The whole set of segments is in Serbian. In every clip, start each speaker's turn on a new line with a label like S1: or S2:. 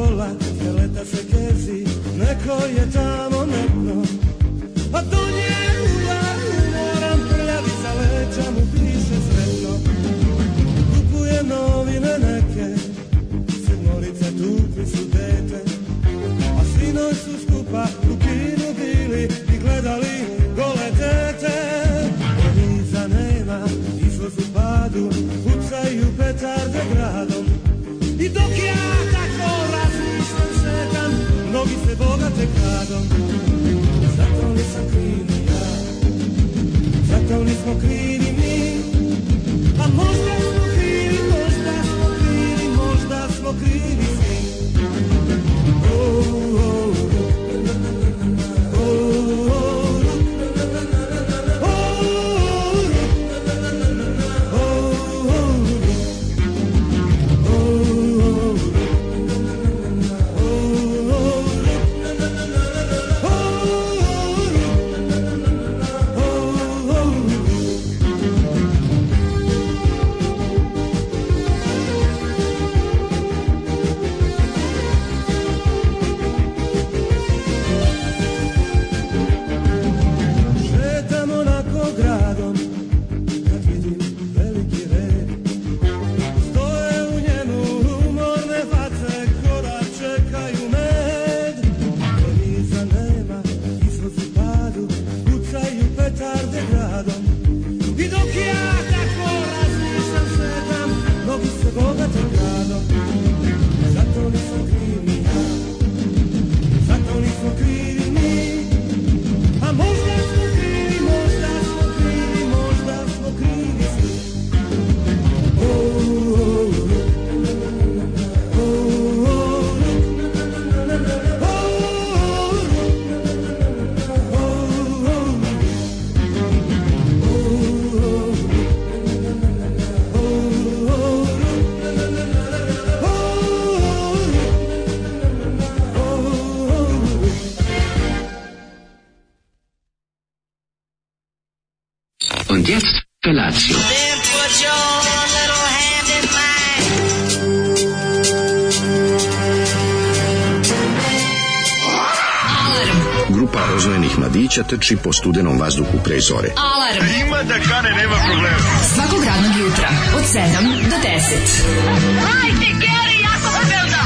S1: Pa Pa smo krivi mi, a možda smo krivi, možda smo krivi, možda smo krivi svi. O, o, o, o, o, o, o, o, o, o, Šetam onako gradom Kad vidim veliki red Stoje u njemu umorne face Koda čekaju med Koniza nema, izvozi padu Kucaju petarde gradom I dok ja tako razmišljam šetam Mnogi se bogate gradom Zato nisam kriv ni ja Zato nismo krivi mi a možda smo krivi, možda smo krivi, možda smo krivi svi. O, o, o, o, o, o, o, o, o,
S2: Und jetzt Felatio.
S3: Then put your little hand in mine.
S4: Grupa rozvojenih mladića trči po studenom vazduhu pre zore.
S5: Alarm. Ima da kane, nema problema. Svakog radnog jutra, od 7 do 10. Hajde, Geri, jako se velda.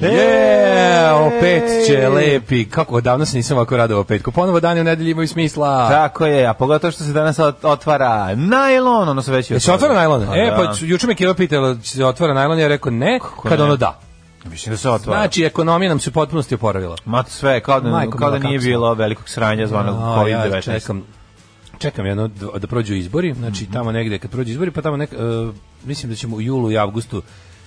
S6: Je, opet će lepi. Kako odavno se nisam ovako radovao petku. Ponovo dani u nedelji imaju smisla.
S7: Tako je, a pogotovo što se danas ot- otvara najlon, ono se već i
S6: Jel se otvara najlon?
S7: A,
S6: E,
S7: da.
S6: pa ću- juče me Kiro pitalo, se otvara najlon? Ja rekao ne, kad
S7: ne?
S6: ono da.
S7: Mislim da se otvara.
S6: Znači, ekonomija nam se u potpunosti oporavila.
S7: Ma sve, kao da,
S6: Majko
S7: kao da
S6: mila,
S7: nije
S6: kako
S7: bilo velikog sranja zvanog
S6: A, ja
S7: COVID-19.
S6: čekam, čekam jedno d- da prođu izbori, znači
S7: Mhm.
S6: tamo negde kad prođu izbori, pa tamo nek, e, mislim da ćemo u julu i avgustu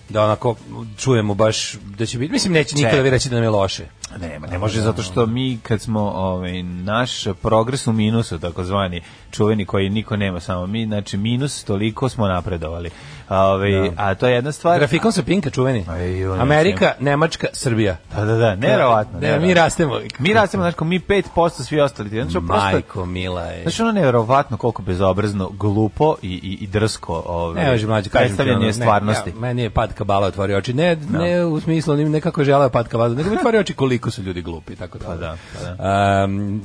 S6: da onako čujemo baš da će biti, mislim neće niko
S7: Čekaj.
S6: da vi reći da nam je loše.
S7: Nema, ne može zato što mi kad smo ovaj naš progres u minusu takozvani čuveni koji niko nema samo mi, znači minus toliko smo napredovali. Ovaj a to je jedna stvar.
S6: Grafikon sa Pinka čuveni.
S7: Aj, joj, ne
S6: Amerika, Nemačka, Srbija.
S7: Da, da, da,
S6: Ne,
S7: neverovatno.
S6: mi
S7: neverovatno.
S6: rastemo.
S7: Mi rastemo, znači mi 5% svi ostali. Znači prosto
S6: Majko, mila je.
S7: Znači ono nevjerovatno koliko bezobrazno, glupo i, i, i drsko ovaj,
S6: Ne može mlađe, kažem ti, ono,
S7: predstavljanje
S6: ne,
S7: stvarnosti.
S6: ja- meni je pad kabala otvorio oči. Ne, ne u smislu onim nekako žele pad kabala, nego mi otvorio oči koliko su ljudi glupi, tako da. Pa
S7: da, pa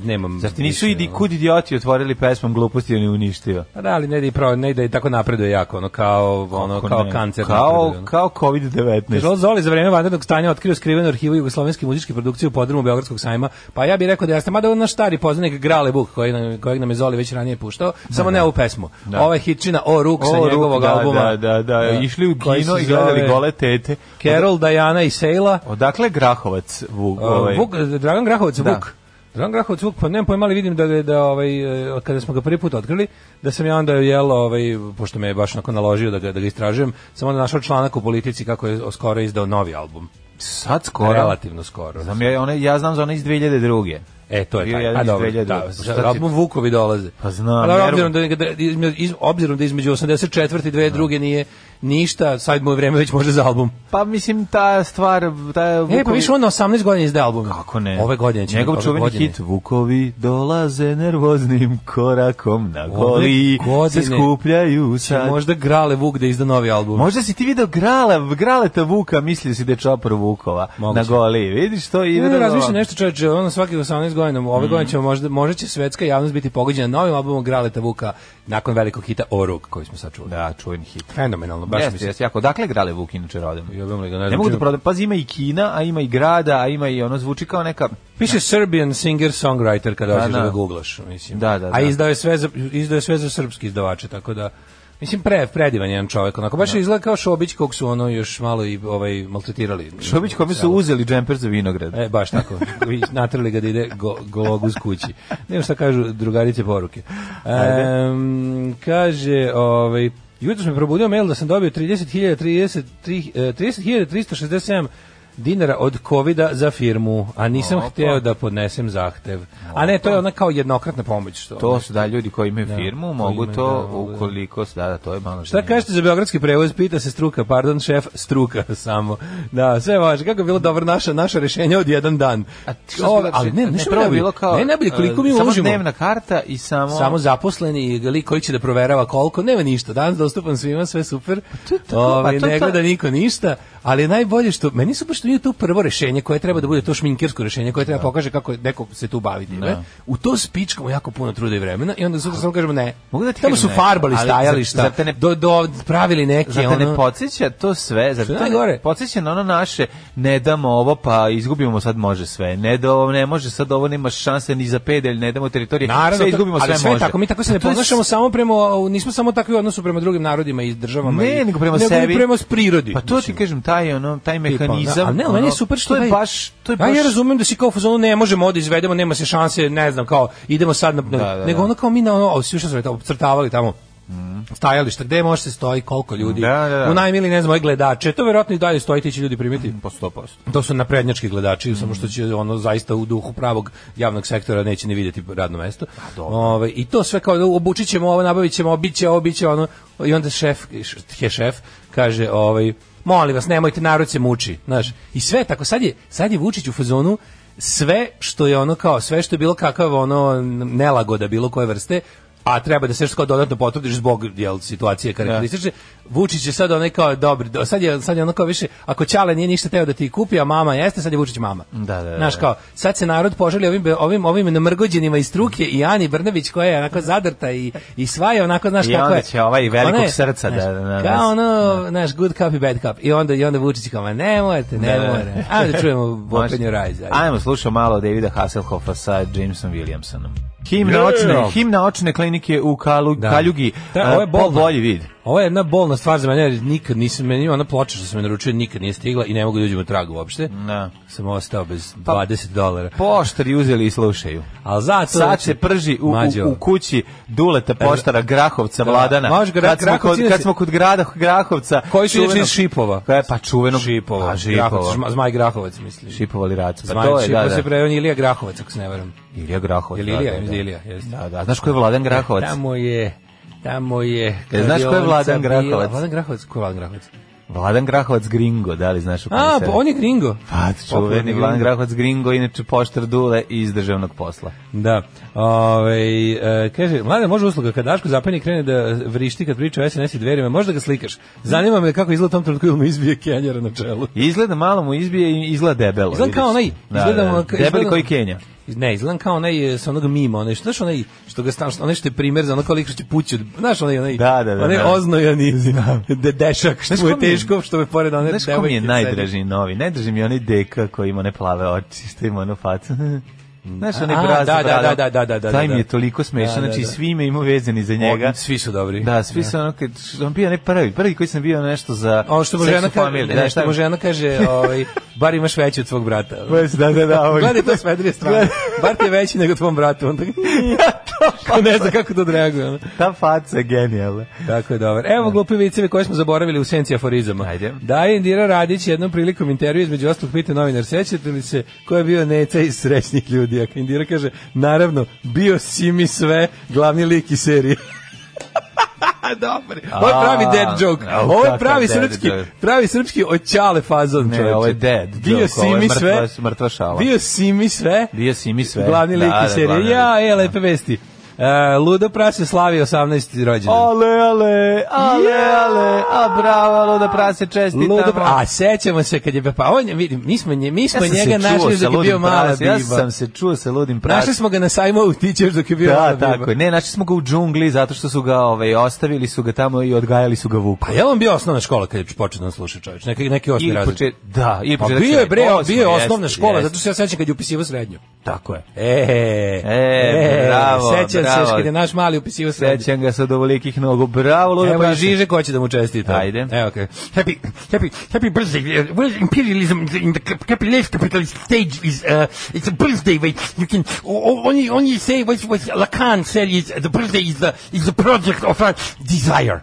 S6: nemam.
S7: Zar ti nisu
S6: više,
S7: idi
S6: ono.
S7: kud idioti otvorili pesmom gluposti i on je uništio?
S6: Pa da, ali ne ide, i pro, ne ide i tako napreduje jako, ono kao, ono,
S7: Kako
S6: kao
S7: ne?
S6: kancer.
S7: Kao,
S6: napreduje, ono.
S7: kao COVID-19.
S6: Žal Zoli za vreme vanrednog stanja otkrio skrivenu arhivu jugoslovenske muzičke produkcije u podrumu Beogradskog sajma, pa ja bih rekao da jeste, mada on naš stari poznanik Grale Buk, koji nam, kojeg nam je Zoli već ranije puštao, samo ne ovu pesmu. Ova je hitčina O Ruk sa
S7: O, Ruk,
S6: njegovog
S7: da,
S6: albuma.
S7: Da, da, da, Išli u
S6: koji
S7: kino
S6: se
S7: i gledali
S6: zove
S7: gole tete.
S6: Carol, Dajana i Sejla.
S7: Odakle je Grahovac? Vuk, ovaj?
S6: Ovaj. Vuk, Dragan Grahovac
S7: Da.
S6: Vuk. Dragan Grahovac Vuk, pa nemam pojma, ali vidim da, da, da ovaj, eh, kada smo ga prvi put otkrili, da sam ja onda jelo, ovaj, pošto me je baš onako naložio da ga, da ga istražujem, sam onda našao članak u politici kako je skoro izdao novi album.
S7: Sad skoro.
S6: Relativno skoro.
S7: Znam, ja, ona, ja znam za one iz 2002.
S6: E, to je
S7: Bio
S6: taj.
S7: jedan
S6: A
S7: iz
S6: dobro,
S7: 2002.
S6: da,
S7: Šta ti-
S6: album Vukovi dolaze.
S7: Pa znam,
S6: A dobro,
S7: jer-
S6: obzirom, da, da, izme- iz- obzirom da između 84. i 2002. nije ništa, sad mu je vreme već može za album.
S7: Pa mislim, ta stvar... Ta
S6: E, pa više on na 18 godina izde album.
S7: Kako ne?
S6: Ove godine će.
S7: Njegov
S6: ove
S7: čuveni
S6: godine.
S7: hit Vukovi dolaze nervoznim korakom na
S6: Ove
S7: goli se
S6: godine
S7: skupljaju sad. Možda,
S6: Možda Grale Vuk da izda novi album.
S7: možda si ti video Grala, Graleta Vuka, mislio si da je čopor Vukova
S6: Moguće.
S7: na goli. Vidiš to i
S6: Ne,
S7: vidio-
S6: ne, razmišljam nešto čoveče, ono svakih 18 godina, ove godine ćemo možda, možda će svetska javnost biti pogođena novim albumom Graleta Vuka nakon velikog hita Orug koji smo sad čuli.
S7: Da, čuveni hit.
S6: Fenomenalno, baš
S7: Jeste,
S6: mislim.
S7: jeste, jako. Dakle Grale Vuk inače rodem?
S6: Jebem li ga, ne
S7: Ne
S6: znam
S7: mogu da
S6: čime-
S7: prodam. Pazi, ima i Kina, a ima i grada, a ima i ono, zvuči kao neka...
S6: Piše Serbian singer songwriter kada
S7: Da,
S6: hoćeš da,
S7: da.
S6: ga googlaš, mislim.
S7: Da, da, da.
S6: A izdao je sve za izdao je sve za srpski izdavače, tako da Mislim, pre, predivan je jedan čovjek, onako, baš je izgleda kao Šobić, kog su ono još malo i ovaj, maltretirali.
S7: Šobić kome su uzeli džemper za vinograd.
S6: E, baš tako. Vi Natrali ga da ide go, gologuz kući. Nemo šta kažu drugarice poruke. Em, kaže, ovaj, jutros me probudio mail da sam dobio 30.000, 30.000, eh, 30.367 dinara od covida za firmu, a nisam
S7: Opa.
S6: hteo da podnesem zahtev. A ne, to je ona kao jednokratna pomoć. Što
S7: To su da ljudi koji imaju firmu, mogu
S6: imaju,
S7: to
S6: da, mogu, da.
S7: ukoliko, da, da, to je malo.
S6: Šta kažete za beogradski prevoz? Pita se struka, pardon, šef, struka samo. Da, sve važe. Kako je bilo dobro naša, naša rešenja od jedan dan?
S7: A ti što si bila-
S6: ali ne, ne, ne,
S7: prvo je bilo kao
S6: ne, najbolje koliko mi
S7: e, Samo
S6: uložimo.
S7: dnevna karta i samo
S6: Samo zaposleni i lik koji će da proverava koliko, nema ništa. Danas dostupan svima, sve super.
S7: to je tako,
S6: Ovaj,
S7: pa to je
S6: ne
S7: ta-
S6: gleda niko ništa, ali je najbolje što meni su baš to nije to prvo rešenje koje treba da bude to šminkirsko rešenje koje treba pokaže kako je neko se tu bavi time.
S7: Da.
S6: U to spičkamo jako puno truda i vremena i onda sutra samo kažemo ne.
S7: Mogu da ti
S6: Tamo
S7: kažem
S6: su
S7: nešto,
S6: farbali
S7: ali
S6: stajališta,
S7: zar- zar te ne-
S6: do, do, pravili neke
S7: Zar te
S6: ono...
S7: ne podsjeća to sve? Zar
S6: Što je
S7: to ne
S6: najgore?
S7: podsjeća na ono naše, ne damo ovo, pa izgubimo sad može sve. Ne da ovo, ne može sad ovo, nema šanse ni za pedelj, ne damo teritorije.
S6: Naravno,
S7: sve
S6: to-
S7: izgubimo,
S6: ali
S7: sve,
S6: sve je
S7: može.
S6: tako, mi tako se
S7: Pa
S6: ne
S7: to je
S6: ponašamo samo prema, nismo samo takvi u odnosu prema drugim narodima i državama.
S7: Ne,
S6: i-
S7: nego prema
S6: i
S7: sebi.
S6: prema s prirodi.
S7: Pa to ti
S6: Mislim,
S7: kažem, taj, ono, taj
S6: tipa, da,
S7: mehanizam.
S6: ali ne, ali
S7: ono,
S6: meni je super što
S7: to je
S6: taj-
S7: baš, to je
S6: Ja,
S7: baš,
S6: ja razumem da si kao u fazonu ne možemo ovde izvedemo, nema se šanse, ne znam, kao idemo sad na
S7: Da, da,
S6: nego
S7: da.
S6: ono kao mi na ono, ali svi što su rekli, obcrtavali tamo stajališta, gde može se stoji, koliko ljudi,
S7: Da, da, da.
S6: u najmili, ne znam, ovi gledače, to verovatno i dalje stoji, ti će ljudi primiti.
S7: po Mm. 100%.
S6: To su naprednjački gledači, samo što će ono zaista u duhu pravog javnog sektora neće ni vidjeti radno mesto.
S7: Pa,
S6: Ove, I to sve kao obučit ćemo ovo, nabavit ćemo, bit će ovo, bit će ono. I onda šef, je šef, kaže, ovaj, molim vas, nemojte, narod se muči. Znaš, I sve je tako, sad je, sad je Vučić u fazonu, sve što je ono kao, sve što je bilo kakav ono nelagoda bilo koje vrste, a treba da se još kao dodatno potrudiš zbog jel, situacije karakteristične. Vučić je sad onaj kao dobri, do- sad je, sad je ono kao više, ako Ćale nije ništa teo da ti kupi, a mama jeste, sad je Vučić mama.
S7: Da, da, da.
S6: Znaš kao, sad se narod poželi ovim, be- ovim, ovim namrgođenima iz struke i Ani Brnević koja je onako zadrta i, i sva je onako, znaš
S7: I
S6: kako
S7: onda
S6: je.
S7: će ovaj velikog
S6: Ona je,
S7: srca da-
S6: znaš,
S7: da- da-
S6: Kao ono, znaš, good cup i bad cup. I onda, i onda Vučić kao, ma ne morate, ne
S7: da.
S6: morate. Ajde da čujemo
S7: Može.
S6: Open Your Eyes. ajde.
S7: Ajmo, slušao malo Davida Hasselhoffa sa Jamesom Williamsonom. Himna očne, himna očne klinike u Kalu,
S6: Da.
S7: Kaljugi.
S6: Da,
S7: a,
S6: ovo je bolno.
S7: pol bolji vid.
S6: Ovo je jedna bolna stvar za mene, jer nikad nisam, meni ona ploča što sam je naručio nikad nije stigla i ne mogu da uđem u trag uopšte.
S7: Da.
S6: Sam ostao bez
S7: Pa-
S6: 20 dolara.
S7: Poštari uzeli i slušaju.
S6: Ali zato...
S7: Sad se prži u,
S6: Mađo. E,
S7: u, u kući Duleta Poštara, Grahovca,
S6: Da,
S7: Vladana.
S6: može Gra-
S7: kad, smo
S6: Grahovci
S7: kod,
S6: inače-
S7: kad smo kod grada, Grahovca.
S6: Koji su inače
S7: čuvenog-
S6: iz Šipova.
S7: Kaj, pa čuvenog...
S6: Šipova.
S7: Pa, Šipova.
S6: Grahovac, Žma- Zmaj Grahovac, mislim.
S7: Šipovali raca. Pa
S6: Zmaj
S7: to je,
S6: Šipova
S7: da,
S6: se
S7: da.
S6: pre, on je Ilija Grahovac, ako se ne veram.
S7: Ilija Grahovac.
S6: Ili
S7: da,
S6: Ilija,
S7: da, da.
S6: mislim da je Ilija, jeste.
S7: Da, da. Znaš ko je Vladan Grahovac?
S6: Tamo je... Tamo je...
S7: E, znaš ko je
S6: kladionica
S7: Vladan
S6: bila-
S7: Grahovac?
S6: Vladan Grahovac? Ko je Vladan Grahovac?
S7: Vladan Grahovac Gringo, da li znaš u kom
S6: A,
S7: se-
S6: pa on je Gringo.
S7: Pa,
S6: Popularni
S7: čuveni Vladan
S6: Gringo.
S7: Grahovac Gringo, inače poštar Dule iz državnog posla.
S6: Da. Ovaj e, kaže, mlade, može usluga, kad Daško zapanje i krene da vrišti kad priča o SNS i dverima, možda ga slikaš. Zanima me kako izgleda u tom trenutku ili mu izbije kenjara na čelu.
S7: Izgleda malo mu izbije i izgleda debelo.
S6: Izgleda kao
S7: vidiš.
S6: onaj, izgleda mu-
S7: Debeli
S6: izgleda-
S7: koji Kenja.
S6: Ne, izgledam kao onaj e, sa onog mima, onaj, što, znaš onaj, što ga stan, onaj što je primjer za ono kao lik što će pući, od, znaš onaj, onaj,
S7: Da, da, da,
S6: onaj
S7: da.
S6: oznojani dedešak, što
S7: Znaš
S6: mu
S7: ko
S6: je
S7: mi je-
S6: teško, što me pored one
S7: Znaš ko mi je
S6: sedi.
S7: najdraži novi? Najdraži mi je onaj deka koji ima one plave oči, što ima onu facu. Znaš, onaj
S6: A,
S7: braz,
S6: da, da,
S7: brada.
S6: da, da, da, da,
S7: Taj
S6: da.
S7: mi je toliko smešan,
S6: Da, da,
S7: znači
S6: da.
S7: svi me ima vezani za njega.
S6: O, Svi su dobri.
S7: Da, svi su ono, kad, on bio onaj prvi, prvi koji sam bio nešto za
S6: Ono što mu
S7: Sex
S6: žena
S7: and
S6: kaže,
S7: Family,
S6: ne, što
S7: šta-
S6: mu žena kaže, ovaj, bar imaš veći od svog brata.
S7: Da, da, ovaj- da. ovo je-
S6: Gledaj to s vedrije strane. Bar ti je veći nego tvom bratu. Onda... Ko ne zna kako to odreaguje. ono.
S7: Ta faca je genijalna.
S6: Tako je dobro. Evo glupi vicevi koje smo zaboravili u senci aforizama.
S7: Ajde.
S6: Da je Indira Radić jednom prilikom intervju između ostalog pita novinar, sećate li se ko je bio neca iz srećnih ljudi? A Indira kaže, naravno, bio si mi sve, glavni lik iz serije. Dobar. Ovo je pravi
S7: A,
S6: dead joke.
S7: a,
S6: Ovo je
S7: kakav
S6: pravi
S7: dead
S6: srpski,
S7: joke.
S6: pravi srpski oćale fazon.
S7: Ne,
S6: čoveče.
S7: ovo je dead
S6: Bio
S7: joke,
S6: si
S7: ovo je
S6: mi
S7: mrtva-
S6: sve.
S7: mrtva šala.
S6: Bio si mi sve.
S7: Bio si mi sve.
S6: Glavni lik iz serije. Ja, e, lepe vesti. E, Ludo Prase slavi 18. rođendan.
S7: Ale, ale, ale, ale, a bravo, Luda Prase, čestitamo.
S6: Ludo, pra- a sećamo se kad je pa on je- vidi, mi smo nje, mi smo njega našli dok je bio mala biba.
S7: Ja sam se čuo sa ludim prasom.
S6: Našli smo ga na sajmu Utićeš dok je bio mala
S7: Da,
S6: biba.
S7: tako. je. Ne, našli smo ga u džungli zato što su ga ovaj, ostavili su ga tamo i odgajali su ga vuku.
S6: Pa je on bio osnovna škola kad je počeo nas slušati čovjek. Neki neki osmi razred.
S7: poče- da, ili
S6: Pa
S7: početak
S6: bio je
S7: srednje.
S6: bre,
S7: Osmi,
S6: bio je
S7: jeste,
S6: osnovna škola,
S7: jeste.
S6: zato što se ja sećam kad je upisivao srednju.
S7: Tako je.
S6: E,
S7: bravo,
S6: sećaš sećam
S7: bravo.
S6: se kad je naš mali upisivao se.
S7: Sećam ga sa dovolikih nogu. Bravo, luda
S6: Evo Ono pa i
S7: prase.
S6: Žiže ko će da mu čestita.
S7: Ajde.
S6: Evo okay.
S8: happy, happy, happy birthday. Uh, well, imperialism in the cap- capitalist capitalist stage is uh, it's a birthday. Wait, you can o- o- only only say what what Lacan said is uh, the birthday is the is the project of a desire.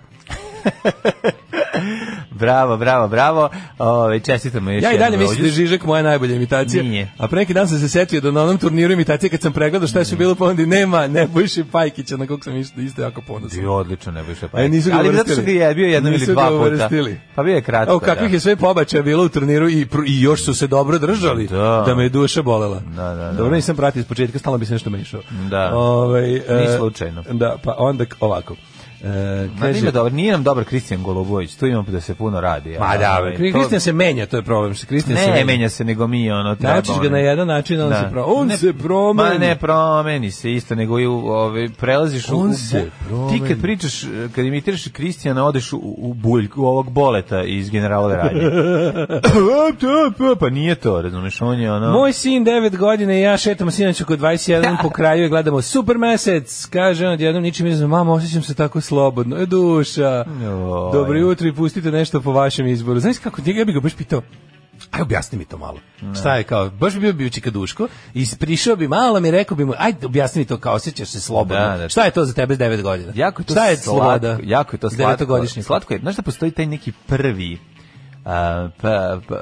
S7: Bravo, bravo, bravo. Ove, čestitamo još
S6: Ja i dalje
S7: jednom
S6: mislim da je Žižek moja najbolja imitacija.
S7: Nije.
S6: A pre neki dan sam se setio da na onom turniru imitacije kad sam pregledao šta je sve bilo pa onda i nema Nebojše Pajkića na kog sam isto, isto jako ponosan.
S7: Bio odlično, ne više pa.
S6: E, nisu ga
S7: Ali zato
S6: uvrstili.
S7: što ga je bio jednom ili
S6: Nisu
S7: dva
S6: ga
S7: puta.
S6: uvrstili.
S7: Pa bio je kratko.
S6: O, kakvih
S7: da.
S6: je sve pobačaja bilo u turniru i, pr- i još su se dobro držali,
S7: Da.
S6: da, me je duša bolela. Da,
S7: da, da.
S6: Dobro, nisam pratio iz početka, stalno bi se nešto mešao.
S7: Da.
S6: Ovaj,
S7: Ni
S6: e,
S7: slučajno.
S6: Da, pa onda k- ovako. E,
S7: Ma,
S6: kaže,
S7: nije, dobar, nije nam dobar Kristijan Golubović, tu imamo da se puno radi.
S6: Ma
S7: ali,
S6: Pa da,
S7: ovaj, to-
S6: Kristijan se menja, to je problem. što Kristijan se
S7: Ne, menja se, nego mi ono treba.
S6: Načiš ga
S7: ono.
S6: na jedan način, on
S7: Da.
S6: se promeni. On se promeni.
S7: Ma ne, promeni se isto, nego i u, ove, prelaziš u...
S6: On
S7: u-
S6: se
S7: Ti kad pričaš, eh, kad imitiraš Kristijana, odeš u, u buljku u ovog boleta iz generala radnje. pa nije to, razumeš, on je ono...
S6: Moj sin 9 godina i ja šetamo sinoć oko 21 po kraju i gledamo super mesec. Kaže on odjednom ničim izazvan, mama, osjećam se tako slobodno. E, duša,
S7: Joj.
S6: dobro jutro i pustite nešto po vašem izboru. Znaš kako, njega bi ga baš pitao, Aj objasni mi to malo. Šta je kao? Baš bi bio bi učika Duško i prišao bi malo mi i rekao bi mu ajde objasni mi to kao osjećaš se slobodno.
S7: Da, da.
S6: Šta je to za tebe s 9 godina?
S7: Jako je to
S6: Šta je
S7: slatko,
S6: sloboda?
S7: Jako je to slatko.
S6: Devetogodišnji.
S7: Slatko je. Znaš da postoji taj neki prvi a, pa, pa,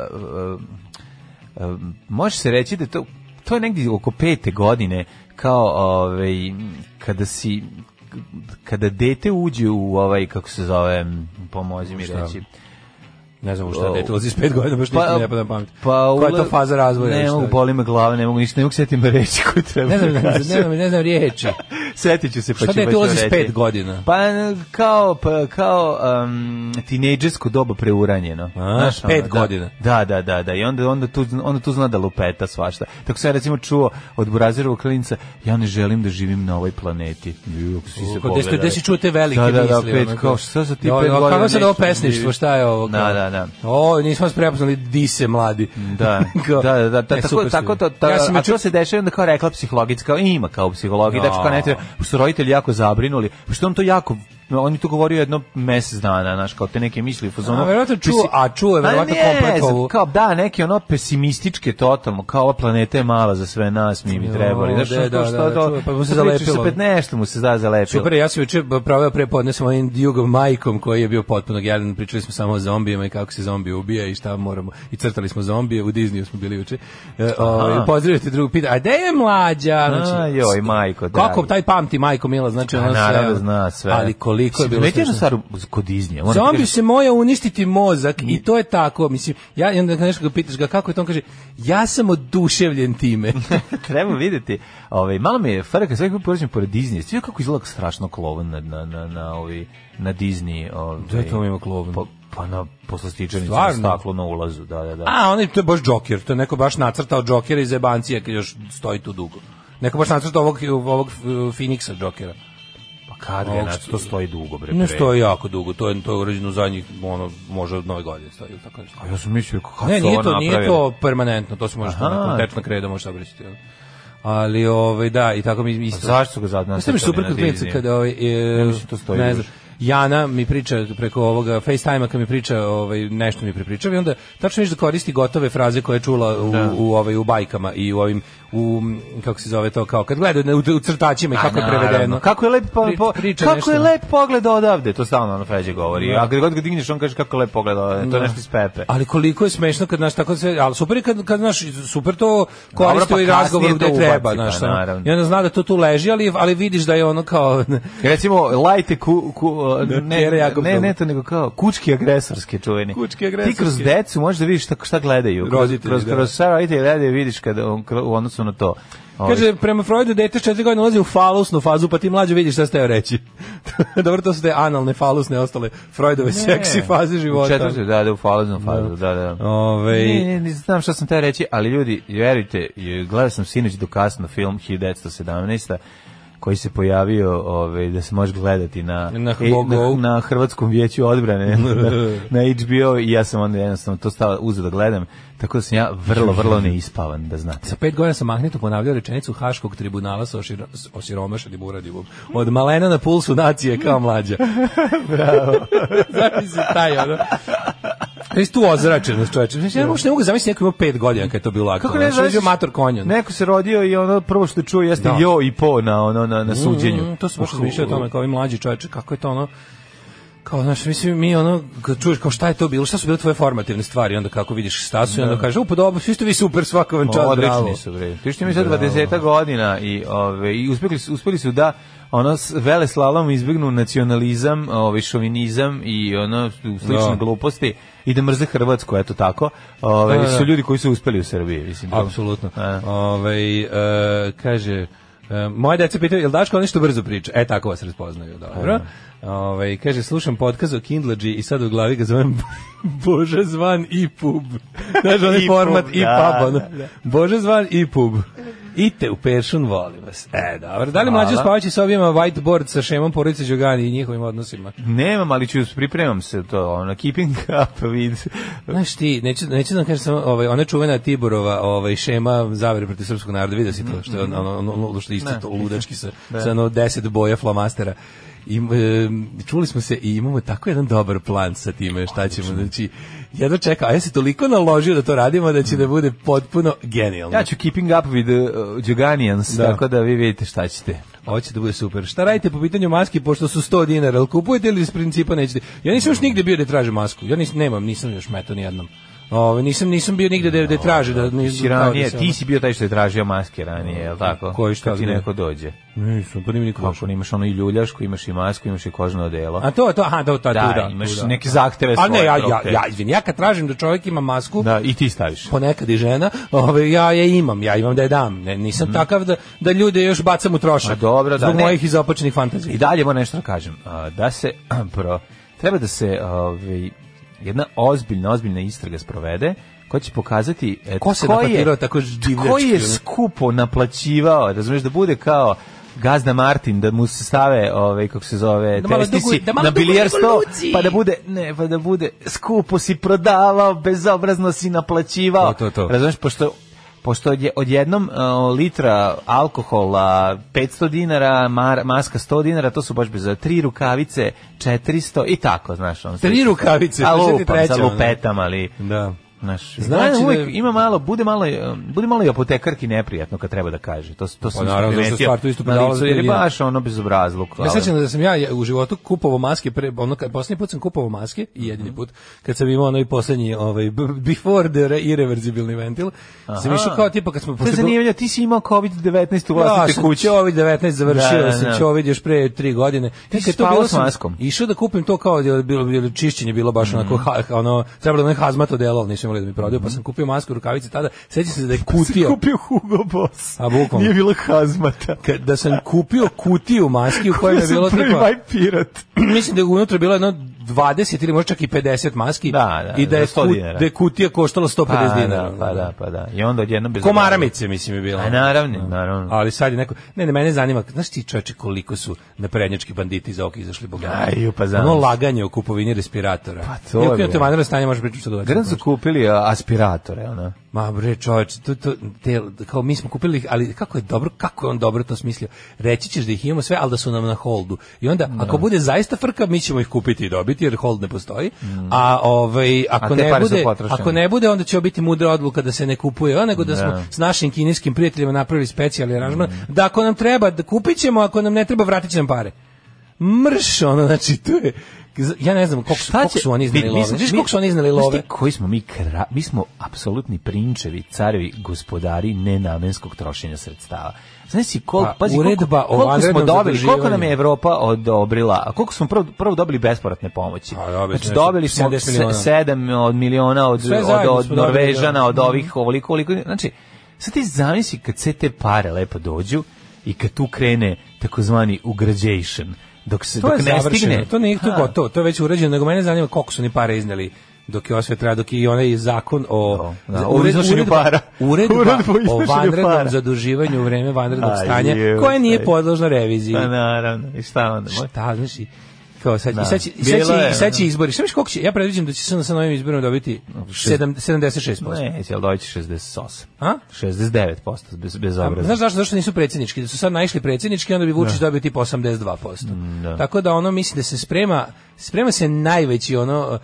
S7: a, a, može se reći da je to to je negdje oko pete godine kao ovaj kada si kada dete uđe u ovaj kako se zove pomozi mi
S6: Šta?
S7: reći
S6: Ne znam u šta dete ulazi s 5 godina, baš ništa mi ne pada na pamet.
S7: pa
S6: Koja je to
S7: ula-
S6: faza razvoja?
S7: ne
S6: Šta
S7: mogu
S6: je?
S7: boli me glava ne mogu ništa ne mogu setim reći koju treba
S6: Ne znam,
S7: da
S6: ne znam,
S7: kažem.
S6: ne znam, ne znam riječi.
S7: Setit ću se pa
S6: Šta
S7: ću
S6: dete
S7: baš to
S6: ulazi s
S7: reći.
S6: pet godina?
S7: Pa kao, pa, kao um, tinejdžersko doba preuranjeno.
S6: A,
S7: ono,
S6: pet
S7: da.
S6: godina.
S7: Da, da, da, da. I onda, onda, tu, onda tu zna da lupeta svašta. Tako sam ja recimo čuo od Burazirovog klinica, ja ne želim da živim na ovoj planeti. Ju, kako si se
S6: Kod gde,
S7: pogledali.
S6: gde si čuo te velike
S7: Da, da, da,
S6: misli?
S7: pet,
S6: ono,
S7: kao, šta za ti
S6: Jo,
S7: pet
S6: jo,
S7: godina
S6: Kako se da ovo
S7: nešto
S6: pesništvo,
S7: živi?
S6: šta je ovo? kao?
S7: Da, da, da.
S6: O, nismo vas prepoznali, di se mladi.
S7: Da,
S6: Kao,
S7: da, da, da,
S6: e,
S7: tako,
S6: super ste
S7: tako
S6: vi.
S7: to, ta,
S6: ja sam
S7: a
S6: juče
S7: to se dešava i onda kao rekla psihologicka, kao ima kao psihologija, da kao ne treba, pošto su roditelji jako zabrinuli, pošto on to jako, oni to govorio jedno mesec dana, znaš, kao te neke misli u fazonu.
S6: A, verovatno čuo-
S7: pesi-
S6: a čuo je verovatno
S7: A ono- ne,
S6: komplet ovu.
S7: Kao, da, neke ono pesimističke totalno, kao ova planeta je mala za sve nas, mi bi
S6: Jo,
S7: trebali, znaš,
S6: da,
S7: ono, kao
S6: da,
S7: što
S6: da,
S7: to-
S6: čuo, pa mu se
S7: pričaš
S6: zalepilo.
S7: opet nešto mu se da zalepilo.
S6: Super, ja sam juče proveo prepodne sa mojim Djugom Majkom koji je bio potpuno jadan, pričali smo samo o zombijima i kako se zombi ubija i šta moramo. I crtali smo zombije, u Disneyu smo bili juče. E, ovaj, pozdravio ti drugu pita, a gde je mlađa? Znači,
S7: A, joj, majko, dragi.
S6: Kako taj pamti Majko Mila, znači
S7: A,
S6: ono sve.
S7: Pa naravno, zna sve.
S6: Ali koliko je bilo
S7: Primetio sam
S6: smešno.
S7: stvar kod Disneya, ono moram ti
S6: Zombi
S7: kažem.
S6: se moja uništiti mozak i to je tako, mislim, ja i onda nešto ga pitaš ga kako je to, on kaže, ja sam oduševljen time.
S7: Treba videti. Ovaj malo mi je frka sve kako poređujem pored Disney. Sve kako izgleda strašno klovan na na na na ovi na Disney, ovaj.
S6: Gde to ima klovan?
S7: Pa, pa na poslastičanici na
S6: Stvarno?
S7: staklo na ulazu, da, da, da.
S6: A, onaj, to je baš džoker, to je neko baš nacrtao džokera iz jebancija kad još stoji tu dugo. Neko baš nacrtao ovog, ovog uh, Phoenixa džokera.
S7: pa kad ga
S6: ovog
S7: znači to stoji dugo bre.
S6: Ne
S7: bre.
S6: stoji jako dugo, to je, to je urađeno u zadnjih, ono, može od nove godine stoji, ili tako nešto.
S7: A ja sam mislio kako
S6: Ne,
S7: su
S6: nije
S7: ovo
S6: to, nije
S7: napravili.
S6: to permanentno, to se može
S7: Aha.
S6: na tečno kredo možeš obristiti. ono. Ali ovaj da, i tako mi isto.
S7: Pa Zašto su ga zadnje
S6: Znaš šta mi je
S7: nacrtali
S6: super
S7: na
S6: kod klinca
S7: Disney?
S6: kada ovaj e,
S7: Ja mislim, to stoji
S6: ne
S7: još.
S6: znam, Jana mi priča preko ovoga FaceTime-a kad mi priča ovaj nešto mi prepričava i onda tačno vidiš da koristi gotove fraze koje je čula u, u ovaj u bajkama i u ovim u m, kako se zove to kao kad gleda na- u, u crtačima i kako je
S7: Naravno.
S6: prevedeno.
S7: Kako je lep po,
S6: Pri-
S7: po-
S6: priča
S7: kako
S6: nešto.
S7: je lep pogled odavde, to stalno ono Feđe govori. A kad god ga digneš on kaže kako je lep pogled odavde, to
S6: Da.
S7: je nešto iz Pepe.
S6: Ali koliko je smešno kad naš tako sve, ali super je kad kad naš super to koristi
S7: pa
S6: i razgovor
S7: kasnije
S6: gde
S7: to
S6: treba,
S7: ubaci,
S6: znaš.
S7: pa
S6: ono.
S7: naravno.
S6: I onda zna da to tu leži, ali ali vidiš da je ono kao
S7: Recimo, lajte ku, ku, uh, ne,
S6: tjera Jakov
S7: ne,
S6: Dobu.
S7: ne to nego kao kučki agresorske čuveni.
S6: Kućki
S7: Ti kroz
S6: agresorske.
S7: decu možeš da vidiš šta, šta gledaju. Kroz-
S6: Roditelji,
S7: kroz,
S6: da.
S7: kroz sve roditelje gledaju vidiš kada, on- u odnosu na to. Ovaj,
S6: Kaže, prema Freudu, dete s četiri godine ulazi u falusnu fazu, pa ti mlađe vidiš šta ste joj reći. Dobro, to su te analne, falusne, ostale Freudove seksi faze
S7: u
S6: života.
S7: Četvrtoj, da, da, u falaznom fazu, da, da.
S6: Ovaj-
S7: Ne, ne, ne znam šta sam te reći, ali ljudi, verujte, je, gledao sam sinoć do kasno film 1917. koji se pojavio ovaj da se može gledati na
S6: Na
S7: e, na,
S6: Go-Go.
S7: na hrvatskom vijeću odbrane na, na HBO i ja sam onda jednostavno to stao uzeo da gledam tako da sam ja vrlo vrlo neispavan da znate
S6: Sa pet godina sam magnetu ponavljao rečenicu Haškog tribunala sa oširo, s osiromašenim uradibom. Od malena na pulsu nacije kao mlađa. Bravo. Zamisli taj, ono. Znaš tu ozračenost čoveče. Znaš, ja uopšte ne mogu zamisliti neko ima pet godina kad je to bilo aktualno. Kako ne znaš? mator konjon.
S7: Neko se rodio i ono prvo što čuje jeste
S6: Da.
S7: jo i po na ono na na suđenju.
S6: Mm, to se baš razmišljao o tome kao ovi mlađi čoveče, kako je to ono kao znaš mislim mi ono kad čuješ kao šta je to bilo šta su bile tvoje formativne stvari i onda kako vidiš šta su i onda kaže u pa dobro svi ste vi super svaka vam
S7: Ma,
S6: čast bravo
S7: Pa Odlični su bre. Ti što mi sad 20 godina i ove i uspeli su uspeli su da ono s- vele slalom izbegnu nacionalizam, ovaj šovinizam i ono slične
S6: Da.
S7: gluposti i da mrze Hrvatsku, eto tako. Ove
S6: Da, da, da.
S7: su ljudi koji su uspeli u Srbiji, mislim. to-
S6: Apsolutno.
S7: Da.
S6: Ovaj e, kaže e, moje deca pitaju jel Daško nešto brzo priča. E tako vas raspoznaju,
S7: E.
S6: dobro. Ovaj kaže slušam podcast o Kindlergy i sad u glavi ga zovem Bože zvan i pub. Znaš onaj
S7: I
S6: format
S7: pub,
S6: i
S7: da,
S6: pub. ono.
S7: da, da.
S6: Bože zvan i pub. Ite u Peršun, volim vas. E, dobro. Da li mlađe
S7: Hvala.
S6: spavaći sa objema whiteboard sa šemom porodice Đogani i njihovim odnosima?
S7: Nemam, ali ću pripremam se to, ono keeping up with
S6: Znaš ti, neću, neću da vam kažem samo, ovaj, ona čuvena Tiborova ovaj, šema zavere protiv srpskog naroda, vidio si to, što je ono, ono, ono, ono što je isto to ludački sa, sa ono deset boja flamastera. I, em, čuli smo se i imamo tako jedan dobar plan sa time šta ćemo, znači, jedno čeka, a ja se toliko naložio da to radimo da će da bude potpuno genijalno.
S7: Ja ću keeping up with uh, Juganians,
S6: Da.
S7: tako da vi vidite šta ćete.
S6: Ovo će da bude super. Šta radite po pitanju maski, pošto su 100 dinara, ali kupujete ili iz principa nećete? Ja nisam još nigde bio da tražim masku, ja nisam, nemam, nisam još meto nijednom. Ove, nisam, nisam bio nigde da, da traže. Da, nisam,
S7: Ti ranije,
S6: da se- ono.
S7: ti si bio taj što je tražio maske ranije, je li tako?
S6: Koji šta
S7: Kad ti
S6: gde?
S7: neko dođe.
S6: Nisam, pa nije mi niko došao.
S7: Kako imaš ono i ljuljašku, imaš i masku, imaš i kožno odelo.
S6: A to, to, aha, da, ta,
S7: da,
S6: tu, da,
S7: imaš
S6: tu, da.
S7: neke zahteve
S6: A ne,
S7: svoje,
S6: ja, ja,
S7: prope.
S6: ja, Pa, izvin, ja kad tražim da čovjek ima masku,
S7: Da, i ti staviš.
S6: ponekad i žena, ove, ja je imam, ja imam da je dam. Ne, nisam takav da, da ljude još bacam u trošak.
S7: A Mhm. dobro, da,
S6: Zbog
S7: ne.
S6: mojih izopačenih fantazija.
S7: I dalje moram nešto da kažem. a, Da se, pro, treba da se ovaj, jedna ozbiljna, ozbiljna istraga sprovede koja će pokazati e,
S6: Ko se
S7: je-
S6: napatirao tako divljački,
S7: Ko je
S6: ono?
S7: skupo naplaćivao, razumiješ, da bude kao gazda Martin, da mu se stave ovaj, kako se zove,
S6: Da malo
S7: testici
S6: duguj- da malo
S7: na
S6: duguj
S7: bilijar sto,
S6: revoluciji.
S7: pa da bude, ne, pa da bude, skupo si prodavao, bezobrazno si naplaćivao.
S6: To, to, to.
S7: Razumeš, pošto pošto je odjednom uh, litra alkohola 500 dinara, mar, maska 100 dinara, to su baš bez tri rukavice 400 i tako, znaš, on
S6: Tri rukavice,
S7: a
S6: to sad je
S7: lupam,
S6: treća,
S7: sa
S6: ono.
S7: lupetam, ali
S6: Da.
S7: Znaš,
S6: Znači
S7: znači
S6: da-
S7: uvijek ima malo, bude malo, um, bude malo i apotekarki neprijatno kad treba da kaže. To, to sam
S6: Pa naravno, zato što
S7: primetio
S6: stvar tu isto
S7: na
S6: prodavalac
S7: licu, jer je
S6: Belgijana.
S7: baš ono bezobrazluk.
S6: Ja
S7: ali-
S6: se sećam da sam ja je- u životu kupovao maske pre ono kad poslednji put sam kupovao maske i
S7: Mhm.
S6: jedini put kad sam imao onaj poslednji ovaj b- before the re- irreversibilni ventil sam išao kao tipa kad smo
S7: To je
S6: pošto je bilo-
S7: zanimljivo, ti si imao COVID-19 u
S6: Ja
S7: vlastite
S6: sam
S7: kuće.
S6: Covid 19 završio
S7: Da,
S6: da,
S7: da, da.
S6: sam Covid još pre 3 godine. Ti
S7: si spavao s maskom? Mhm.
S6: Išao da kupim to kao je bilo bilo čišćenje bilo baš onako ha, ono trebalo da me hazmat odelo, ali nisu imali da mi prodaju, pa sam kupio masku, rukavice tada. Sećam se da je kutio.
S7: Pa kupio Hugo Boss.
S6: A, bukvalno.
S7: Nije bilo hazmata.
S6: ka- da sam kupio kutiju maski u kojoj je bilo
S7: prvi
S6: tipa
S7: Maj pirat.
S6: mislim da je unutra bilo jedno 20 ili možda čak i 50 maski
S7: Da, da,
S6: i da je,
S7: za 100 dinara.
S6: da je kutija koštala 150
S7: Pa
S6: dinara.
S7: da, pa da, pa da. I onda odjednom bez...
S6: Komaramice mislim je bilo.
S7: A naravno, naravno.
S6: Ali sad je neko, ne, ne, mene zanima, znaš ti čoveče koliko su naprednjački banditi iz oka izašli bogati?
S7: Aj, pa znam.
S6: Ono laganje o kupovini respiratora.
S7: Pa to
S6: Nije
S7: je,
S6: ukinuto
S7: bre.
S6: vanredno stanje, možeš pričati što dođe.
S7: Grad su kupili a, aspiratore, ono.
S6: Ma bre čoveče, to, to, te, kao mi smo kupili ih, ali kako je dobro, kako je on dobro to smislio. Reći ćeš da ih imamo sve, ali da su nam na holdu. I onda, ako bude zaista frka, mi ćemo ih kupiti i dobiti, jer hold ne postoji. A, ovaj, ako,
S7: Mm. A te
S6: ne
S7: pare su
S6: bude,
S7: potrošene.
S6: ako ne bude, onda će biti mudra odluka da se ne kupuje, a nego da smo
S7: Da. Mm.
S6: s našim kineskim prijateljima napravili specijalni aranžman, da ako nam treba, da kupit ćemo, ako nam ne treba, vratit će nam pare. Mrš, ono, znači, to je... Ja ne znam koliko, su- koliko su oni iznali love. Znaš koliko su oni iznali
S7: Znaš ti
S6: love?
S7: koji smo mi kra, mi smo apsolutni prinčevi, carevi, gospodari nenamenskog trošenja sredstava. Znaš si koliko,
S6: Pa,
S7: pazi, koliko,
S6: uredba o
S7: koliko smo
S6: vanrednom
S7: dobili, koliko nam je
S6: zaduživanju.
S7: Evropa odobrila, a koliko smo prvo, prvo dobili bespovratne pomoći.
S6: A, dobili
S7: znači,
S6: smo Pa, nešto,
S7: dobili smo
S6: 70 miliona.
S7: 7 od miliona od,
S6: Sve
S7: od,
S6: zajedno
S7: od
S6: smo dobili,
S7: Norvežana,
S6: da. Mhm.
S7: od ovih, ovoliko, ovoliko. Znači, sad ti zamisli kad sve te pare lepo dođu i kad tu krene takozvani ugrađation, dok se
S6: To
S7: dok
S6: je
S7: ne
S6: završeno,
S7: stigne.
S6: to nije to
S7: Ha.
S6: gotovo, to je već urađeno, nego mene zanima koliko su ni pare izneli dok je osve traja, dok je i onaj zakon o
S7: O, da, o iznošenju para.
S6: uredba
S7: Uredba o
S6: o
S7: iznošenju
S6: vanrednom
S7: para.
S6: zaduživanju u vreme vanrednog
S7: Aj,
S6: stanja,
S7: jeu,
S6: koje nije
S7: taj.
S6: podložno reviziji.
S7: Pa naravno, i šta onda? moj?
S6: Šta, znaš, i kao sad,
S7: Da.
S6: i sad, će, i sad,
S7: Bilo
S6: će,
S7: je,
S6: i sad će
S7: da.
S6: izbori. Šta misliš koliko će, ja predviđam da će se sa novim izborima dobiti
S7: Šest-
S6: 7, 76%.
S7: Ne, jel doći 68.
S6: A?
S7: 69% bez, bez
S6: A,
S7: obraza.
S6: Pa, Znaš zašto? Zašto nisu predsjednički? Da su sad naišli predsjednički, onda bi Vučić dobio tipa 82%.
S7: Mm, da.
S6: Tako da ono mislim da se sprema, sprema se najveći ono,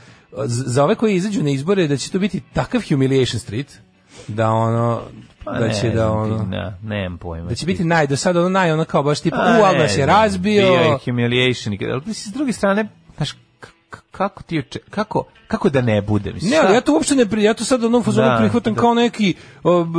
S6: z- za ove koji izađu na izbore, da će to biti takav humiliation street, da ono,
S7: Pa
S6: da
S7: ne
S6: će da
S7: znam
S6: ono...
S7: ti, Da, nemam pojma. Pa
S6: Da će biti naj, do sada ono naj, ono kao baš tipa, u, ali
S7: ne
S6: nas je
S7: znam,
S6: razbio.
S7: Bio je humiliation. Ali mislim, s druge strane, znaš, k- k- kako ti oče, kako, kako da ne bude? Mislim,
S6: Ne,
S7: šta-
S6: ali ja to uopšte ne pri, ja to sad ono fazonu
S7: Da,
S6: prihvatam
S7: da.
S6: kao neki o, b,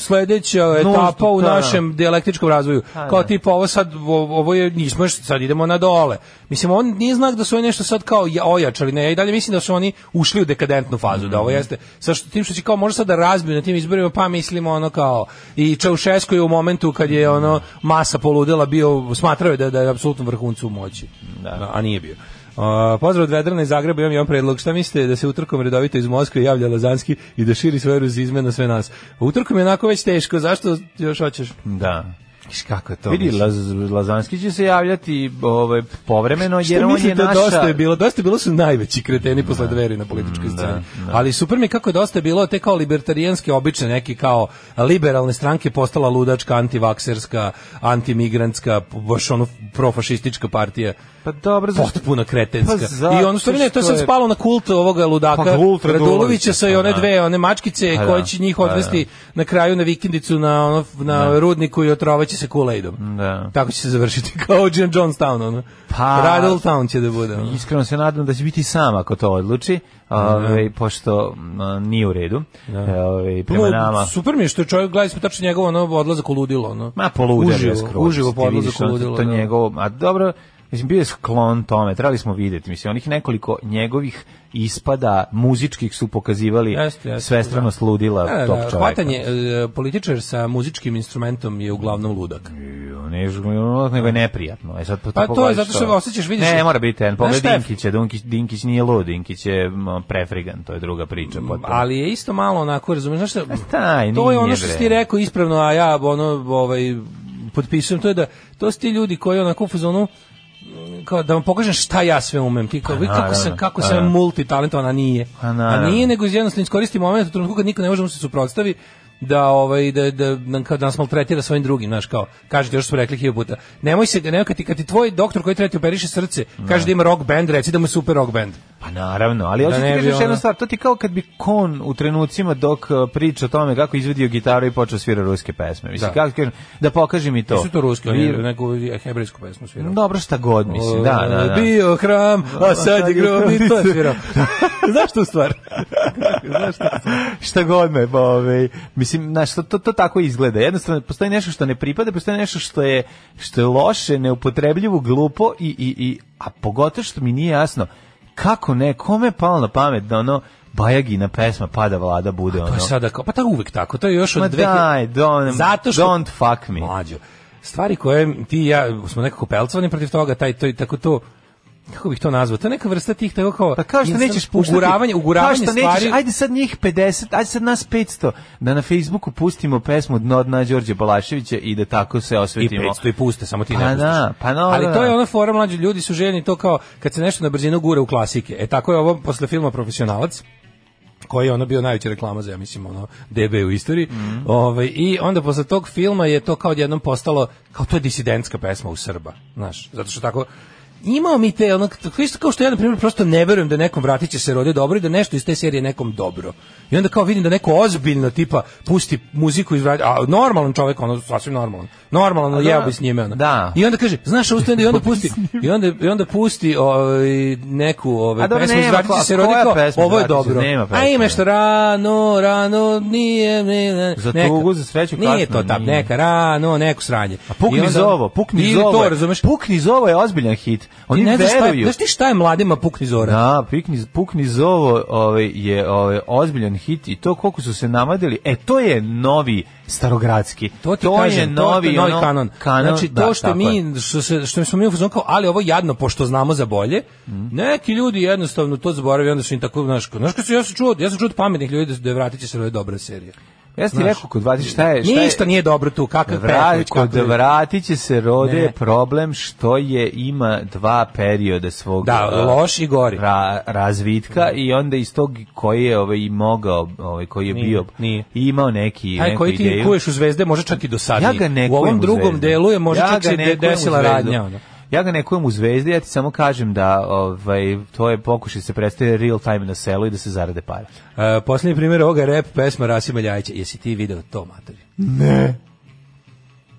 S6: sledeća etapa u
S7: da, da.
S6: našem dijalektičkom razvoju.
S7: Pa,
S6: Kao
S7: da.
S6: tipa ovo sad o- ovo je nismo još, sad idemo na dole. Mislim on nije znak da su oni nešto sad kao ja- ojačali, ne, ja i dalje mislim da su oni ušli u dekadentnu fazu, da ovo jeste sa što tim što će kao možda sad da razbiju na tim izborima, pa mislimo ono kao i Čaušesku je u momentu kad je ono masa poludela bio smatrao je da da je apsolutno vrhuncu moći. Da, a nije bio. Uh, pozdrav od Vedrana iz Zagreba, imam jedan predlog. Šta mislite da se utrkom redovito iz Moskve javlja Lazanski i da širi svoje ruzizme na sve nas? Utrkom je onako već teško, zašto još hoćeš?
S7: Da.
S6: Iš kako je to?
S7: Vidi, Laz, Lazanski će se javljati ovaj, povremeno, jer on je
S6: mislite,
S7: naša...
S6: Pa dosta je bilo, dosta je bilo su najveći kreteni posle dveri na političkoj sceni. Ali super mi je kako je dosta je bilo te kao libertarijanske obične neki kao liberalne stranke postala ludačka, antivakserska, antimigrantska, baš ono profašistička partija.
S7: Pa dobro, zašto-
S6: potpuno kretenska.
S7: Pa zato
S6: I ono stvarno ne, to je
S7: što
S6: sad
S7: je-
S6: spalo na kult ovoga ludaka
S7: Pa kult
S6: Radulovića sa i one
S7: Pa da.
S6: dve one mačkice
S7: Pa da.
S6: koje će njih
S7: Pa da.
S6: odvesti na kraju na vikendicu na ono, na rudniku i otrovaće se Kool-Aidom.
S7: Da.
S6: Tako će se završiti kao Jim Jonestown ono.
S7: Pa-
S6: Radle Town će da bude. ono.
S7: Uh-huh. Iskreno se nadam da će biti sam ako to odluči,
S6: Uh-huh.
S7: ovaj, pošto m, nije u redu ovaj, prema
S6: Bilo,
S7: nama.
S6: Pa, Super mi je što je čovjek, gledali smo tačno njegovo ono odlazak u ludilo. Ono.
S7: Ma poludeo je
S6: Uživo,
S7: skroz.
S6: uživo po
S7: ti
S6: odlazak
S7: vidiš,
S6: u
S7: ono,
S6: ludilo,
S7: To
S6: da.
S7: njegovo, a dobro, mislim, bio je sklon tome, trebali smo vidjeti. Mislim, onih nekoliko njegovih ispada muzičkih su pokazivali
S6: Jeste, jeste,
S7: svestrano sludila
S6: Da, da,
S7: tog
S6: da,
S7: čoveka.
S6: hvatanje e, političar sa muzičkim instrumentom je uglavnom ludak.
S7: Jo, Ne, žgl- nego je neprijatno. E sad, to
S6: Pa to je
S7: pogledaš
S6: zato što osjećaš, vidiš...
S7: Ne, mora biti, en,
S6: Znaš
S7: pogled
S6: šta je
S7: Dinkića, Dinkić, Dinkić nije lud, Dinkić je m, prefrigan, to je druga priča. potpuno.
S6: ali je isto malo onako, razumiješ, znaš šta,
S7: E, staj,
S6: to je
S7: nije,
S6: ono što si ti
S7: bre.
S6: rekao ispravno, a ja ono, ovaj, potpisujem, to je da, to su ti ljudi koji onako u fazonu, mm, kao da vam pokažem šta ja sve umem, ti kao, vi kako
S7: Pa naravno,
S6: sam, kako
S7: naravno.
S6: sam multitalentovan, a nije.
S7: Pa
S6: A
S7: naravno.
S6: nije, nego jednostavno iskoristi moment u trenutku kad niko ne može da mu se suprotstavi, da ovaj da da da, kao da nas maltretira svojim drugim znaš kao kažete još smo rekli hiljadu puta nemoj se nemoj kad ti kad ti tvoj doktor koji treba ti operiše srce kaže da ima rock band reci da mu je super rock band
S7: Pa naravno, ali hoću
S6: ne
S7: ti
S6: bi
S7: kažeš
S6: ono-
S7: jednu stvar, to ti kao kad bi kon u trenucima dok uh, priča o tome kako izvedio gitaru i počeo svira ruske pesme. Mislim,
S6: Da.
S7: kako ti kažem, da pokaži mi to.
S6: Nisu to ruski
S7: Vi-
S6: oni neku hebrejsku pesmu svirao
S7: Dobro šta god, mislim, da, da, da.
S6: Bio hram, a sad je grob i to je svirao. Znaš tu stvar?
S7: šta god me, pa, ovaj, mislim, znaš, to, to, to tako izgleda. Jednostavno, postoji nešto što ne pripada, postoji nešto što je, što je loše, neupotrebljivo, glupo i, i, i, a pogotovo što mi nije jasno, kako ne, kome je palo na pamet da ono, Bajagina pesma Pada vlada bude
S6: To
S7: ono.
S6: je sada kao, pa tako uvek tako, to je još od
S7: Ma
S6: 2000
S7: daj, don't,
S6: Zato što-
S7: don't fuck me.
S6: Mlađo, stvari koje ti i ja smo nekako pelcovani protiv toga, taj, to, tako to, kako bih to nazvao, to je neka vrsta tih tako kao...
S7: Pa kao što
S6: jednostavno
S7: nećeš puštati...
S6: Uguravanje, uguravanje
S7: kao što
S6: stvari...
S7: Nećeš, ajde sad njih 50, ajde sad nas 500, da na Facebooku pustimo pesmu Dno dna Đorđe Balaševića i da tako se
S6: i
S7: osvetimo.
S6: 500 i puste, samo ti ne
S7: Pa
S6: pustiš.
S7: da, pa no,
S6: Ali
S7: da.
S6: to je ono- ona fora mlađi ljudi su željni to kao kad se nešto na brzinu gura u klasike. E tako je ovo posle filma Profesionalac koji je ono bio najveća reklama za, ja mislim, ono, DB u istoriji. Ovaj, I onda posle tog filma je to kao odjednom postalo, kao to je disidentska pesma u Srba, znaš, zato što tako, imao mi te, ono, tako isto kao što ja, na primjer, prosto ne verujem da nekom vratit će se rode dobro i da nešto iz te serije nekom dobro. I onda kao vidim da neko ozbiljno, tipa, pusti muziku iz vrati, a normalan čovjek, ono, sasvim normalan, normalan, ono,
S7: da.
S6: jeo bi s njime, ono.
S7: Da.
S6: I onda kaže, znaš, ustane i onda pusti, i onda, i onda pusti ovaj, neku ovaj,
S7: A dobro,
S6: pesmu iz
S7: nema,
S6: Vratit će se
S7: koja
S6: rode, kao,
S7: pesma iz
S6: ovo je
S7: Vratit će se?
S6: dobro.
S7: Nema
S6: A
S7: pesme.
S6: ima što rano, rano, nije, ne, ne,
S7: Za
S6: neka.
S7: tugu, za sreću,
S6: Nije
S7: kasno,
S6: to tap,
S7: nije.
S6: neka rano, neko sranje. A
S7: Pa Pukni zovo, pukni
S6: ili
S7: zovo.
S6: to,
S7: je-
S6: razumeš?
S7: Pukni zovo je ozbiljan hit. bit. Oni
S6: ne znaš šta, je-
S7: veruju.
S6: znaš ti šta je mladima pukni zora?
S7: Da, Pukni, Pukni Zovo ovaj, je ovaj, ozbiljan hit i to koliko su se namadili, e, to je novi starogradski.
S6: To, ti kažem,
S7: je
S6: to- to
S7: novi,
S6: je novi
S7: ono,
S6: kanon. Znači,
S7: da,
S6: to što
S7: tako je.
S6: mi, što, se, što smo mi u fazonu kao, ali ovo jadno, pošto znamo za bolje,
S7: Mm.
S6: neki ljudi jednostavno to zaboravi, onda su im tako, znaš, kao- znaš, kad su, ja sam čuo, ja sam čuo od pametnih ljudi da, su- da je vratit će se, ovo je dobra serija.
S7: Ja sam ti rekao, kod Vatić, E, šta je? Šta je
S6: Ništa nije dobro tu, kakav
S7: Vra,
S6: Petković,
S7: kod
S6: kakav-
S7: vratit će se rode
S6: Ne.
S7: je problem što je ima dva perioda svog
S6: Da,
S7: a,
S6: loš i gori.
S7: ra- razvitka i onda iz tog koji je ovaj i mogao ovaj koji je
S6: Nije,
S7: bio
S6: nije.
S7: imao neki
S6: Taj
S7: neku
S6: koji ti
S7: ideju
S6: kuješ u zvezde, može čak i do sad.
S7: ja ga ne
S6: U
S7: kujem
S6: ovom
S7: u
S6: drugom
S7: Zvezdi.
S6: delu je možda
S7: Ja
S6: čak
S7: ga
S6: se
S7: ne
S6: de-
S7: kujem u
S6: desila
S7: Zvezdu.
S6: radnja. ono.
S7: Ja ga ne kujem u zvezdi, ja ti samo kažem da ovaj, to je pokušaj da se predstavi real time na selu i da se zarade pare.
S6: E, posljednji primjer ovoga je rap pesma Rasima Ljajića. Jesi ti video to, matori? Ne.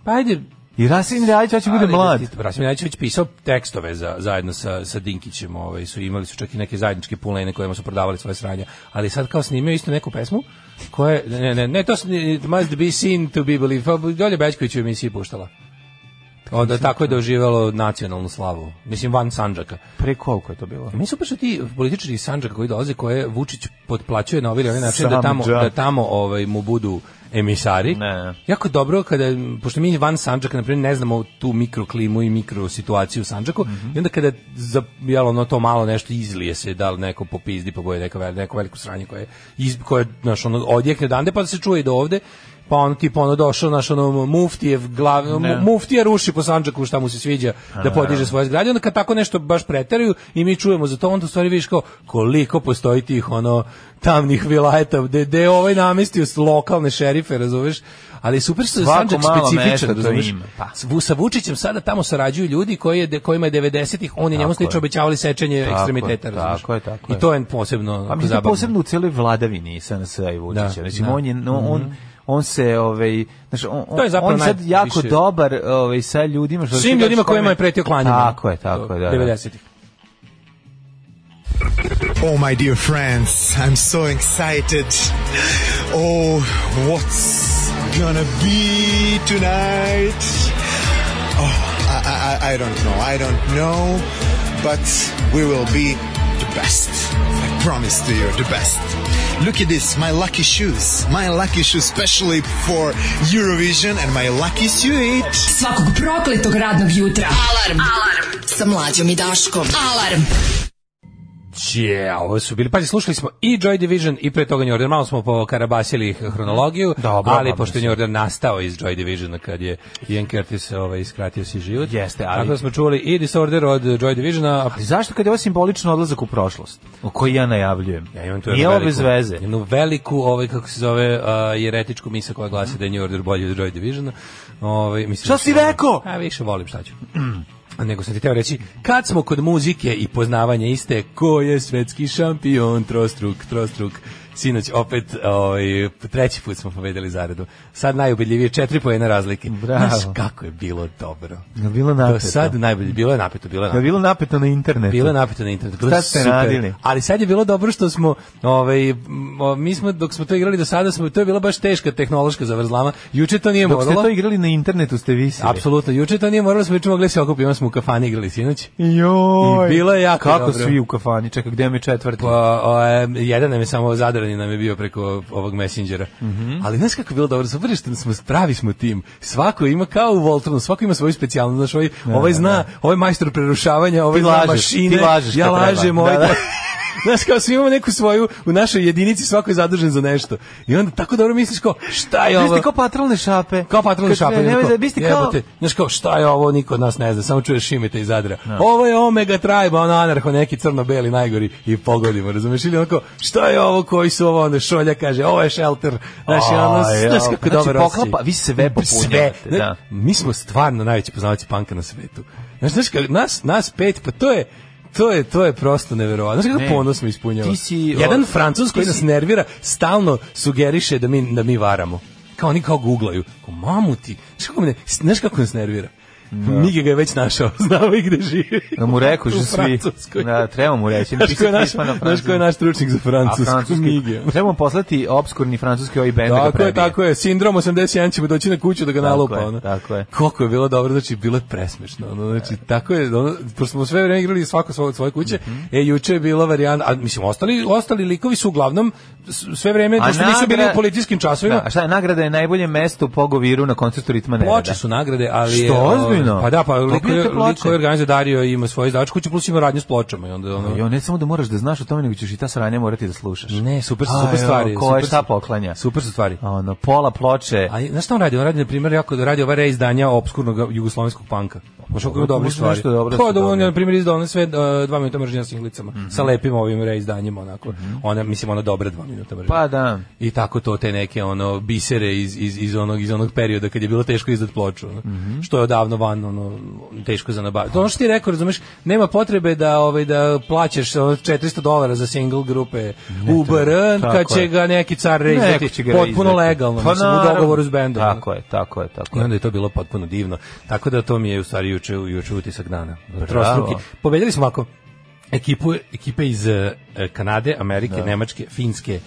S6: Pa ajde,
S7: I Rasim Ljajić hoće bude
S6: Ali
S7: mlad.
S6: da ti- Rasim Ljajić je već pisao tekstove za, zajedno sa, sa Dinkićem, ovaj, su imali su čak i neke zajedničke pulene kojima su prodavali svoje sranja, ali sad kao snimio isto neku pesmu koja je- ne, ne, ne, to s- it must be seen to be believed, Pa, Dolje Bečković je u emisiji puštala. Onda tako je doživjelo nacionalnu slavu, mislim van Sanđaka.
S7: Pre koliko je to bilo?
S6: Mi super što ti političari iz Sandžaka koji dolaze koje Vučić potplaćuje na ovaj ili onaj način da
S7: Sam
S6: tamo
S7: džak.
S6: da tamo ovaj mu budu emisari.
S7: Ne, ne.
S6: Jako dobro kada pošto mi van Sandžaka na primjer ne znamo tu mikroklimu i mikrosituaciju situaciju u Sandžaku i onda kada za jel ono to malo nešto izlije se da li neko popizdi pa boje neko, neko veliko sranje koje iz koje naš ono odjekne dande pa da se čuje i do ovde pa on tipa ono došao naš ono muftijev glavno
S7: Ne.
S6: muftija ruši po Sandžaku šta mu se sviđa da podiže svoje zgrade onda kad tako nešto baš preteruju i mi čujemo za to onda u stvari vidiš kao koliko postoji tih ono tamnih vilajeta gde gde je ovaj namestio s- lokalne šerife razumeš ali super što je
S7: Svako
S6: Sandžak
S7: malo mesta
S6: specifičan
S7: to
S6: razumeš
S7: ima, pa.
S6: S Vu- sa Vučićem sada tamo sarađuju ljudi koji je, kojima je 90-ih on je njemu
S7: Tako je.
S6: slično obećavali sečenje
S7: Tako je,
S6: ekstremiteta razumeš
S7: tako je, tako je.
S6: i to je posebno
S7: Pa mislim
S6: zabavno.
S7: posebno u celoj vladavini SNS i Vučića.
S6: Da,
S7: Znači
S6: da. Mhm.
S7: on je no, on on se ovaj znaš, on on,
S6: To je zapravo
S7: on je sad
S6: najviše.
S7: jako dobar ovaj sa ljudima što
S6: svim ljudima kojima je pretio klanjanje
S7: Tako je, tako je, da. da.
S6: 90-ih
S9: Oh, my dear friends, I'm so excited. Oh, what's gonna be tonight? Oh, I, I, I- I don't know. I don't know, but we will be the best. I promise to you, the best. Look at this, my lucky shoes. My lucky shoes, specially for Eurovision and my lucky suit.
S5: Svakog prokletog radnog jutra. Alarm. Alarm. Sa mlađom i Daškom. Alarm.
S6: Je, ovo su bili. Pazi, slušali smo i Joy Division i pre toga New Order. Malo smo pokarabasili hronologiju,
S7: Dobro,
S6: ali
S7: pa
S6: pošto je
S7: mislim.
S6: New Order nastao iz Joy Divisiona kad je Ian Curtis ovaj, skratio si život.
S7: Jeste, ali-
S6: Tako da smo čuli i Disorder od Joy Divisiona, a
S7: Ali zašto kad je ovo simbolično odlazak u prošlost, o koji ja najavljujem?
S6: Ja imam tu
S7: Nije
S6: jednu
S7: ovo
S6: veliku-
S7: bez veze.
S6: Jednu veliku, ovaj, kako se zove, a, jeretičku misa koja glasi da je New Order bolji od Joy Divisiona. Ovaj, mislim,
S7: Šta
S6: da
S7: si
S6: su-
S7: rekao?
S6: A više volim šta ću. Nego sam ti teo reći, kad smo kod muzike i poznavanja iste, ko je svetski šampion, trostruk, trostruk, sinoć opet, ovaj, treći put smo pobedili zaredu. Sad najubedljivije, četiri po jedna razlike.
S7: Bravo.
S6: Znaš kako je bilo dobro.
S7: Jel bilo
S6: Do
S7: napeto?
S6: sad najbolje, bilo je napeto, bilo je
S7: Da
S6: napeto.
S7: je bilo napeto na internetu.
S6: Bilo je napeto na internetu. bilo
S7: Šta
S6: je
S7: ste
S6: super.
S7: radili?
S6: Ali sad je bilo dobro što smo, ovaj, m, o, mi smo, dok smo to igrali do sada, smo, to je bila baš teška tehnološka zavrzlama. Juče to nije
S7: Dok ste
S6: moralo.
S7: to igrali na internetu ste visili.
S6: Apsolutno, juče to nije moralo, smo juče mogli se okupiti, onda smo u kafani igrali sinoć.
S7: Joj.
S6: I bilo je jako
S7: Kako
S6: dobro.
S7: svi u kafani? Čekaj, gde mi je četvrti?
S6: Pa, o, em, jedan nam je samo zadrani nam je bio preko ovog messengera.
S7: Mhm.
S6: Ali znaš kako je bilo dobro, super je što smo pravi smo tim. Svako ima kao u Voltronu, svako ima svoju specijalnu, znaš, ovaj, ovaj zna, ovaj majstor prerušavanja, ovaj
S7: Ti
S6: zna
S7: lažeš,
S6: mašine.
S7: ti lažeš
S6: ja
S7: kad treba.
S6: lažem,
S7: Da,
S6: ovaj.
S7: da.
S6: Znaš, kao svi imamo neku svoju, u našoj jedinici svako je zadužen za nešto. I onda tako dobro misliš kao, šta je
S7: Vi ste
S6: ovo?
S7: kao patrolne šape.
S6: Kao patrolni
S7: Kad-
S6: šapan.
S7: nemoj
S6: onako,
S7: da- Vi ste kao
S6: jebote, znaš kao, šta je ovo, niko od nas ne zna, samo čuješ Šimeta iz Zadra. Ovo je Omega Tribe, ono anarho, neki crno-beli najgori i pogodimo, razumeš? Ili onako, šta je ovo, koji su ovo, onda šolja kaže, ovo je shelter, znaš, i ono,
S7: A, jao.
S6: znaš kako
S7: Znači,
S6: dobro
S7: poklapa, vi sve popunjavate,
S6: Sve,
S7: da.
S6: Mi smo stvarno najveći poznavaci panka na svetu. Znaš, znaš kako, nas, nas pet, pa to je, To je to je prosto neverovatno. Znaš
S7: Ne.
S6: kako ponos me ispunjava.
S7: Ti si, o-
S6: Jedan Francus koji
S7: ti
S6: nas
S7: si-
S6: nervira stalno sugeriše da mi da mi varamo. Kao oni kao guglaju. Kao mamu ti. Znaš kako, me, znaš kako nas nervira? Mige ga je već našao, znao i gde živi.
S7: Da mu
S6: U
S7: rekao že svi.
S6: Francuskoj.
S7: Da, treba mu reći.
S6: Znaš ko je naš,
S7: pisma na
S6: znaš ko je naš stručnik za
S7: A
S6: francusku?
S7: francuski.
S6: Mige.
S7: Treba mu poslati obskurni francuski ovaj bend da ga
S6: Tako je,
S7: prebije.
S6: tako je. Sindrom 81 će mu doći na kuću da ga nalupa.
S7: je,
S6: ono.
S7: tako je.
S6: Koliko je bilo dobro, znači bilo je presmešno. Ono, znači, tako je, ono, pošto smo sve vreme igrali svako svoje, svoje kuće,
S7: Mhm.
S6: e, juče je bila varijanta, a mislim, ostali, ostali likovi su uglavnom s- sve vreme,
S7: A
S6: pošto nisu bili
S7: nagra-
S6: u policijskim časovima,
S7: Da, a šta je nagrada je najbolje mesto u Pogoviru na koncertu Ritma Nereda.
S6: Ploče su nagrade, ali je,
S7: Što,
S6: ovaj,
S7: ozbiljno?
S6: Pa da, pa liko,
S7: Pogledajte
S6: liko
S7: ploče.
S6: koji organizuje Dario ima svoje izdavačku kuću plus ima radnju s pločama i onda ono
S7: E, Jo, ne samo da moraš da znaš o tome, nego ćeš i ta sranja morati da slušaš.
S6: Ne, super su
S7: A,
S6: super
S7: jo,
S6: stvari.
S7: ko je
S6: super su-
S7: šta poklanja?
S6: Super su stvari.
S7: A Ono, pola ploče.
S6: A znaš šta on radi? On radi, na primjer, jako da radi ova reizdanja obskurnog jugoslovenskog panka. Možeš kako ima
S7: Dobro,
S6: dobre
S7: može
S6: stvari.
S7: nešto dobro da
S6: Pa
S7: se
S6: da on,
S7: dobije. Mhm.
S6: je, na primjer, izdao one sve uh, dva minuta mržnja s inglicama. Sa lepim ovim reizdanjima, onako. Ona, mislim, ona dobra dva minuta mržnja.
S7: Pa da.
S6: I tako to te neke ono bisere iz, iz, iz, onog, iz onog perioda kad je bilo teško izdat ploču. ono.
S7: Mhm.
S6: Što je odavno van ono, teško za nabaviti. To je ono što ti rekao, razumeš, nema potrebe da ovaj da plaćaš ono, 400 dolara za single grupe UBR,
S7: tako
S6: kad će
S7: je.
S6: ga neki car
S7: Neko
S6: reizdati.
S7: će ga
S6: Potpuno
S7: izdati. Pa
S6: legalno, mislim, u
S7: naravno.
S6: dogovoru s bendom. ono.
S7: Tako je, tako je, tako
S6: I
S7: je.
S6: onda je to bilo potpuno divno. Tako da to mi je u stvari juče, juče utisak dana. Trostruki. Pobedili smo ovako ekipu, ekipe iz eh, Kanade, Amerike, Nemačke, Finske,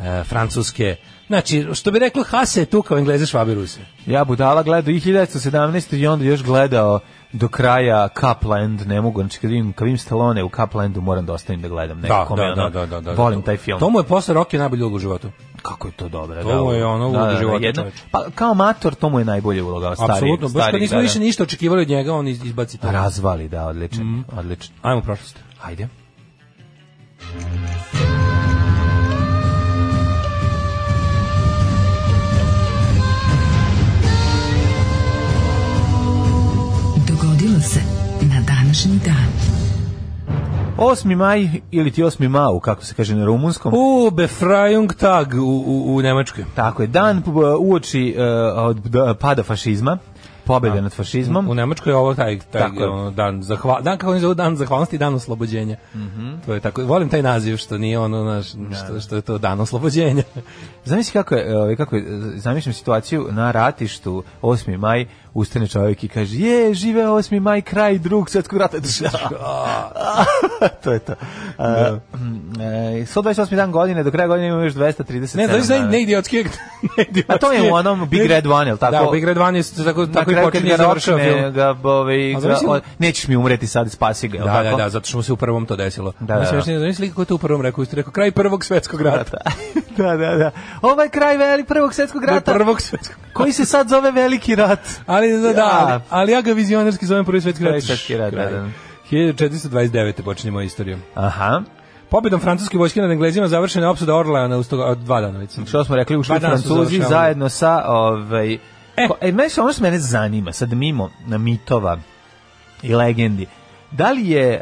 S6: eh, Francuske. Znači, što bi reklo Hase je tu kao Engleze, Švabe, Ruse.
S7: Ja budala gledao i 1917 i onda još gledao do kraja Capland, ne mogu, znači kad vidim, kad vidim Stallone u Caplandu moram da ostavim da gledam nekako. me ono- Volim taj film.
S6: To mu je posle Rocky najbolji ulog u životu.
S7: Kako je to dobro.
S6: To mu je ono uloga života, čoveče.
S7: pa, kao amator, to mu je najbolje uloga. Stari,
S6: Apsolutno, baš kad
S7: stari,
S6: nismo
S7: da, da.
S6: više ništa očekivali od njega, on iz- izbaci to.
S7: Razvali, da, odlično.
S6: Mhm.
S7: odlično.
S6: Ajmo u prošlost.
S7: Ajde.
S5: Dogodilo se na današnji dan.
S7: 8. maj ili ti 8. mau, kako se kaže na rumunskom.
S6: U, Befreiung Tag u, u, u Nemačkoj.
S7: Tako je, dan p- uoči e, od da, pada fašizma, pobede nad fašizmom.
S6: U Nemačkoj je ovo taj, taj
S7: Tako je.
S6: ono, dan, zahva, dan kako oni zovu dan zahvalnosti i dan oslobođenja.
S7: Mhm.
S6: To je tako, volim taj naziv što nije ono naš, što, što je to dan oslobođenja.
S7: Zamisli kako je, ovaj, kako je, zamišljam situaciju na ratištu 8. maj, ustane čovjek i kaže, je, žive 8. maj, kraj drugog svjetskog rata Znači, to je to. A, mm, e, 128. dan godine, do kraja godine imamo još 237
S6: ne, znaš,
S7: dana.
S6: ne, ne idiotski, ne idiotski.
S7: A Pa to je u onom Big Red One, jel tako?
S6: Da, Big Red One je tako,
S7: Na
S6: tako i
S7: kraju kad
S6: počinje
S7: ga
S6: i završava
S7: rokne,
S6: film.
S7: ga, ovaj,
S6: A
S7: ga-
S6: zamisli-
S7: o, nećeš mi umreti sad, spasi ga, jel
S6: Da, da,
S7: tako?
S6: da, zato što mu se u prvom to desilo.
S7: Da, da, da.
S6: Najsmešnije, znaš li kako je to u prvom rekao? Isto je rekao, kraj prvog svetskog rata.
S7: da, da, da. Ovo je kraj veli prvog svjetskog
S6: Kraj
S7: rata,
S6: prvog svetskog
S7: koji se sad zove veliki rat.
S6: Ali da, da,
S7: Ja.
S6: ali, ali ja ga vizionerski zovem prvi svetski rat.
S7: Prvi svetski rat, da,
S6: Kraj.
S7: da.
S6: 1429. počinje moja istorija.
S7: Aha.
S6: Pobjedom francuske vojske nad Englezima završena je opsada Orleana uz toga od dva dana već. sam.
S7: Što smo rekli, ušli
S6: Pa danas su
S7: Francuzi
S6: završavali.
S7: zajedno sa... Ovaj,
S6: E.
S7: ko- e, meni se ono što mene zanima, sad mimo na mitova i legendi, da li je eh,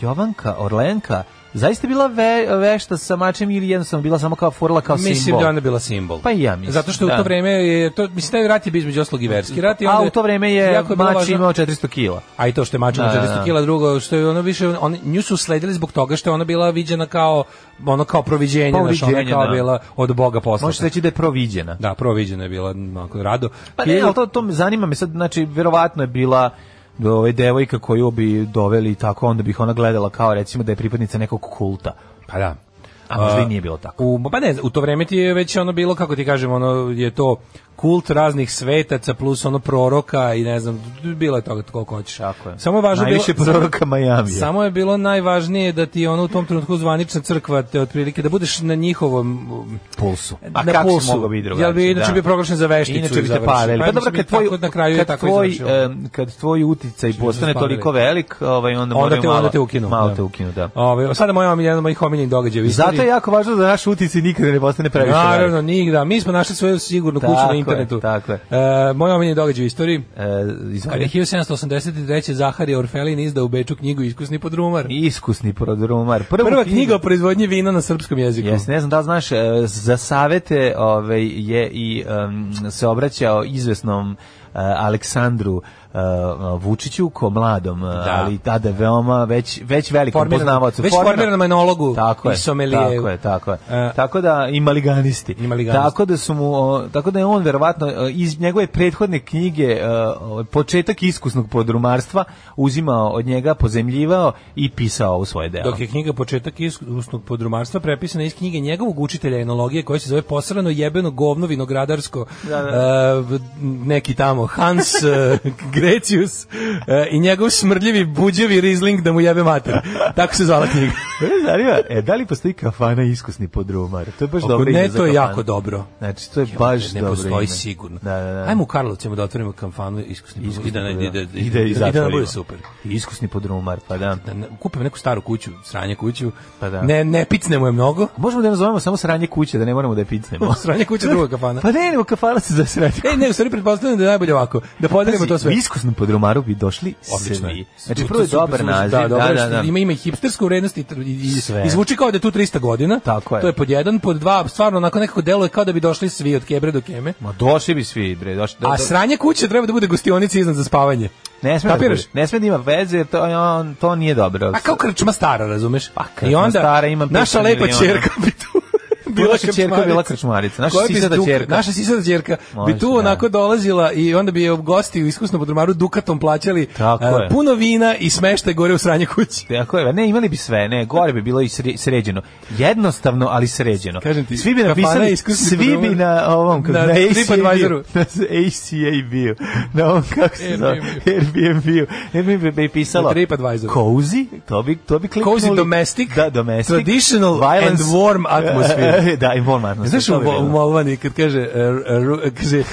S7: Jovanka Orlenka zaista bila ve, vešta sa mačem ili jednostavno bila samo kao forla, kao
S6: Mislim
S7: simbol?
S6: da je ona bila simbol.
S7: Pa i ja mislim,
S6: Zato što u
S7: da.
S6: to vreme je to mislim taj rat je bio između oslog i verski rat i
S7: A
S6: onda
S7: u to vrijeme je
S6: jako bilo
S7: mač
S6: važno-
S7: imao 400 kila.
S6: A i to što je mačina
S7: Da, da,
S6: 400
S7: da.
S6: kila, drugo što je ona više, on, nju su sledili zbog toga što je ona bila viđena kao, ono kao proviđenje, znaš, ona
S7: Proviđenje,
S6: kao
S7: da.
S6: bila od Boga poslata.
S7: Možeš reći da je proviđena.
S6: Da, proviđena je bila, onako, rado.
S7: Pa ne, ali to, to me zanima me sad, znači, verovatno je bila ovaj, devojka koju bi doveli i tako, onda bih ona gledala kao recimo da je pripadnica nekog kulta.
S6: Pa da.
S7: A možda i nije bilo tako.
S6: U, pa ne, u to vreme ti je već ono bilo, kako ti kažem, ono je to kult raznih svetaca plus ono proroka i ne znam, bilo je toga koliko hoćeš.
S7: Tako je.
S6: Samo je važno
S7: Najviše
S6: bilo,
S7: proroka Majamija.
S6: Samo je bilo najvažnije da ti ono u tom trenutku zvanična crkva te otprilike da budeš na njihovom um,
S7: Pulsu. A
S6: na
S7: kako
S6: pulsu.
S7: si mogao biti drugačije?
S6: Jel bi inače
S7: da.
S6: bio proglašen za vešticu
S7: Inače
S6: i
S7: bi te
S6: završio.
S7: palili.
S6: Pa
S7: Pa, dobro,
S6: mislim,
S7: kad tvoj,
S6: tako na kraju je
S7: kad
S6: tako i
S7: tvoj, e,
S6: završilo.
S7: em, kad tvoj uticaj postane
S6: spalili.
S7: toliko velik, ovaj, onda,
S6: onda
S7: moraju
S6: te,
S7: malo,
S6: onda te ukinu. Ovaj,
S7: Malo te ukinu, da.
S6: Ove, sada moja omiljena, mojih omiljenih događaja. u istoriji.
S7: Zato je jako važno da naš uticaj nikada ne postane previše velik.
S6: Naravno, nigda. Mi smo našli svoju sigurnu kuću
S7: Tako
S6: na
S7: je,
S6: internetu.
S7: tako je.
S6: E, moj omiljeni događaj u istoriji.
S7: E, izvoli.
S6: Kad Pa je 1783. Zaharija Orfelin izdao u Beču knjigu Iskusni podrumar.
S7: Iskusni prodrumar. Prvu
S6: Prva
S7: knjigu-
S6: knjiga o proizvodnji vina na srpskom jeziku.
S7: Jes, ne znam da li znaš, e, za savete ovaj, je i em, se obraćao izvesnom e, Aleksandru e, Vučiću ko mladom, e, ali tada veoma već već velikom poznavaocu.
S6: već
S7: Formirano-
S6: formiranom enologu
S7: tako je,
S6: i somelijeju.
S7: Tako je, tako je.
S6: E,
S7: tako da i maliganisti.
S6: i maliganisti.
S7: Tako da su mu o, tako da je on verovatno e, iz njegove prethodne knjige e, ovaj, početak iskusnog podrumarstva uzimao od njega, pozemljivao i pisao ovo svoje delo.
S6: Dok je knjiga Početak iskusnog podrumarstva prepisana iz knjige njegovog učitelja enologije koja se zove Posrano jebeno govno vinogradarsko e, v- neki tamo Hans e, Grecius e, i njegov smrdljivi buđevi Rizling da mu jebe mater. Tako se zvala knjiga.
S7: Mene zanima, e, da li postoji kafana iskusni podrumar? To je baš
S6: Ako
S7: dobro
S6: ne, to je jako dobro.
S7: Znači, to je baš
S6: ne
S7: dobro
S6: postoji
S7: ime.
S6: sigurno.
S7: Da, da, da.
S6: Ajmo u Karlovcima da otvorimo kamfanu iskusni, iskusni i da, ne- i da, i da,
S7: ide
S6: i da, nam bude super.
S7: Iskusni podrumar, pa da.
S6: Da ne, kupim neku staru kuću, sranje kuću,
S7: Pa da.
S6: ne, ne picnemo je mnogo,
S7: Možemo da je nazovemo samo sranje kuće, da ne moramo da je picnemo.
S6: sranje kuće druga kafana.
S7: pa ne, nego kafala se za sranje
S6: Ej, ne, u stvari pretpostavljam da je najbolje ovako, da podelimo to sve.
S7: U iskusnom podrumaru bi došli
S6: Odlično
S7: svi.
S6: je.
S7: Znači,
S6: To
S7: prvo Pa je
S6: super
S7: dobar
S6: zvuči,
S7: naziv.
S6: Da, dobro, da,
S7: da.
S6: Ima, ima i hipstersku vrednost i, tr- i, i
S7: Sve.
S6: i zvuči kao da je tu 300 godina.
S7: Tako je.
S6: To je pod jedan, pod dva, stvarno onako nekako deluje kao da bi došli svi od kebre do keme.
S7: Ma došli bi svi, bre, došli. do-
S6: A
S7: do-
S6: sranje kuće treba da bude gostionica iznad za spavanje.
S7: ne sme da,
S6: kapiraš?
S7: bude- ne sme da ima veze, jer to, on, to nije dobro.
S6: A Pa kao krčma stara, razumeš?
S7: Pa, krčma stara, imam
S6: naša
S7: 500
S6: lepa
S7: miliona.
S6: čerka bi tu bila
S7: Naša ćerka
S6: krčmarica.
S7: bila krčmarica, naša
S6: Koja bi
S7: sisata
S6: s duk-
S7: ćerka.
S6: Naša sisata ćerka
S7: Može,
S6: bi tu
S7: da.
S6: onako dolazila i onda bi je gosti u iskusnom podrumaru dukatom plaćali
S7: Tako
S6: eh,
S7: je.
S6: puno vina i smeštaj gore u sranje kući.
S7: Tako je, ne, imali bi sve, ne, gore bi bilo i sre- sređeno. Jednostavno, ali sređeno.
S6: Kažem ti,
S7: svi bi
S6: kafana
S7: napisali,
S6: je iskusni
S7: svi bi
S6: podrumar.
S7: na ovom, kako,
S6: Na
S7: na,
S6: TripAdvisoru.
S7: ACAB-u, na ACAB-u, na ovom, kako se zove, Airbnb-u, Airbnb bi pisalo,
S6: Na TripAdvisoru.
S7: cozy, to bi, to bi kliknuli.
S6: Cozy domestic,
S7: da, domestic,
S6: traditional
S7: violence,
S6: and warm atmosphere.
S7: da, i warm atmosphere.
S6: Znaš u,
S7: to bi
S6: u
S7: bilo.
S6: Molvani kad kaže, eh, ru- eh, kaže eh,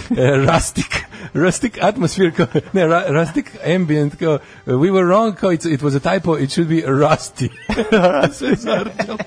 S6: rustic, rustic atmosphere, kao, ne, ra, rustic ambient, kao, we were wrong, kao, it's, it was a typo, it should be rusty. Sve zarđalo.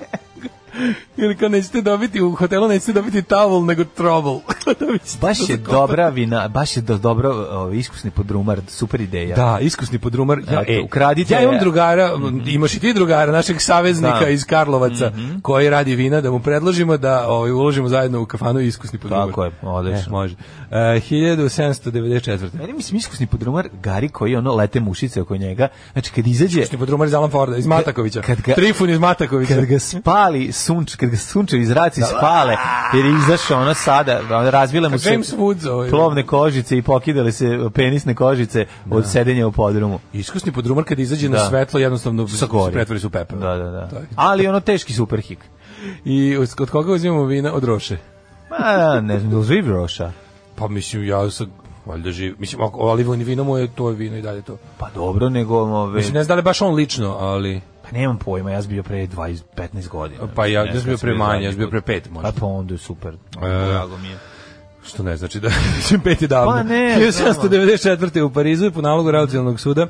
S6: Ili kao nećete dobiti, u hotelu nećete dobiti towel, nego trouble. Dobit ćete
S7: Baš
S6: to
S7: je
S6: za kopanje.
S7: dobra vina, baš je do, dobro ovaj, iskusni podrumar, super ideja.
S6: Da, iskusni podrumar. Ja,
S7: Eto, ukradite- Mhm.
S6: ja imam drugara, imaš i ti drugara, našeg saveznika
S7: Da. Mhm.
S6: iz Karlovaca, koji radi vina, da mu predložimo da ovaj, uložimo zajedno u kafanu i iskusni podrumar.
S7: Tako je, odlično.
S6: E, može. E, 1794.
S7: Meni Pa mislim iskusni podrumar Gari koji ono lete mušice oko njega. Znači kad izađe
S6: Iskusni podrumar iz Alan Forda, iz Matakovića.
S7: kad ga-
S6: Trifun iz Matakovića.
S7: kad ga spali sunč, kad ga sunčevi zraci spale, jer je izašao ono sada, razvile mu
S6: Kad
S7: se
S6: James Woods, ovaj.
S7: plovne kožice i pokidale se penisne kožice od sedenja u podrumu.
S6: Iskusni podrumar kad izađe na
S7: Da.
S6: svetlo jednostavno se
S7: Sagori.
S6: pretvori se u pepeo.
S7: Da, da, da.
S6: To je.
S7: Ali ono teški superhik.
S6: I od- od koga uzimamo vina? Od Roše.
S7: Ma, ne znam, jel živ Roša.
S6: Pa mislim, ja sad valjda živ. Mislim, ako- ali vino mu je to je vino i dalje to.
S7: Pa dobro, nego... Ove,
S6: Mislim, ne znam da li je baš on lično, ali...
S7: Pa nemam pojma, ja sam bio pre 20, 15 godina.
S6: Pa ja-
S7: Ne
S6: ja
S7: znam
S6: sam bio
S7: kad
S6: pre manje,
S7: zadnji
S6: ja sam bio
S7: put.
S6: pre pet možda.
S7: A pa onda je super.
S6: E.
S7: Drago mi je.
S6: Što ne znači da mislim pet je davno.
S7: Pa ne,
S6: 1794. u Parizu je po nalogu Revolucionarnog suda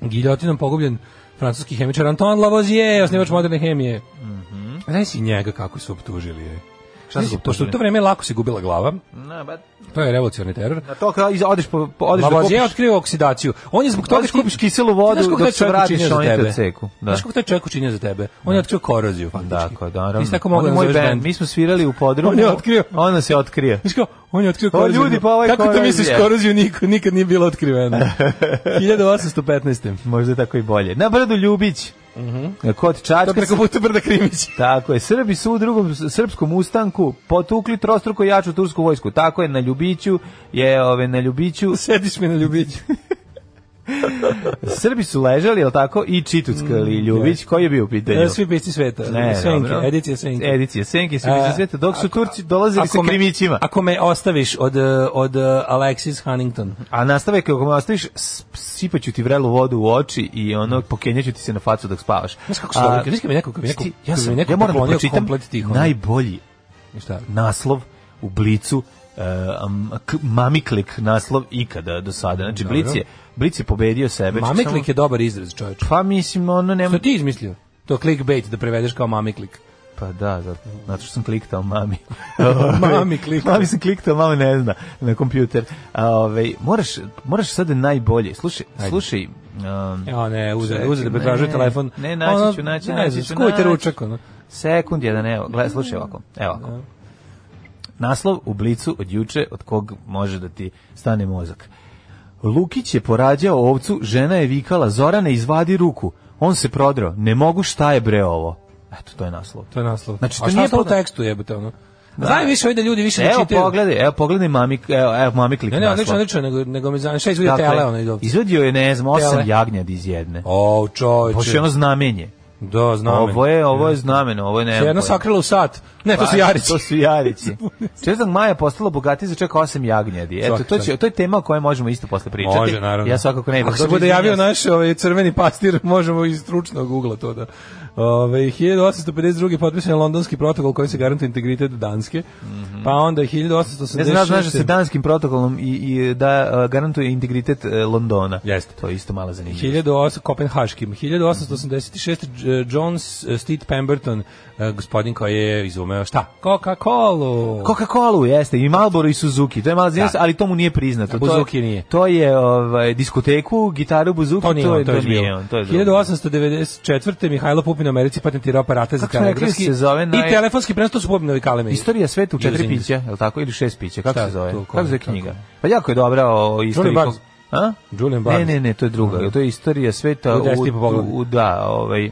S6: giljotinom pogubljen francuski hemičar Antoine Lavoisier, osnivač moderne hemije. Mhm. Znaš si njega kako su optužili? je?
S7: Šta su
S6: Pošto u to vreme lako se gubila glava,
S7: Na, ba,
S6: to je revolucionarni teror.
S7: na to kao iz- odeš, po, po, odeš da
S6: Lavoisier je
S7: kupiš,
S6: otkrio oksidaciju. On je zbog toga
S7: odeš kupiš kiselu vodu dok se vratiš, oni te ceku.
S6: Da.
S7: Da.
S6: Znaš kako taj čovjek učinio za tebe? On je otkrio koroziju, faktički.
S7: Tako, je, naravno.
S6: Ti si tako mogao
S7: On je
S6: da
S7: moj
S6: nazoveš
S7: band, mi smo svirali u podrumu.
S6: On je otkrio.
S7: Ona se otkrio.
S6: Znaš kao, on je otkrio
S7: O,
S6: koroziju.
S7: ljudi, pa ovaj
S6: Kako to
S7: korozija.
S6: misliš, koroziju niko, nikad nije bilo otkriveno. 1815.
S7: Možda tako i bolje. Na brdu Ljubić. Kod Čačka.
S6: Mhm. To preko puta Brda Krimić.
S7: Tako je, Srbi su u drugom s- srpskom ustanku potukli trostruko jaču tursku vojsku. Tako je, na Ljubiću je, ove, na Ljubiću
S6: Sediš mi na ljubiću.
S7: Srbi su ležali, jel tako, i čituckali Ljubić, koji je bio u pitanju?
S6: Mm, E, Svi pisci sveta.
S7: Ne,
S6: Senke,
S7: dobro.
S6: edicija Senke.
S7: Edicija Senke, svi
S6: E,
S7: pisci sveta, dok su Turci dolazili sa
S6: me-
S7: krimićima.
S6: Ako me ostaviš od, eh, od eh, Alexis Huntington.
S7: A nastavak je, ako me ostaviš, s- sipaću ti vrelu vodu u oči i ono, pokenjaću ti se na facu dok spavaš.
S6: Znaš kako su dobri,
S7: A,
S6: kad- znaš kad mi neko- kad mi neko-
S7: Sti-
S6: kad
S7: ja
S6: mi
S7: sam,
S6: neko
S7: ja moram da
S6: poklonio
S7: pročitam
S6: komplet tih, ono.
S7: najbolji
S6: Šta?
S7: naslov u Blicu e, m- k- Mamiklik naslov ikada do sada. Znači
S6: Dobro.
S7: Blic je Blic je pobedio sebe. znači
S6: Mamiklik je dobar izraz, čoveč.
S7: pa mislim ono nema
S6: Što ti izmislio? To clickbait da prevedeš kao mamiklik.
S7: pa da zato, zato što sam kliktao mami.
S6: Mami klikla.
S7: Mami sam kliktao, mama ne zna na kompjuter. A ovaj moraš moraš sad najbolje. Slušaj, slušaj. um,
S6: Ja ne, uze,
S7: Čekaj,
S6: uze da pretražuje
S7: ne,
S6: telefon.
S7: ne, naći
S6: Ono,
S7: ću, naći,
S6: ne
S7: naći
S6: znam,
S7: ću,
S6: skuvajte
S7: naći
S6: ručak, ono.
S7: Sekund jedan, evo, gledaj, slušaj ovako. Evo ovako. Naslov u blicu od juče od kog može da ti stane mozak. Lukić je porađao ovcu, žena je vikala, Zorane izvadi ruku. On se prodrao, ne mogu šta je bre ovo. Eto, to je naslov.
S6: To je naslov.
S7: Znači,
S6: A
S7: to
S6: šta
S7: nije
S6: je to u
S7: podna-
S6: tekstu jebote ono? Znaju više ovdje da ljudi više ne
S7: Evo
S6: čitaju.
S7: pogledaj, evo pogledaj mami, evo, evo mami klik
S6: Ne, ne, odlično,
S7: naslov.
S6: odlično, nego, nego me zanima. Šta izgleda
S7: Dakle,
S6: tele, ono iz ovdje?
S7: izvadio je, ne znam, osam
S6: Tele.
S7: jagnjad iz jedne.
S6: O, čoveče.
S7: Pošto je ono znamenje.
S6: Da, znam.
S7: Ovo je, ovo je znameno, ovo je ne.
S6: Se jedno sakrilo u sat. Ne, Pa, to su Jarići.
S7: To su Jarići. 4. maja postalo bogatije za čak 8 jagnjadi. Eto,
S6: Svaki
S7: to, će,
S6: čast.
S7: to je tema o kojoj možemo isto posle pričati.
S6: Može, naravno.
S7: Ja svakako ne idem.
S6: Ako se
S7: Dobro,
S6: bude
S7: izvinjavam
S6: javio
S7: se.
S6: naš ovaj, crveni pastir, možemo iz stručnog ugla to da... Ove, 1852. potpisan je londonski protokol koji se garantuje integritet Danske, pa onda 1886.
S7: Ne znam, da li znaš da se danskim protokolom i, i da a, garantuje integritet e, Londona.
S6: Jeste.
S7: To je isto malo zanimljivo.
S6: 1800 Kopenhaškim. 1886 J- John S- eh, Steed Pemberton, eh, gospodin koji je izumeo šta? Coca-Cola.
S7: Coca-Cola jeste i Marlboro i Suzuki. To je malo zanimljivo,
S6: Da.
S7: ali to mu nije priznato. To je-
S6: Buzuki nije.
S7: To je ovaj diskoteku, gitaru Buzuki,
S6: To nije on, to je
S7: Pa nije
S6: bilo.
S7: on, to je drugo.
S6: 1894. Mihajlo Pupin u Americi patentirao aparate za
S7: Kako smo rekli,
S6: telegrafski
S7: se zove naj-
S6: i telefonski prenos, to su Pupinovi kalemi.
S7: Istorija sveta u četiri
S6: Using.
S7: pića, je li tako? Ili šest pića, kako
S6: Šta
S7: se zove?
S6: to,
S7: Kako se zove
S6: kako?
S7: knjiga? Pa jako je dobra o istoriji.
S6: Julian Barnes.
S7: ko- A?
S6: Julian
S7: Ne,
S6: Barnes.
S7: ne, ne, to je druga. To je istorija sveta
S6: U pa deset
S7: u,
S6: i po poglavlju.
S7: u, u- da, ovaj,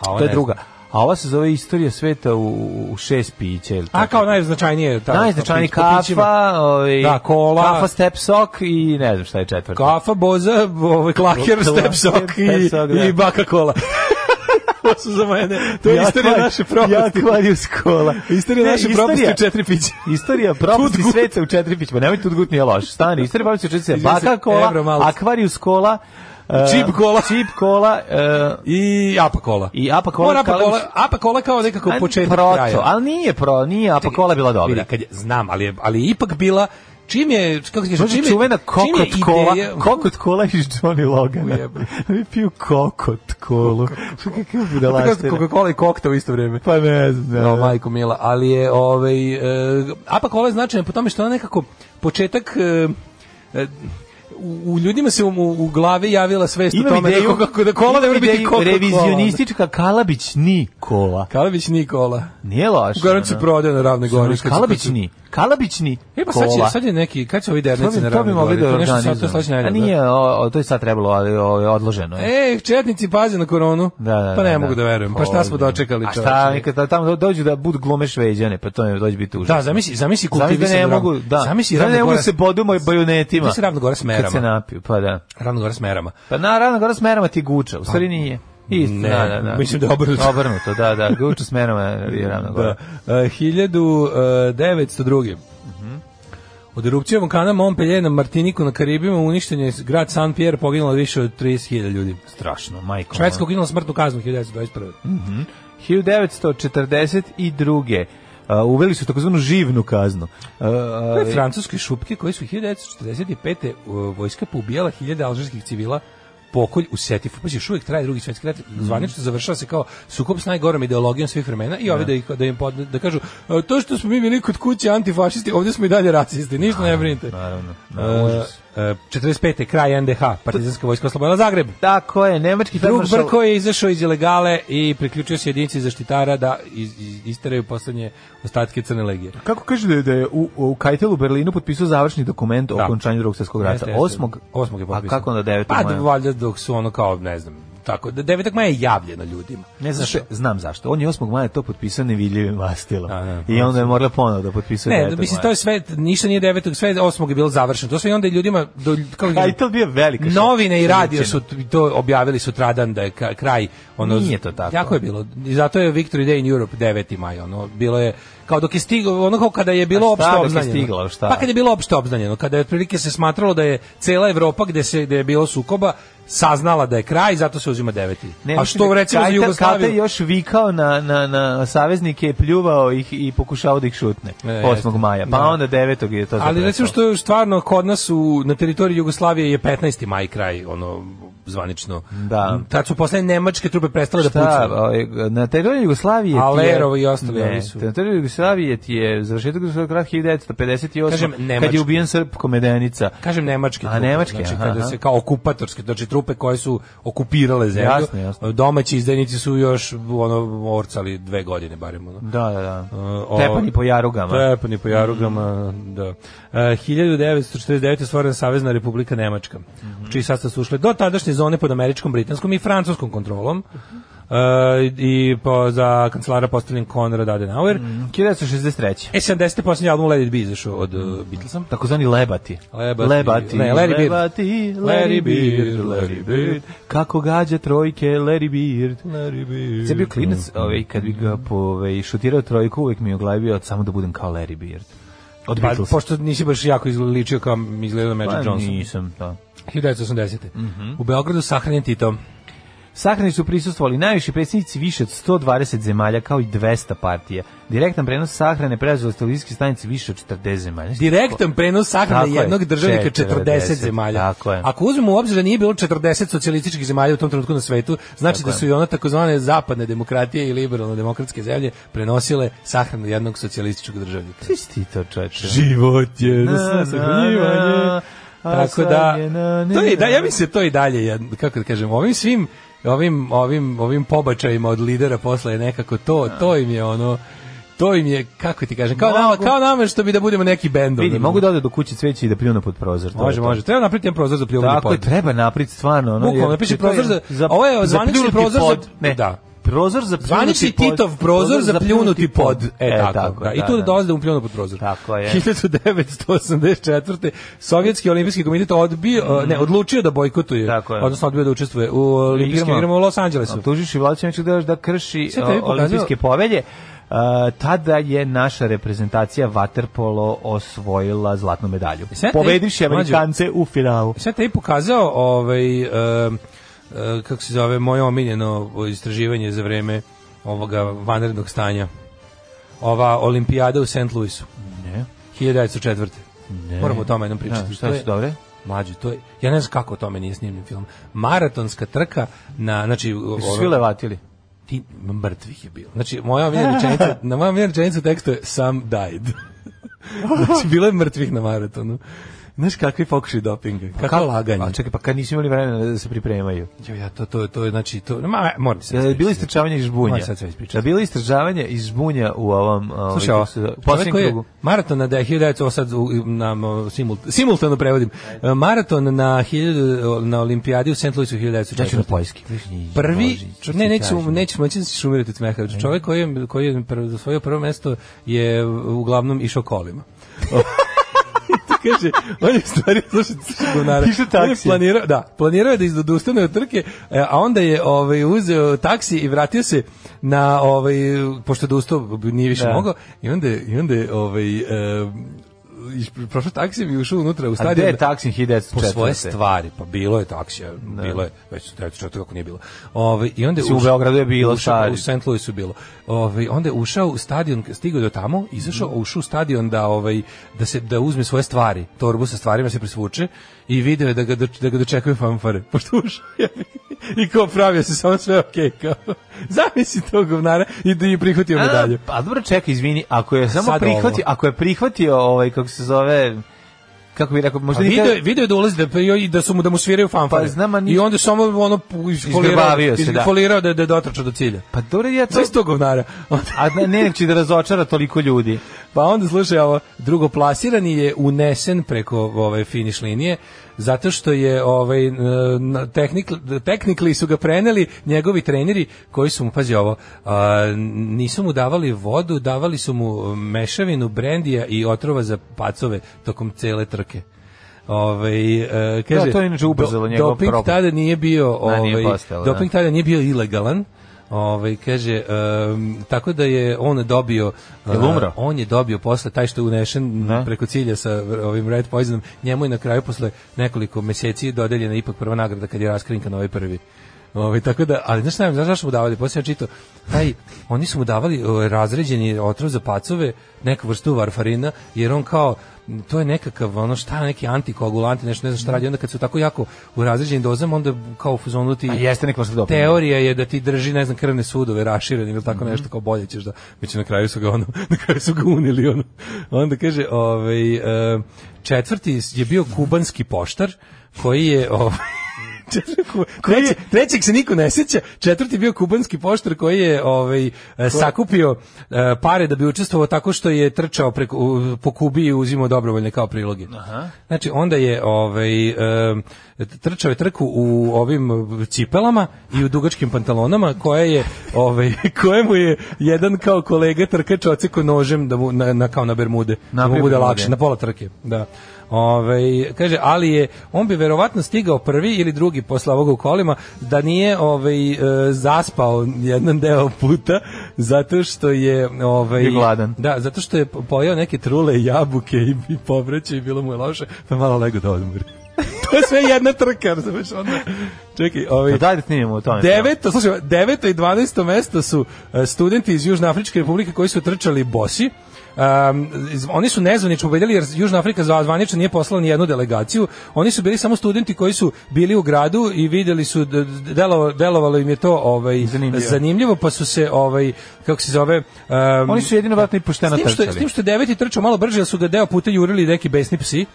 S6: A,
S7: to je
S6: ne
S7: druga. A ova se zove istorija sveta u, u šest pića, je li
S6: znam. A
S7: tako?
S6: kao najznačajnije. Ta,
S7: Najznačajniji
S6: po pić- po pićima.
S7: kafa, ovaj,
S6: Da, kola.
S7: kafa, step sok i ne znam šta je četvrta.
S6: Kafa, boza, ovaj, klaker,
S7: Klaker,
S6: step sok i,
S7: step sok, da.
S6: i baka kola. to su za mene. To je istorija
S7: Jakvar-
S6: naše propasti.
S7: Jakvarius kola.
S6: Istorija
S7: Ne,
S6: naše propasti u četiri pića.
S7: Istorija propasti
S6: Tudgut.
S7: sveta u četiri pićma. Nemoj tu gut nije loš. Stani, istorija propasti u četiri pićma.
S6: Izvini se,
S7: Baka kola,
S6: Ebro, malo.
S7: akvarijus kola, e,
S6: Čip kola.
S7: čip kola e,
S6: I apa kola.
S7: i apa kola.
S6: Mora apa
S7: Kalem-
S6: kola, apa kola kao nekako
S7: Ajde,
S6: početak
S7: proto,
S6: kraja.
S7: Ali nije pro, nije apa kola bila dobra.
S6: Vidi, kad je, znam, ali je, ali je ipak bila čim je kako se kaže,
S7: Dođe
S6: čim je
S7: Znači, čuvena kokot
S6: čim je
S7: kola,
S6: ideja-
S7: kokot kola iz Johnny Logana.
S6: Ujebe.
S7: Vi piju kokot kolu. Kako budalaština.
S6: Coca-Cola i kokta u isto vrijeme.
S7: Pa ne znam. ne,
S6: No,
S7: ne.
S6: majko mila, ali je ovaj e, apa kola je značajna po tome što je ona nekako početak e, e, u, u ljudima se u, u glavi javila svest o
S7: Imam
S6: tome
S7: ideju,
S6: da, kako, da kola ne
S7: imam
S6: mora biti
S7: ideju,
S6: Coca-Cola.
S7: Revizionistička Kalabić ni kola.
S6: Kalabić Nikola.
S7: Nije loš.
S6: U Gorancu
S7: ono.
S6: prodao na ravnoj gori. kad su-
S7: Kalabić ni. Kalabić ni.
S6: E pa sad će, sad je neki, kad će ovi
S7: To
S6: dernici
S7: bi,
S6: na
S7: to bi
S6: ravnoj
S7: mogli
S6: gori?
S7: da
S6: To je nešto sad, to je sledeće
S7: organizujemo. A
S6: nedelje, da.
S7: nije, o, o, to je sad trebalo, ali o, je odloženo. je.
S6: E, četnici paze na koronu.
S7: Da, da,
S6: pa ne
S7: da,
S6: mogu da verujem. Pa šta smo
S7: Holding.
S6: dočekali,
S7: A šta,
S6: čoveče?
S7: nekada tamo dođu da budu glome šveđane, pa to ne dođe biti užasno.
S6: Da, zamisli, zamisli
S7: Zamisli da
S6: kultivisanje.
S7: ne
S6: ravno-
S7: mogu, da.
S6: Zamisli
S7: da ne
S6: Ravna
S7: mogu
S6: Gora
S7: se bodu moj bajonetima.
S6: Zamisli Ravna Gora s
S7: Kad
S6: merama.
S7: se napiju, pa da.
S6: Ravna Gora s merama.
S7: Pa na ravno gore s merama ti guča, u stvari nije. Isto,
S6: ne,
S7: da, Pa, da, da.
S6: mislim da je obrnuto.
S7: Obrnuto, da, da, guča s merama je ravno gore.
S6: Da. E, 1902. Od erupcije vulkana Montpellier na Martiniku na Karibima uništen je grad San Pierre, poginulo više od 30.000 ljudi.
S7: Strašno, majko.
S6: Švedska ukinula smrtnu kaznu 1921.
S7: 1942. Uh, uveli su takozvanu živnu kaznu. Uh,
S6: To je Pa francuske šupke koje su 1945. u- vojska poubijala hiljade alžirskih civila pokolj u Setifu. Pa još uvijek traje drugi svjetski rat.
S7: Mhm.
S6: Zvanično završava se kao sukob s najgorom ideologijom svih vremena i ovi da, ih, da im pod, da kažu "E, to što smo mi bili kod kuće antifašisti, ovdje smo i dalje racisti, ništa ne brinite.
S7: naravno, na
S6: E,
S7: užas.
S6: e, 45. kraj NDH, partizanska vojska oslobodila Zagreb.
S7: Tako je, nemački
S6: Drug
S7: feldmaršal-
S6: Brko je izašao iz ilegale i priključio se jedinici zaštitara da iz, iz, isteraju poslednje ostatke Crne legije.
S7: Kako kaže da je, da je u, u Kajtelu u Berlinu potpisao završni dokument o
S6: Da.
S7: okončanju drugog svjetskog rata?
S6: Jeste, jeste.
S7: Osmog?
S6: Osmog je potpisao.
S7: A kako onda 9.
S6: Pa,
S7: maja?
S6: da, valjda dok su ono kao, ne znam, tako, da 9. maja je javljeno ljudima.
S7: Ne znam, što- znam zašto. On je 8. maja to potpisao nevidljivim mastilom.
S6: A, ne,
S7: I onda je morala ponovo da potpisao
S6: Ne,
S7: 9.
S6: mislim,
S7: maja.
S6: to je sve, ništa nije 9. sve 8. je bilo završeno. To sve i onda je ljudima, do, kao,
S7: Kajtel Pa bio velika šok. Znači,
S6: novine i radio su
S7: Veličina.
S6: t- to objavili sutradan da je ka- kraj ono
S7: Nije to tako.
S6: Jako je bilo. I zato je Victory Day in Europe 9. maj ono bilo je kao dok je stiglo ono kao kada je bilo
S7: A šta
S6: opšte
S7: dok je
S6: obznanjeno.
S7: stiglo, šta?
S6: Pa kad je bilo opšte obznanjeno, kada je otprilike se smatralo da je cela Evropa gde se gde je bilo sukoba saznala da je kraj, zato se uzima 9.
S7: Ne,
S6: A
S7: mislim da
S6: što recimo za
S7: Kajtel- Kajtel je
S6: Jugoslaviju?
S7: još vikao na, na, na saveznike, pljuvao ih i pokušao da ih šutne
S6: E,
S7: 8.
S6: jeste.
S7: maja, pa
S6: Da.
S7: onda 9. je to
S6: Ali
S7: zaprestao.
S6: recimo što je stvarno kod nas u, na teritoriji Jugoslavije je 15. maj kraj ono zvanično.
S7: Da.
S6: Tad su posle nemačke trupe prestale da
S7: Šta,
S6: pucaju.
S7: ovaj, na teritoriji Jugoslavije ti je-
S6: Alerovo i ostali
S7: Ne,
S6: ovi su.
S7: Na teritoriji Jugoslavije ti je završetak Jugoslavije rata 1958.
S6: Kažem,
S7: kad
S6: Nemački.
S7: je ubijen Srb Komedenica.
S6: Kažem nemačke
S7: A,
S6: trupe,
S7: nemačke,
S6: znači
S7: aha,
S6: kada
S7: aha.
S6: se kao okupatorske, znači trupe koje su okupirale zemlju.
S7: Jasno, jasno.
S6: Domaći izdajnici su još ono orcali dve godine barem ono.
S7: Da, da, da.
S6: o-
S7: Tepani po jarugama.
S6: Tepani po jarugama, da. E, 1949. je stvorena Savezna republika
S7: Mhm.
S6: Nemačka, u čiji sastav su ušle do tadašnje zone pod američkom, britanskom i francuskom kontrolom. E, i po, za kancelara postavljen Konrad Adenauer.
S7: Mhm.
S6: Mm.
S7: 1963.
S6: E, 70. posljednji album Let It Be izašao od uh, Beatlesa.
S7: Takozvani lebati.
S6: Lebati.
S7: Lebati.
S6: Ne, Larry Bird.
S7: Lebati, Larry Bird, Larry Bird. Kako gađa trojke, Larry Bird. Larry Bird. Sve bio klinac, ovaj, kad bi ga po, ovaj, šutirao trojku, uvek mi je u glavi bio samo da budem kao Larry Bird. Od
S6: Pa,
S7: Beatlesa.
S6: pošto nisi baš jako izličio kao izgledao Magic
S7: Pa, Mhm.
S6: Johnson.
S7: nisam, da.
S6: 1980. U Beogradu sahranjen Tito.
S7: Sahrani su prisustvovali najviši predsjednici više od 120 zemalja kao i 200 partija. Direktan prenos sahrane preuzeo s televizijske stanice više od 40 zemalja.
S6: Direktan prenos sahrane
S7: Tako je,
S6: jednog državnika 40,
S7: 40
S6: zemalja.
S7: tako je.
S6: Ako uzmemo u obzir da nije bilo 40 socijalističkih zemalja u tom trenutku na svetu, znači da su i ona takozvane zapadne demokratije i liberalno demokratske zemlje prenosile sahranu jednog socijalističkog državnika.
S7: Svi si ti to čoče.
S6: Život je
S7: Na, na, na, a
S6: Tako
S7: sad
S6: da
S7: je na, ne,
S6: to je da
S7: na.
S6: ja mislim da to i dalje jed- kako da kažem ovim svim ovim ovim ovim pobačajima od lidera posle je nekako to to im je ono to im je kako ti kažem kao nama
S7: Mogu.
S6: kao nama što bi da budemo neki bend ono.
S7: Vidi, mogu da ode do kuće cveće i da pljunu pod prozor. to je
S6: Može,
S7: to.
S6: može. Treba napraviti jedan prozor za pljuvanje
S7: Tako je,
S6: pod.
S7: treba napriti stvarno. Ono,
S6: Bukvalno,
S7: jer-
S6: napiši
S7: jer to je
S6: prozor za-
S7: za-
S6: ovo je
S7: za
S6: zvanični
S7: pljunuti
S6: prozor za-
S7: pod, ne,
S6: da.
S7: Prozor za pljunuti
S6: Zvanični
S7: pod,
S6: Titov prozor za pljunuti pod. E, tako, da. I tu da, dolaze da mu pljunu pod prozor.
S7: Tako je.
S6: 1984. Sovjetski olimpijski komitet odbio, ne, odlučio da bojkotuje,
S7: Tako je.
S6: odnosno odbio da učestvuje u olimpijskim
S7: Igrama.
S6: igrama u Los Angelesu.
S7: Ono, Tužiš i Vladićeviću da još da krši
S6: Sve tebi
S7: o,
S6: pokazao-
S7: olimpijske povelje. A, tada je naša reprezentacija vaterpolo osvojila zlatnu medalju.
S6: E, Sve-
S7: Pobedivši
S6: ej, mlađo.
S7: Amerikance u finalu.
S6: Sad te i pokazao ovaj, em, e, kako se zove, moje omiljeno istraživanje za vreme ovoga vanrednog stanja. Ova olimpijada u St. Louisu.
S7: Ne.
S6: 1904. Moramo o tome jednom pričati.
S7: Da,
S6: To
S7: šta
S6: je-
S7: su dobre?
S6: Mlađe, to je, ja ne znam kako o tome nije snimljen film. Maratonska trka na, znači... ono-
S7: Svi levatili.
S6: ti mrtvih je bilo. Znači, moja omiljena rečenica, na moja omiljena rečenica u tekstu je some died. znači, bilo je mrtvih na maratonu. Znaš kakvi pokušaj dopinga, kako laganje.
S7: A čekaj, pa kad nisu imali vremena da se pripremaju.
S6: Jo, ja, to, to, to je, znači, to, ma, moram se.
S7: Da je bilo istražavanje iz žbunja.
S6: Aj, Ovaj, sad sve ispričati.
S7: Da je bilo istražavanje iz žbunja u ovom... ovaj,
S6: Slušaj, ovo,
S7: kako se zove, u
S6: čovjek
S7: posljednjem
S6: koji je
S7: krugu.
S6: maraton na 1900, ovo sad u- nam o, simult, simultano prevodim, E, maraton na, 1000, na olimpijadi u St. Louisu 1904.
S7: Ja ću na poljski.
S6: prvi
S7: Bože,
S6: ne neću
S7: strašno.
S6: neću moći da se šumirati od smeha. Čovjek koji je koji je prvo- osvojio prvo mesto je uglavnom išao kolima. To kaže, on je u stvari slušaj, govnara.
S7: Išao
S6: On je
S7: taksijem.
S6: planirao, da, planirao je da izodustane od trke, e, a onda je ovaj uzeo taksi i vratio se na ovaj pošto je odustao nije više
S7: Da.
S6: mogao i onda je- i onda je ovaj e, iš- prošao taksijem i ušao unutra u
S7: A gde
S6: stadion
S7: je taksin 1904?
S6: po svoje stvari, pa bilo je taksija, bilo je, već eto što kako nije bilo. Ovaj i onda je
S7: Mislim, u
S6: ušao-
S7: Beogradu je bilo,
S6: ušao,
S7: stari.
S6: u St. Louisu bilo. Ovaj onda je ušao u stadion, stigao do tamo, izašao,
S7: Mhm.
S6: ušao u stadion da ovaj da se da uzme svoje stvari, torbu sa stvarima se prisvuče i video je da ga doč- da ga dočekaju fanfare. Pošto je ušao je i kao pravio se samo sve okej kao. Zamisli tog govnara i da je prihvatio medalju.
S7: A, a dobro, čekaj, izvini, ako je samo
S6: Sad
S7: prihvatio,
S6: ovo.
S7: ako je prihvatio ovaj kako se zove kako bi rekao,
S6: A
S7: možda
S6: video, Pa je-
S7: nikad
S6: video je da ulazi da, pa i da su mu da mu sviraju fanfare.
S7: Pa znam, a ni-
S6: I onda samo ono isfolirao,
S7: Izgrbavio se, da.
S6: isfolirao da, da je dotrčao do cilja.
S7: Pa dobro, ja to...
S6: Sve sto govnara. Onda-
S7: A ne, ne će da razočara toliko ljudi.
S6: Pa onda slušaj ovo, drugoplasirani je unesen preko ove finiš linije zato što je ovaj e, na- tehnik- technically su ga preneli njegovi treneri koji su mu pazi ovo a, nisu mu davali vodu, davali su mu mešavinu brendija i otrova za pacove tokom cele trke. Ovaj e, kaže
S7: Da, to je inače ubrzalo
S6: do-
S7: njegov
S6: doping
S7: problem.
S6: tada nije bio
S7: Da, nije
S6: ovaj
S7: postalo, da.
S6: doping tada nije bio ilegalan. Ovaj kaže em, tako da je on dobio e,
S7: Jel umro?
S6: on je dobio posle taj što je unešen
S7: Ne.
S6: preko cilja sa v- ovim Red Poisonom, njemu je na kraju posle nekoliko meseci dodeljena ipak prva nagrada kad je raskrinkan ovaj prvi. Ovaj tako da, ali znaš šta, je, znaš zašto mu davali? Posle ja čitao, taj, oni su mu davali o, razređeni otrov za pacove, neku vrstu varfarina, jer on kao, m, to je nekakav, ono šta, neki antikoagulanti, nešto ne znam šta radi, onda kad su tako jako u razređenim dozama, onda kao u fazonu ti...
S7: A Pa jeste neka vrsta dopinga.
S6: Teorija je da ti drži, ne znam, krvne sudove raširene ili tako nešto, kao bolje ćeš da, već na kraju su ga ono, na kraju su ga unili ono. Onda kaže, ovaj, e, četvrti je bio kubanski poštar, koji je, ovaj, Treći, trećeg se niko ne seća, četvrti je bio kubanski poštar koji je ovaj, e, sakupio e, pare da bi učestvovao tako što je trčao preko, u- po Kubi i uzimao dobrovoljne kao priloge. Znači, onda je ovaj, e, trčao je trku u ovim cipelama i u dugačkim pantalonama koje je ovaj kojemu je jedan kao kolega trkač oceko nožem da mu na, na kao na bermude da mu
S7: Napio
S6: bude
S7: bermude.
S6: lakše na pola trke da Ovaj kaže ali je on bi verovatno stigao prvi ili drugi posle ovoga u kolima da nije ovaj e, zaspao jedan deo puta zato što je ovaj
S7: Bio gladan.
S6: da zato što je pojeo neke trule i jabuke i, i povrće i bilo mu je loše pa je malo lego da odmori to je sve jedna trka razumeš onda čekaj ovaj
S7: Da, daj da Pa snimimo o tome.
S6: Deveto, slušaj, deveto i 12. mesto su e, studenti iz Južnoafričke republike koji su trčali bosi. Um, iz- oni su nezvanično pobedili jer Južna Afrika za zvanično nije poslala ni jednu delegaciju. Oni su bili samo studenti koji su bili u gradu i vidjeli su d- d- delovalo, delovalo im je to ovaj
S7: Zanimljivo.
S6: zanimljivo, pa su se ovaj kako se zove um,
S7: Oni su jedino vratno i pošteno
S6: s tim što,
S7: trčali.
S6: je- s tim što je deveti trčao malo brže, jer su ga deo puta jurili neki besni psi.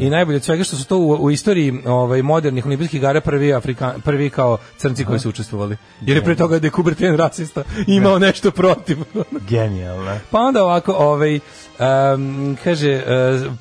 S6: I najbolje od svega što su to u, u istoriji ovaj, modernih olimpijskih igara prvi, Afrika, prvi kao crnci koji su učestvovali. Jer je pre toga da je Kubertin rasista i imao nešto protiv.
S7: Genijalno.
S6: pa onda ovako, ovaj, em, kaže, e,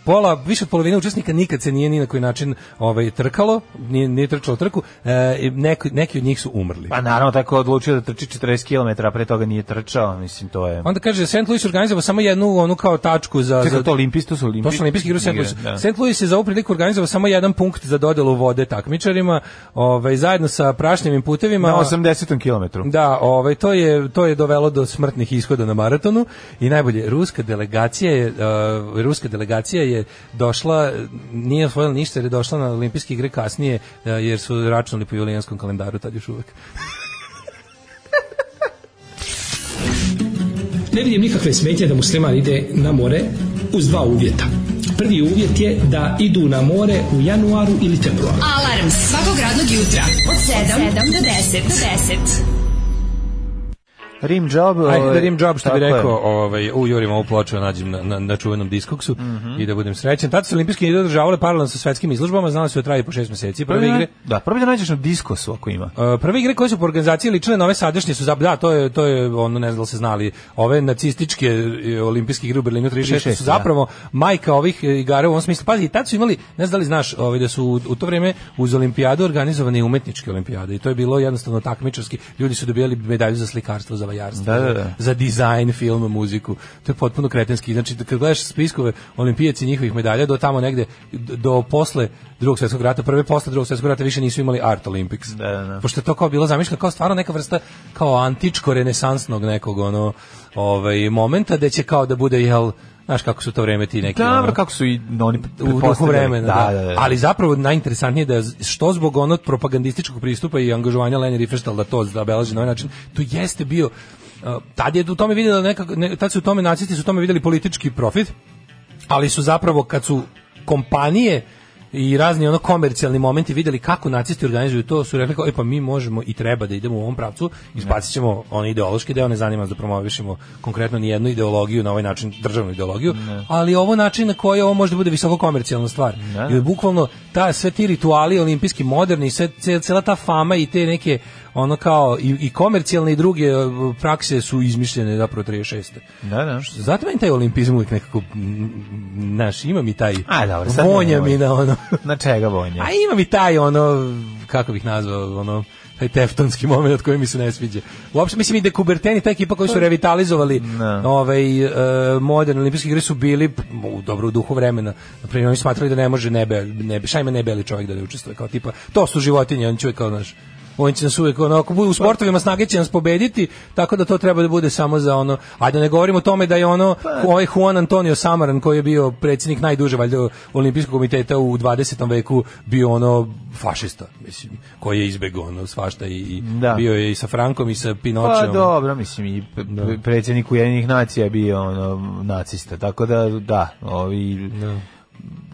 S6: pola, više od polovine učesnika nikad se nije ni na koji način ovaj, trkalo, nije, nije trčalo trku, e, i neki, neki od njih su umrli.
S7: Pa naravno, tako je odlučio da trči 40 km, a pre toga nije trčao, mislim, to je...
S6: Onda kaže, St. Louis organizovao samo jednu onu kao tačku za...
S7: Čekaj,
S6: za-
S7: to olimpijski, to su olimpijski.
S6: To su olimpijski igre u St. Louisu.
S7: Da.
S6: St. Louis je za ovu priliku organizovao samo jedan punkt za dodelu vode takmičarima, ovaj, zajedno sa prašnjavim putevima.
S7: Na 80. kilometru.
S6: Da, ovaj, to, je, to je dovelo do smrtnih ishoda na maratonu i najbolje, ruska delegacija je, uh, ruska delegacija je došla, nije osvojila ništa jer je došla na olimpijske igre kasnije uh, jer su računali po julijanskom kalendaru tad još uvek.
S10: Ne vidim nikakve smetnje da musliman ide na more uz dva uvjeta. Prvi uvjet je da idu na more u januaru ili februaru.
S5: Alarm svakog radnog jutra od 7, do 10. Do 10.
S7: Rim job...
S6: Aj,
S7: ovaj,
S6: Pa da rim job što bi
S7: tako je.
S6: rekao, ovaj, u Jurim ovu ploču da nađem na, na, na čuvenom diskoksu
S7: Mhm.
S6: i da budem srećen. Tad su olimpijske igre održavale paralelno sa svetskim izložbama, znali su da traju po šest mjeseci. Prve igre,
S7: Pa Da, prvi da nađeš na diskosu ako ima.
S6: E, prve igre koje su po organizaciji ličile na ove sadašnje su za da to je to je ono ne znam da li se znali ove nacističke e, olimpijske igre u Berlinu 36 su
S7: 36,
S6: zapravo majka ovih e, igara u ovom smislu pazi i tad su imali ne znam da li znaš ovaj da su u- u to vrijeme uz olimpijadu organizovane i umetničke olimpijade i to je bilo jednostavno takmičarski ljudi su dobijali medalju za slikarstvo za vajarstvo
S7: Da, da, da.
S6: za dizajn, film, muziku. To je potpuno kretenski. Znači, kad gledaš spiskove olimpijaci i njihovih medalja, do tamo negde, do do posle drugog svjetskog rata, prve posle drugog svjetskog rata više nisu imali Art Olympics.
S7: Da, da, da.
S6: Pošto je to kao bilo zamišljeno kao stvarno neka vrsta kao antičko-renesansnog nekog ono, ovaj, momenta gde će kao da bude, jel, znaš kako su to vreme ti neki... ono,
S7: Dobro, kako su i oni
S6: u duhu
S7: pretpostavljali.
S6: vremena.
S7: Da, da, da.
S6: Ali zapravo najinteresantnije je da je što zbog onog propagandističkog pristupa i angažovanja Leni Riefenstahl da to zabeleži na ovaj način, to jeste bio uh, tad je u tome vidjela nekako, ne, tad su u tome nacisti su u tome vidjeli politički profit, ali su zapravo kad su kompanije i razni ono komercijalni momenti vidjeli kako nacisti organizuju to su rekli kao e pa mi možemo i treba da idemo u ovom pravcu izbacit ćemo onaj ideološki deo ne zanima nas da promovišemo konkretno ni jednu ideologiju na ovaj način državnu ideologiju ali ovo način na koji ovo može da bude visoko komercijalna stvar
S7: Ne.
S6: i bukvalno ta sve ti rituali olimpijski moderni sve ce- cela ta fama i te neke ono kao i, i komercijalne i druge e, prakse su izmišljene zapravo 36.
S7: Da, da.
S6: Zato meni taj olimpizam uvijek nekako, mm, mm, znaš, ima mi taj,
S7: A, dobro, sad
S6: vonja
S7: nemoj.
S6: mi na ono,
S7: Na čega vonja?
S6: a ima mi taj ono, kako bih nazvao, ono, taj teftonski moment koji mi se ne sviđa. Uopšte, mislim i da Kuberteni, ta ekipa
S7: Pa,
S6: koji su revitalizovali
S7: Ne.
S6: ovaj, e, moderne olimpijske igre su bili p- u dobro u duhu vremena. Naprimjer, oni smatrali da ne može nebe, nebe, šajme nebeli čovjek da ne učestvuje, kao tipa, to su životinje, oni čuje kao, naš, on će nas uvijek, ono, ako budu u sportovima snage će nas pobediti, tako da to treba da bude samo za ono, a da ne govorimo o tome da je ono,
S7: Pa-
S6: ovaj Juan Antonio Samaran koji je bio predsjednik najduže valjda olimpijskog komiteta u 20. veku bio ono fašista, mislim, koji je izbegao ono svašta i, i
S7: Da.
S6: bio je i sa Frankom i sa
S7: Pa
S6: Pinočeom.
S7: dobro, mislim i p- p- predsjednik Ujedinjenih nacija je bio ono, nacista, tako da da, ovi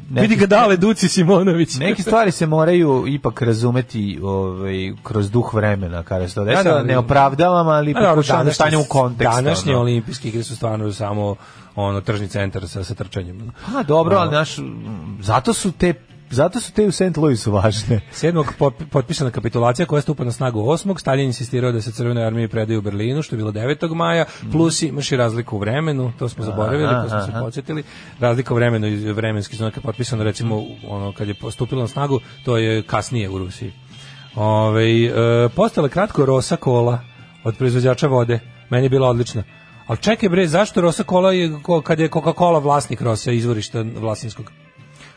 S7: neki-
S6: Vidi ga dale Duci Simonović.
S7: Neke stvari se moraju ipak razumeti ovaj, kroz duh vremena kada se to desilo.
S6: Da, da,
S7: ne opravdavam, ali
S6: A dobro,
S7: pokušavam da
S6: današnje-
S7: stanje u kontekst.
S6: Današnje
S7: ono.
S6: olimpijske igre su stvarno samo ono tržni centar sa, sa trčanjem.
S7: Pa dobro, ali naš, m, zato su te zato su te u St. Louisu važne.
S6: Sedmog pop- potpisana kapitulacija koja stupa na snagu 8. Stalin insistirao da se crvenoj armiji predaju u Berlinu, što je bilo 9. maja, plus imaš i razliku u vremenu, to smo zaboravili, to smo se podsjetili. Razlika u vremenu iz vremenski znak je potpisano, recimo, ono, kad je postupilo na snagu, to je kasnije u Rusiji. Ove, e, postala kratko rosa kola od proizvođača vode. Meni je bila odlična. Ali čekaj bre, zašto Rosa Cola je, ko- kad je Coca-Cola vlasnik Rosa izvorišta vlasinskog?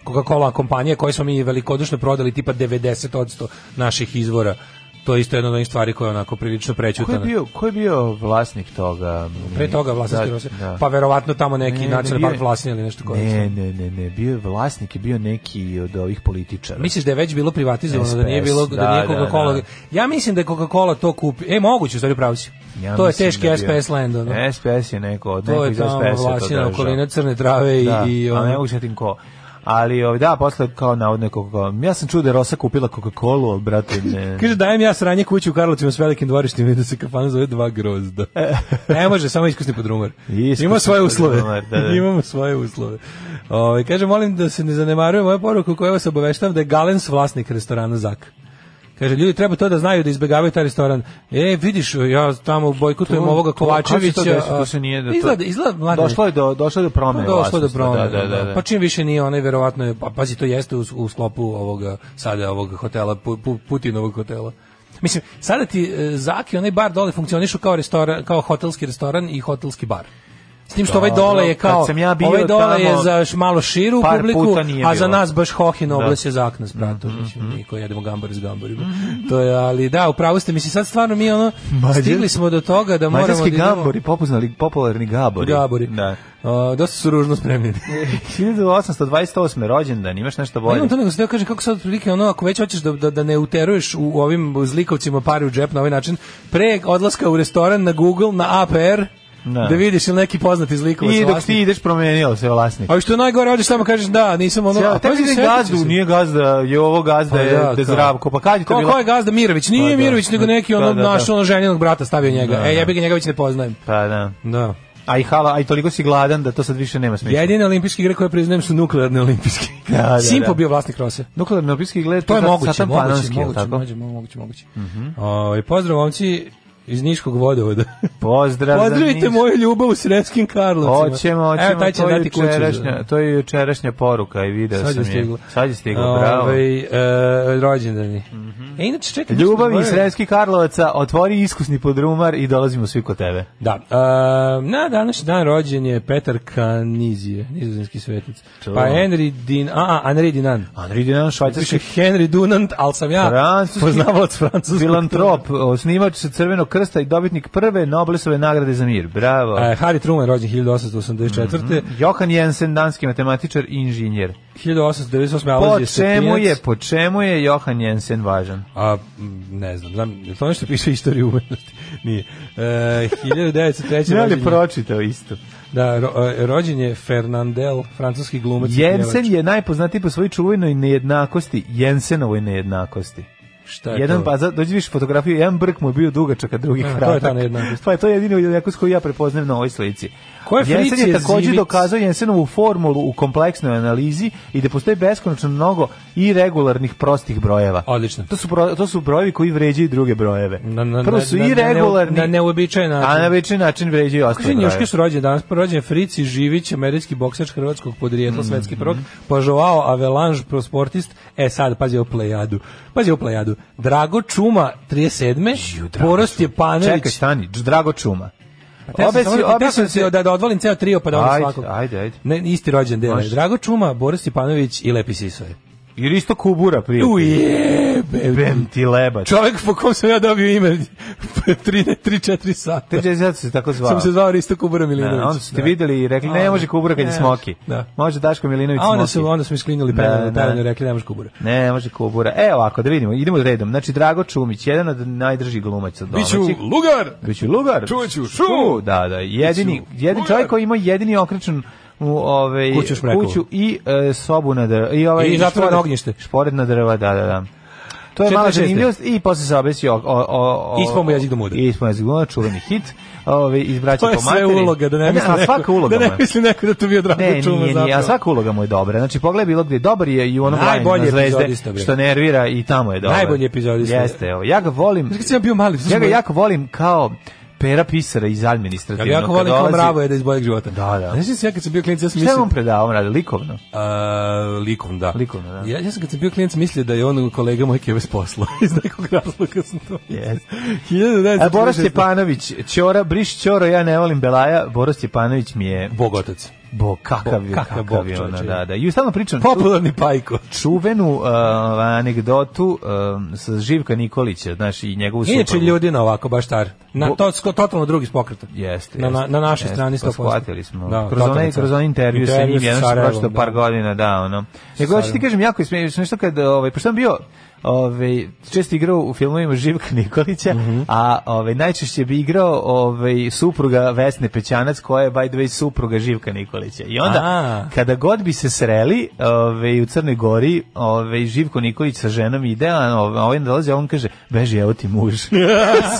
S6: Coca-Cola kompanija koju smo mi velikodušno prodali tipa 90% naših izvora. To je isto jedna od onih stvari koja je onako prilično
S7: Ko je
S6: prećutana.
S7: bio, ko je bio vlasnik toga?
S6: Pre toga vlasnik
S7: Da,
S6: Rosa.
S7: da.
S6: Pa verovatno tamo neki
S7: Ne, ne,
S6: nacionalni
S7: bio
S6: park
S7: je-
S6: vlasni ili nešto koje.
S7: Ne, ne, ne, ne, bio je vlasnik, je bio neki od ovih političara.
S6: Misliš da je već bilo privatizovano, da nije
S7: SPS,
S6: bilo da,
S7: da,
S6: nije
S7: da,
S6: Coca-Cola.
S7: da.
S6: Ja mislim da je Coca-Cola to kupi. E moguće, u stvari pravi si.
S7: Ja
S6: to je
S7: mislim
S6: teški
S7: da bio-
S6: SPS land ono.
S7: SPS je neko od
S6: To
S7: neko
S6: je
S7: iz
S6: tamo
S7: SPS-a to
S6: vlasina
S7: držao.
S6: okolina crne trave i,
S7: da,
S6: i
S7: a
S6: ono.
S7: ne mogu setim ko. Ali ovaj, da, posle kao navodno Coca-Cola. Ja sam čuo da je Rosa kupila Coca-Colu, ali, brate, ne.
S6: Kaže, dajem ja sranje kuću u Karlovcima s velikim dvorištima i da se kafana zove dva grozda. ne može, samo iskusni podrumar.
S7: E. Iskusni
S6: Ima svoje uslove.
S7: podrumar, da, da.
S6: Imamo svoje uslove. Ove, kaže, molim da se ne zanemaruje moja poruka koja vas obaveštavam da je Galens vlasnik restorana Zak. Kaže, ljudi treba to da znaju da izbegavaju taj restoran. E, vidiš, ja tamo bojkotujem
S7: To-
S6: ovoga
S7: to- kako se
S6: Kovačevića.
S7: to desilo?
S6: a-
S7: To se nije da to- Pa
S6: Izgleda, izgleda, mladen,
S7: Došlo je do, došlo je do promene
S6: pa došlo do
S7: vlasništva,
S6: promene.
S7: Da, da, da, da.
S6: Pa čim više nije onaj verovatno je pa pazi to jeste u, u sklopu ovoga sada ovog hotela Pu- Pu- Putinovog hotela. Mislim, sada ti e, Zaki onaj bar dole funkcionišu kao restoran, kao hotelski restoran i hotelski bar. S tim što ovaj
S7: Dobro,
S6: dole je
S7: kad
S6: kao
S7: sam ja bio
S6: ovaj dole je
S7: tamo,
S6: za š- malo širu
S7: par
S6: publiku,
S7: puta nije
S6: a za
S7: bilo.
S6: nas baš hohin
S7: Da. Mhm,
S6: oblese se zakna s bratom, mislim, mi koji jedemo gambar s gambarima. To je, ali da, upravo ste, mislim, sad stvarno mi ono,
S7: Mađar-
S6: stigli smo do toga da moramo da
S7: Mađarski
S6: idemo-
S7: gabori, popuznali, popularni gabori.
S6: Gabori.
S7: Da.
S6: A, dosta su ružno spremljeni.
S7: 1828. rođendan, imaš nešto
S6: Pa
S7: bolje?
S6: imam to nego sam teo kažem kako sad otprilike ono ako već hoćeš da, da, da ne uteruješ u ovim zlikovcima pare u džep na ovaj način, pre odlaska u restoran na Google, na APR,
S7: Da.
S6: da vidiš ili neki poznati zlikovac
S7: I dok
S6: vlasnik.
S7: ti ideš promenio se vlasnik.
S6: A što je najgore, odeš samo kažeš da, nisam ono...
S7: Ja,
S6: a
S7: tebi
S6: pazi,
S7: nije
S6: setit ću
S7: gazdu,
S6: se.
S7: nije gazda, je ovo gazda,
S6: Pa
S7: je da,
S6: kao.
S7: zdravko. Pa kad je to
S6: Ko-
S7: bilo?
S6: Ko je gazda Mirović? Nije
S7: Pa da.
S6: Mirović, nego neki ono
S7: Pa da, da.
S6: naš ono ženjenog brata stavio njega.
S7: Da,
S6: e,
S7: da.
S6: ja ga njega već ne poznajem.
S7: Pa da.
S6: Da.
S7: A i hala, a i toliko si gladan da to sad više nema smisla.
S6: Jedine olimpijske igre koje priznajem su nuklearne olimpijske.
S7: Da, da, da.
S6: Simpo bio vlasnik Rose.
S7: Nuklearni olimpijski gled,
S6: To je
S7: sad-
S6: moguće,
S7: sad tam
S6: moguće,
S7: panonski, jel
S6: moguće,
S7: tako? Mhm.
S6: moguće, moguće, moguće. Ovaj, pozdrav momci iz Niškog vodovoda.
S7: Pozdrav
S6: Pozdravite
S7: za Niš.
S6: moju ljubav u Sremskim Karlovcima.
S7: Hoćemo, hoćemo,
S6: Evo, taj će
S7: to, je
S6: dati kuću.
S7: jučerašnja, to je jučerašnja poruka i video
S6: Sad
S7: sam
S6: je
S7: je.
S6: stiglo.
S7: Sad je stiglo, bravo. Mhm.
S6: Ovaj, e, rođendani. E, inače, čekaj. mi smo
S7: Ljubav iz
S6: zaboravili.
S7: Sremskih Karlovaca, otvori iskusni podrumar i dolazimo svi kod tebe.
S6: Da. e, na današnji dan rođen je Petar Kanizije, nizozemski svetnic.
S7: To.
S6: Pa Henry Din... A, a, Henry Dinan.
S7: Andri Dinan,
S6: Piše
S7: švajcarski
S6: Henry Dunant, ali sam ja
S7: Francuski
S6: poznavalac francuskog.
S7: filantrop, osnivač Crvenog krsta i dobitnik prve Nobelove nagrade za mir. Bravo.
S6: E, Harry Truman, rođen 1884.
S7: Johan Jensen, danski matematičar i inženjer.
S6: 1898.
S7: Po
S6: Alazije
S7: čemu
S6: Sepijac.
S7: je, po čemu je Johan Jensen važan?
S6: A, m, ne znam, znam, je li to nešto piše istoriju umetnosti? Nije. E, 1903.
S7: Ne
S6: rođen
S7: li
S6: je,
S7: pročitao isto?
S6: da, ro, e, rođen je Fernandel, francuski glumac. i
S7: Jensen
S6: pjevač.
S7: je najpoznatiji po svojoj čuvenoj nejednakosti, Jensenovoj nejednakosti.
S6: Šta je
S7: jedan
S6: to?
S7: pa za- dođi viš fotografiju, jedan brk mu je bio dugačak, a
S6: A,
S7: drugi
S6: to je
S7: kratak.
S6: ta nejednakost.
S7: Pa je to jedino nejednakost koju ja prepoznajem na ovoj slici.
S6: Ko je
S7: Jensen
S6: Fritz
S7: je takođe
S6: Jezivic?
S7: dokazao Jensenovu formulu u kompleksnoj analizi i da postoji beskonačno mnogo i regularnih prostih brojeva.
S6: Odlično.
S7: To su, bro- to su brojevi koji vređaju druge brojeve.
S6: Na- na-
S7: Prvo
S6: na-
S7: su
S6: na-
S7: i
S6: na- na-
S7: regularni,
S6: na neuobičajen način.
S7: a na večni način vređaju ostale
S6: Kaže,
S7: brojeve.
S6: Njuške su rođen danas, pa rođen je Frici Živić, američki boksač hrvatskog podrijetla,
S7: Mhm.
S6: svetski prvak, pa Joao Avelange, prosportist, e sad, pazi o plejadu, pazi o plejadu, Drago Čuma, 37. Porost je Panović,
S7: Čekaj, stani, Drago Čuma.
S6: Teo sam
S7: Obesi-
S6: samo da ti- teo sam
S7: obesi-
S6: se da, da odvalim ceo trio pa da odvalim
S7: Ajde,
S6: svakog.
S7: ajde, ajde.
S6: Ne, isti rođen dele.
S7: Može.
S6: Drago Čuma, Boris Stipanović i Lepi Sisoje.
S7: Jer isto kubura prije.
S6: Ujebe!
S7: Bem ti lebač.
S6: Čovek po kom sam ja dobio ime 3-4 sata.
S7: Te zato se tako zvao.
S6: Sam se zvao Risto Kubura Milinović.
S7: Da, onda su te videli i rekli, ne
S6: Onda-
S7: može kubura kad je
S6: ne,
S7: smoki.
S6: da.
S7: Može Daško Milinović
S6: A onda
S7: smoki.
S6: su, onda su mi sklinjali
S7: Da,
S6: penalno,
S7: da.
S6: da, rekli ne može Kubura.
S7: Ne, može kubura. E, ovako, da vidimo, idemo redom. Znači, Drago Čumić, jedan od najdržih glumaca domaćih. Biću
S6: Lugar!
S7: Biću Znači, lugar.
S6: Čuvaću šu.
S7: Da, da, jedini,
S6: Biću
S7: jedini
S6: lugar.
S7: čovjek koji ima jedini okrečen u ovaj
S6: Kuću šmrekovu.
S7: kuću i e, sobu na drva i ovaj
S6: I zatvoreno
S7: špored-
S6: ognjište.
S7: Špored na drva, da, da, da. To je mala
S6: 46.
S7: zanimljivost i posle se obesi o, o, o, o
S6: Ispao mu jezik do muda.
S7: Ispao mu jezik do muda, čuveni hit. Ove, iz braća
S6: To je
S7: po
S6: sve
S7: materi.
S6: uloga, da ne misli
S7: a
S6: neko,
S7: svaka uloga
S6: da
S7: mu
S6: ne
S7: je.
S6: misli neko da to bio Drago
S7: Ne,
S6: Čuma
S7: nije, nije, a
S6: zapravo.
S7: svaka uloga mu je dobra. Znači, pogledaj bilo gde, dobar je i u onom
S6: Najbolji
S7: Najbolje na
S6: epizodista,
S7: zvezde,
S6: bre.
S7: što nervira i tamo je dobar.
S6: Najbolji epizodista.
S7: Jeste, evo, ja ga volim,
S6: Znaš kad sam ja bio mali,
S7: ja
S6: ja
S7: ga jako volim kao pera pisara iz
S6: Ja
S7: administrativnog.
S6: ga jako
S7: kad
S6: volim kao
S7: dolazi-
S6: mravo je da iz boljeg života.
S7: Da, da.
S6: Znaš da sam ja kad sam bio klinic, ja sam
S7: Šta je
S6: mislio...
S7: on predavao, radi likovno?
S6: A, likovno, da.
S7: Likovno, da.
S6: Ja, ja sam kad sam bio klinac mislio da je on kolega moj keve s posla. Iz nekog razloga sam to.
S7: Yes.
S6: 1946.
S7: A E, Boris
S6: pa-
S7: Stjepanović, Ćora, briš Ćoro, ja ne volim Belaja, Boris Stjepanović mi je...
S6: Bogotac.
S7: Bo, kakav
S6: Bo-
S7: je,
S6: kakav
S7: kakav,
S6: bog,
S7: je ona,
S6: čoveče.
S7: da, da. I stalno pričam tu
S6: Popularni pajko.
S7: čuvenu uh, anegdotu uh, sa Živka Nikolića, znaš, i njegovu suprugu.
S6: Inače ljudina ovako, baš tar. Na,
S7: Bo-
S6: to, sko- totalno drugi s pokreta.
S7: Jeste,
S6: Na, na,
S7: jeste,
S6: na našoj
S7: jeste,
S6: strani
S7: pa
S6: 100%.
S7: Shvatili smo.
S6: Da,
S7: kroz,
S6: totalno
S7: onaj, kroz onaj intervju, sa njim, jedan što
S6: Sarajevom,
S7: prošlo par
S6: da.
S7: godina, da, ono. Nego, hoću ti
S6: Sarajevom.
S7: kažem, jako je smiješno, smiješno kad, ovaj, pošto sam bio, ovaj, često igrao u filmovima Živka Nikolića,
S6: Mhm.
S7: a ovaj, najčešće bi igrao ovaj, supruga Vesne Pećanac, koja je, by the way, supruga Živka Nikolića. I onda,
S6: A.
S7: kada god bi se sreli ovaj, u Crnoj Gori, ovaj, Živko Nikolić sa ženom ide, a ovaj, ovaj dolazi, a on kaže, beži, evo ti muž.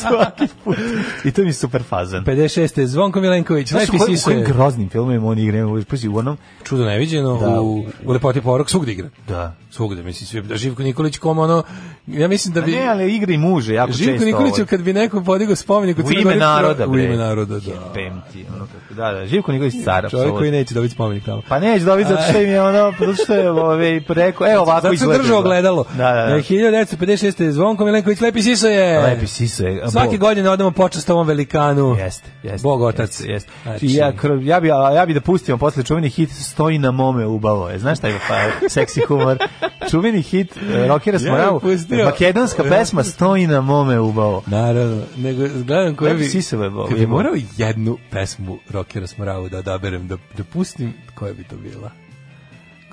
S7: Svaki put. I to mi je super fazan.
S6: 56. Zvonko Milenković,
S7: Znaš,
S6: lepi
S7: u kojim- u
S6: sise.
S7: kojim groznim filmima on igra, ima, pazi, u onom,
S6: Čudo neviđeno,
S7: Da.
S6: u, u Lepoti porok svugde igra.
S7: da.
S6: Svugde, mislim, svi, da Živko Nikolić kom ono, ja mislim da
S7: A
S6: bi...
S7: ne, ali igra i muže, jako
S6: Živko
S7: često.
S6: Nikoliću
S7: ovaj.
S6: kad bi neko podigao spomenik u
S7: u
S6: Crnoj
S7: ime
S6: Gori,
S7: naroda,
S6: u
S7: bre.
S6: ime naroda, da.
S7: Jebem ti, ono kako- Da, da, Živko Nikolić je car,
S6: Čovjek koji
S7: apsolutno.
S6: neće dobiti spomenik tamo.
S7: Pa neće dobiti zato što im je ono, zato što je ovaj, rekao, evo ovako
S6: Zato sam
S7: izgleda.
S6: držao gledalo.
S7: Da, da,
S6: E,
S7: da.
S6: 1956. Zvonko Milenković, lepi siso je.
S7: Lepi siso je. a,
S6: Svake
S7: Bog.
S6: godine odemo počast ovom velikanu.
S7: Jeste, jeste.
S6: Bog otac.
S7: Jeste, jeste.
S6: Znači,
S7: I ja, kro- ja, bi, a, ja bi da pustimo posle čuveni hit Stoji na mome ubavo je. Znaš taj pa, seksi humor? Čuveni hit e, Rokira
S6: Ja bi
S7: Smoravu.
S6: pustio.
S7: makedonska pesma Stoji na mome ubavo.
S6: Naravno, nego gledam koje
S7: Lepi
S6: bi...
S7: sisove, Bog.
S6: Kad bi morao jednu pesmu rockera Smoravu da odaberem, da, da pustim, koja bi to bila?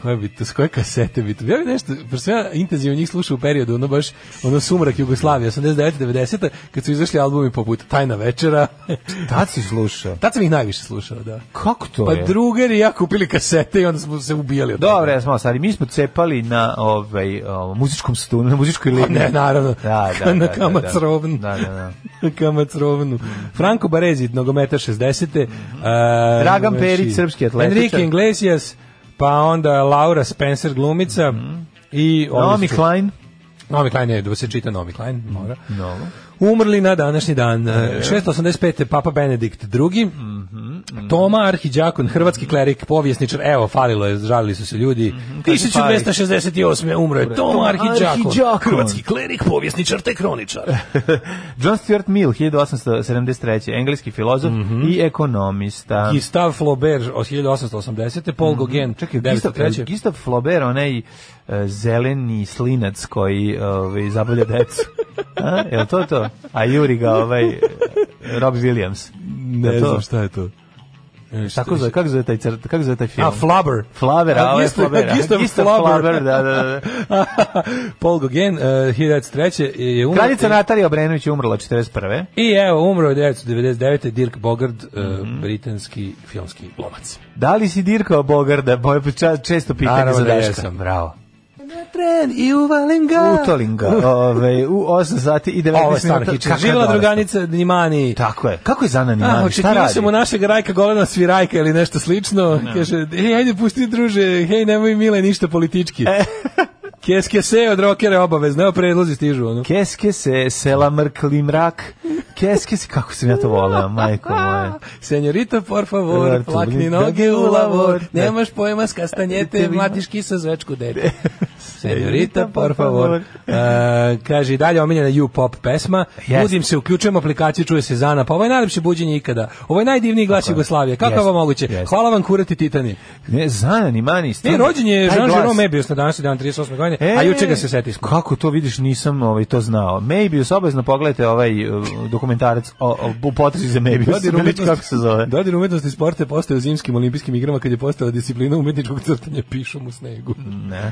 S6: Koja bi to, s koje kasete bi to? Ja bi nešto, pošto sam ja intenzivno njih slušao u periodu, ono baš, ono sumrak Jugoslavije, 89. 90. kad su izašli albumi poput Tajna večera,
S7: Tad si slušao.
S6: tad sam ih najviše slušao, da.
S7: Kako to
S6: Pa
S7: je?
S6: drugari i ja kupili kasete i onda smo se ubijali od toga.
S7: Dobro, ja smo stari, mi smo cepali na ovaj o, muzičkom stu, na muzičkoj liniji.
S6: Ne, naravno.
S7: Da, da,
S6: na
S7: da,
S6: kamac
S7: da, da.
S6: rovnu.
S7: Da, da, da.
S6: Kamac rovnu. Franco Barezi, nogometa 60. Uh,
S7: Dragan Perić, srpski atletičar.
S6: znači, Enrique Iglesias, pa onda Laura Spencer, glumica.
S7: Mhm.
S6: I ovi
S7: Naomi
S6: su-
S7: Klein.
S6: Naomi Klein je, da se čita Naomi Klein, mora.
S7: No.
S6: Umrli na današnji dan. Mm, E, Mhm, 685. Papa Benedikt II. Toma Arhidjakon, hrvatski klerik, povjesničar. Evo, falilo je, žalili su se ljudi.
S7: kaže
S6: 1268. Mhm, umro je Toma Arhidjakon,
S7: Arhidjakon.
S6: hrvatski klerik, povjesničar te kroničar.
S7: John Stuart Mill, 1873. Engleski filozof
S6: Mhm.
S7: i ekonomista.
S6: Gustave Flaubert od 1880. Paul Gauguin,
S7: Čekaj, Gustav,
S6: 1903.
S7: Gustav Flaubert, onaj e, zeleni slinac koji ovaj, zabavlja decu. A, je li to to? A juri ga ovaj e, Rob Williams.
S6: Ne
S7: Jel to?
S6: znam šta je to. E, šta-
S7: Tako zove, kako zove taj, crt, kako zove taj film?
S6: A, Flubber.
S7: Flaver, a ovo je Flaubert. A,
S6: Gustav
S7: Gustav
S6: Flaubert.
S7: Flaubert, da, da, da.
S6: Paul Gauguin, e, 1903. je umro.
S7: Kraljica Natalija Obrenović je umrla 41.
S6: I evo, umro je 1999. Dirk Bogard, e, britanski filmski glumac.
S7: Da li si dirkao Bogarda? Moje ča- često pitanje
S6: Naravno
S7: za
S6: da
S7: Daška.
S6: jesam.
S7: bravo.
S6: Tren i uvalim
S7: Utolim ga, ovaj, u 8 sati i 19 minuta.
S6: Ovo je stvarno hiče.
S7: Kakva
S6: Živjela
S7: dorasta.
S6: druganica Nimani.
S7: Tako je. Kako je Zana
S6: A,
S7: Nimani? Šta
S6: očekivao
S7: radi?
S6: sam u našeg Rajka Golena svirajka ili nešto slično. Kaže, hej, ajde pusti druže, hej, nemoj mile ništa politički. Kes kese od rokera obavezno, evo predlozi stižu. Ono.
S7: Keske se, sela mrkli mrak. Keske se, kako sam ja to voleo, majko moja.
S6: Senjorita, por favor,
S7: Roberto,
S6: plakni
S7: blin,
S6: noge
S7: da,
S6: u lavor,
S7: da.
S6: nemaš pojma s kastanjete,
S7: Tebi ima.
S6: mlatiš kisa zvečku dete. Senjorita, por favor. E, kaže, i dalje omiljena U-pop pesma.
S7: Jeste.
S6: Budim se, uključujem aplikaciju, čuje se Zana. Pa ovo je najlepše buđenje ikada. Ovo je najdivniji glas Jugoslavije. Kako je
S7: Jeste,
S6: ovo moguće?
S7: jeste.
S6: Hvala vam, kurati Titani.
S7: Ne, Zana Nimani.
S6: Ne,
S7: stvarno,
S6: rođen je
S7: taj
S6: Jean
S7: glas.
S6: Jerome Mebius na današnji dan 38. godine, a
S7: E,
S6: juče ga se setiš.
S7: Kako to vidiš, nisam ovaj, to znao. Mebius, obavezno pogledajte ovaj uh, dokumentarac o, o, o potresu za Mebius.
S6: Dodir umetnosti-
S7: Kako se zove?
S6: Dodir umetnosti sporta je postao u zimskim olimpijskim igrama kad je postala disciplina umetničkog crtanja pišom u snegu.
S7: Ne.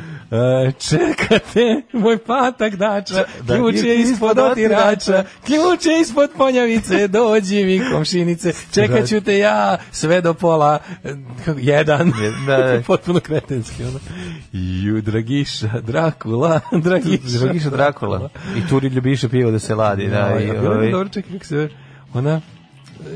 S6: E, čekate, moj patak dača,
S7: Da,
S6: ključ je ispod otirača, ključ je ispod ponjavice, dođi mi komšinice, čekat ću te ja sve do pola, eh, kako, jedan,
S7: Da, da.
S6: potpuno kretenski, ono. Ju, Dragiša, Drakula, Dragiša,
S7: Dragiša Drakula. I turi ljubiše pivo da se ladi. Da,
S6: Da,
S7: i,
S6: ja,
S7: ovaj,
S6: dobro, čekaj, kako se zove, ona,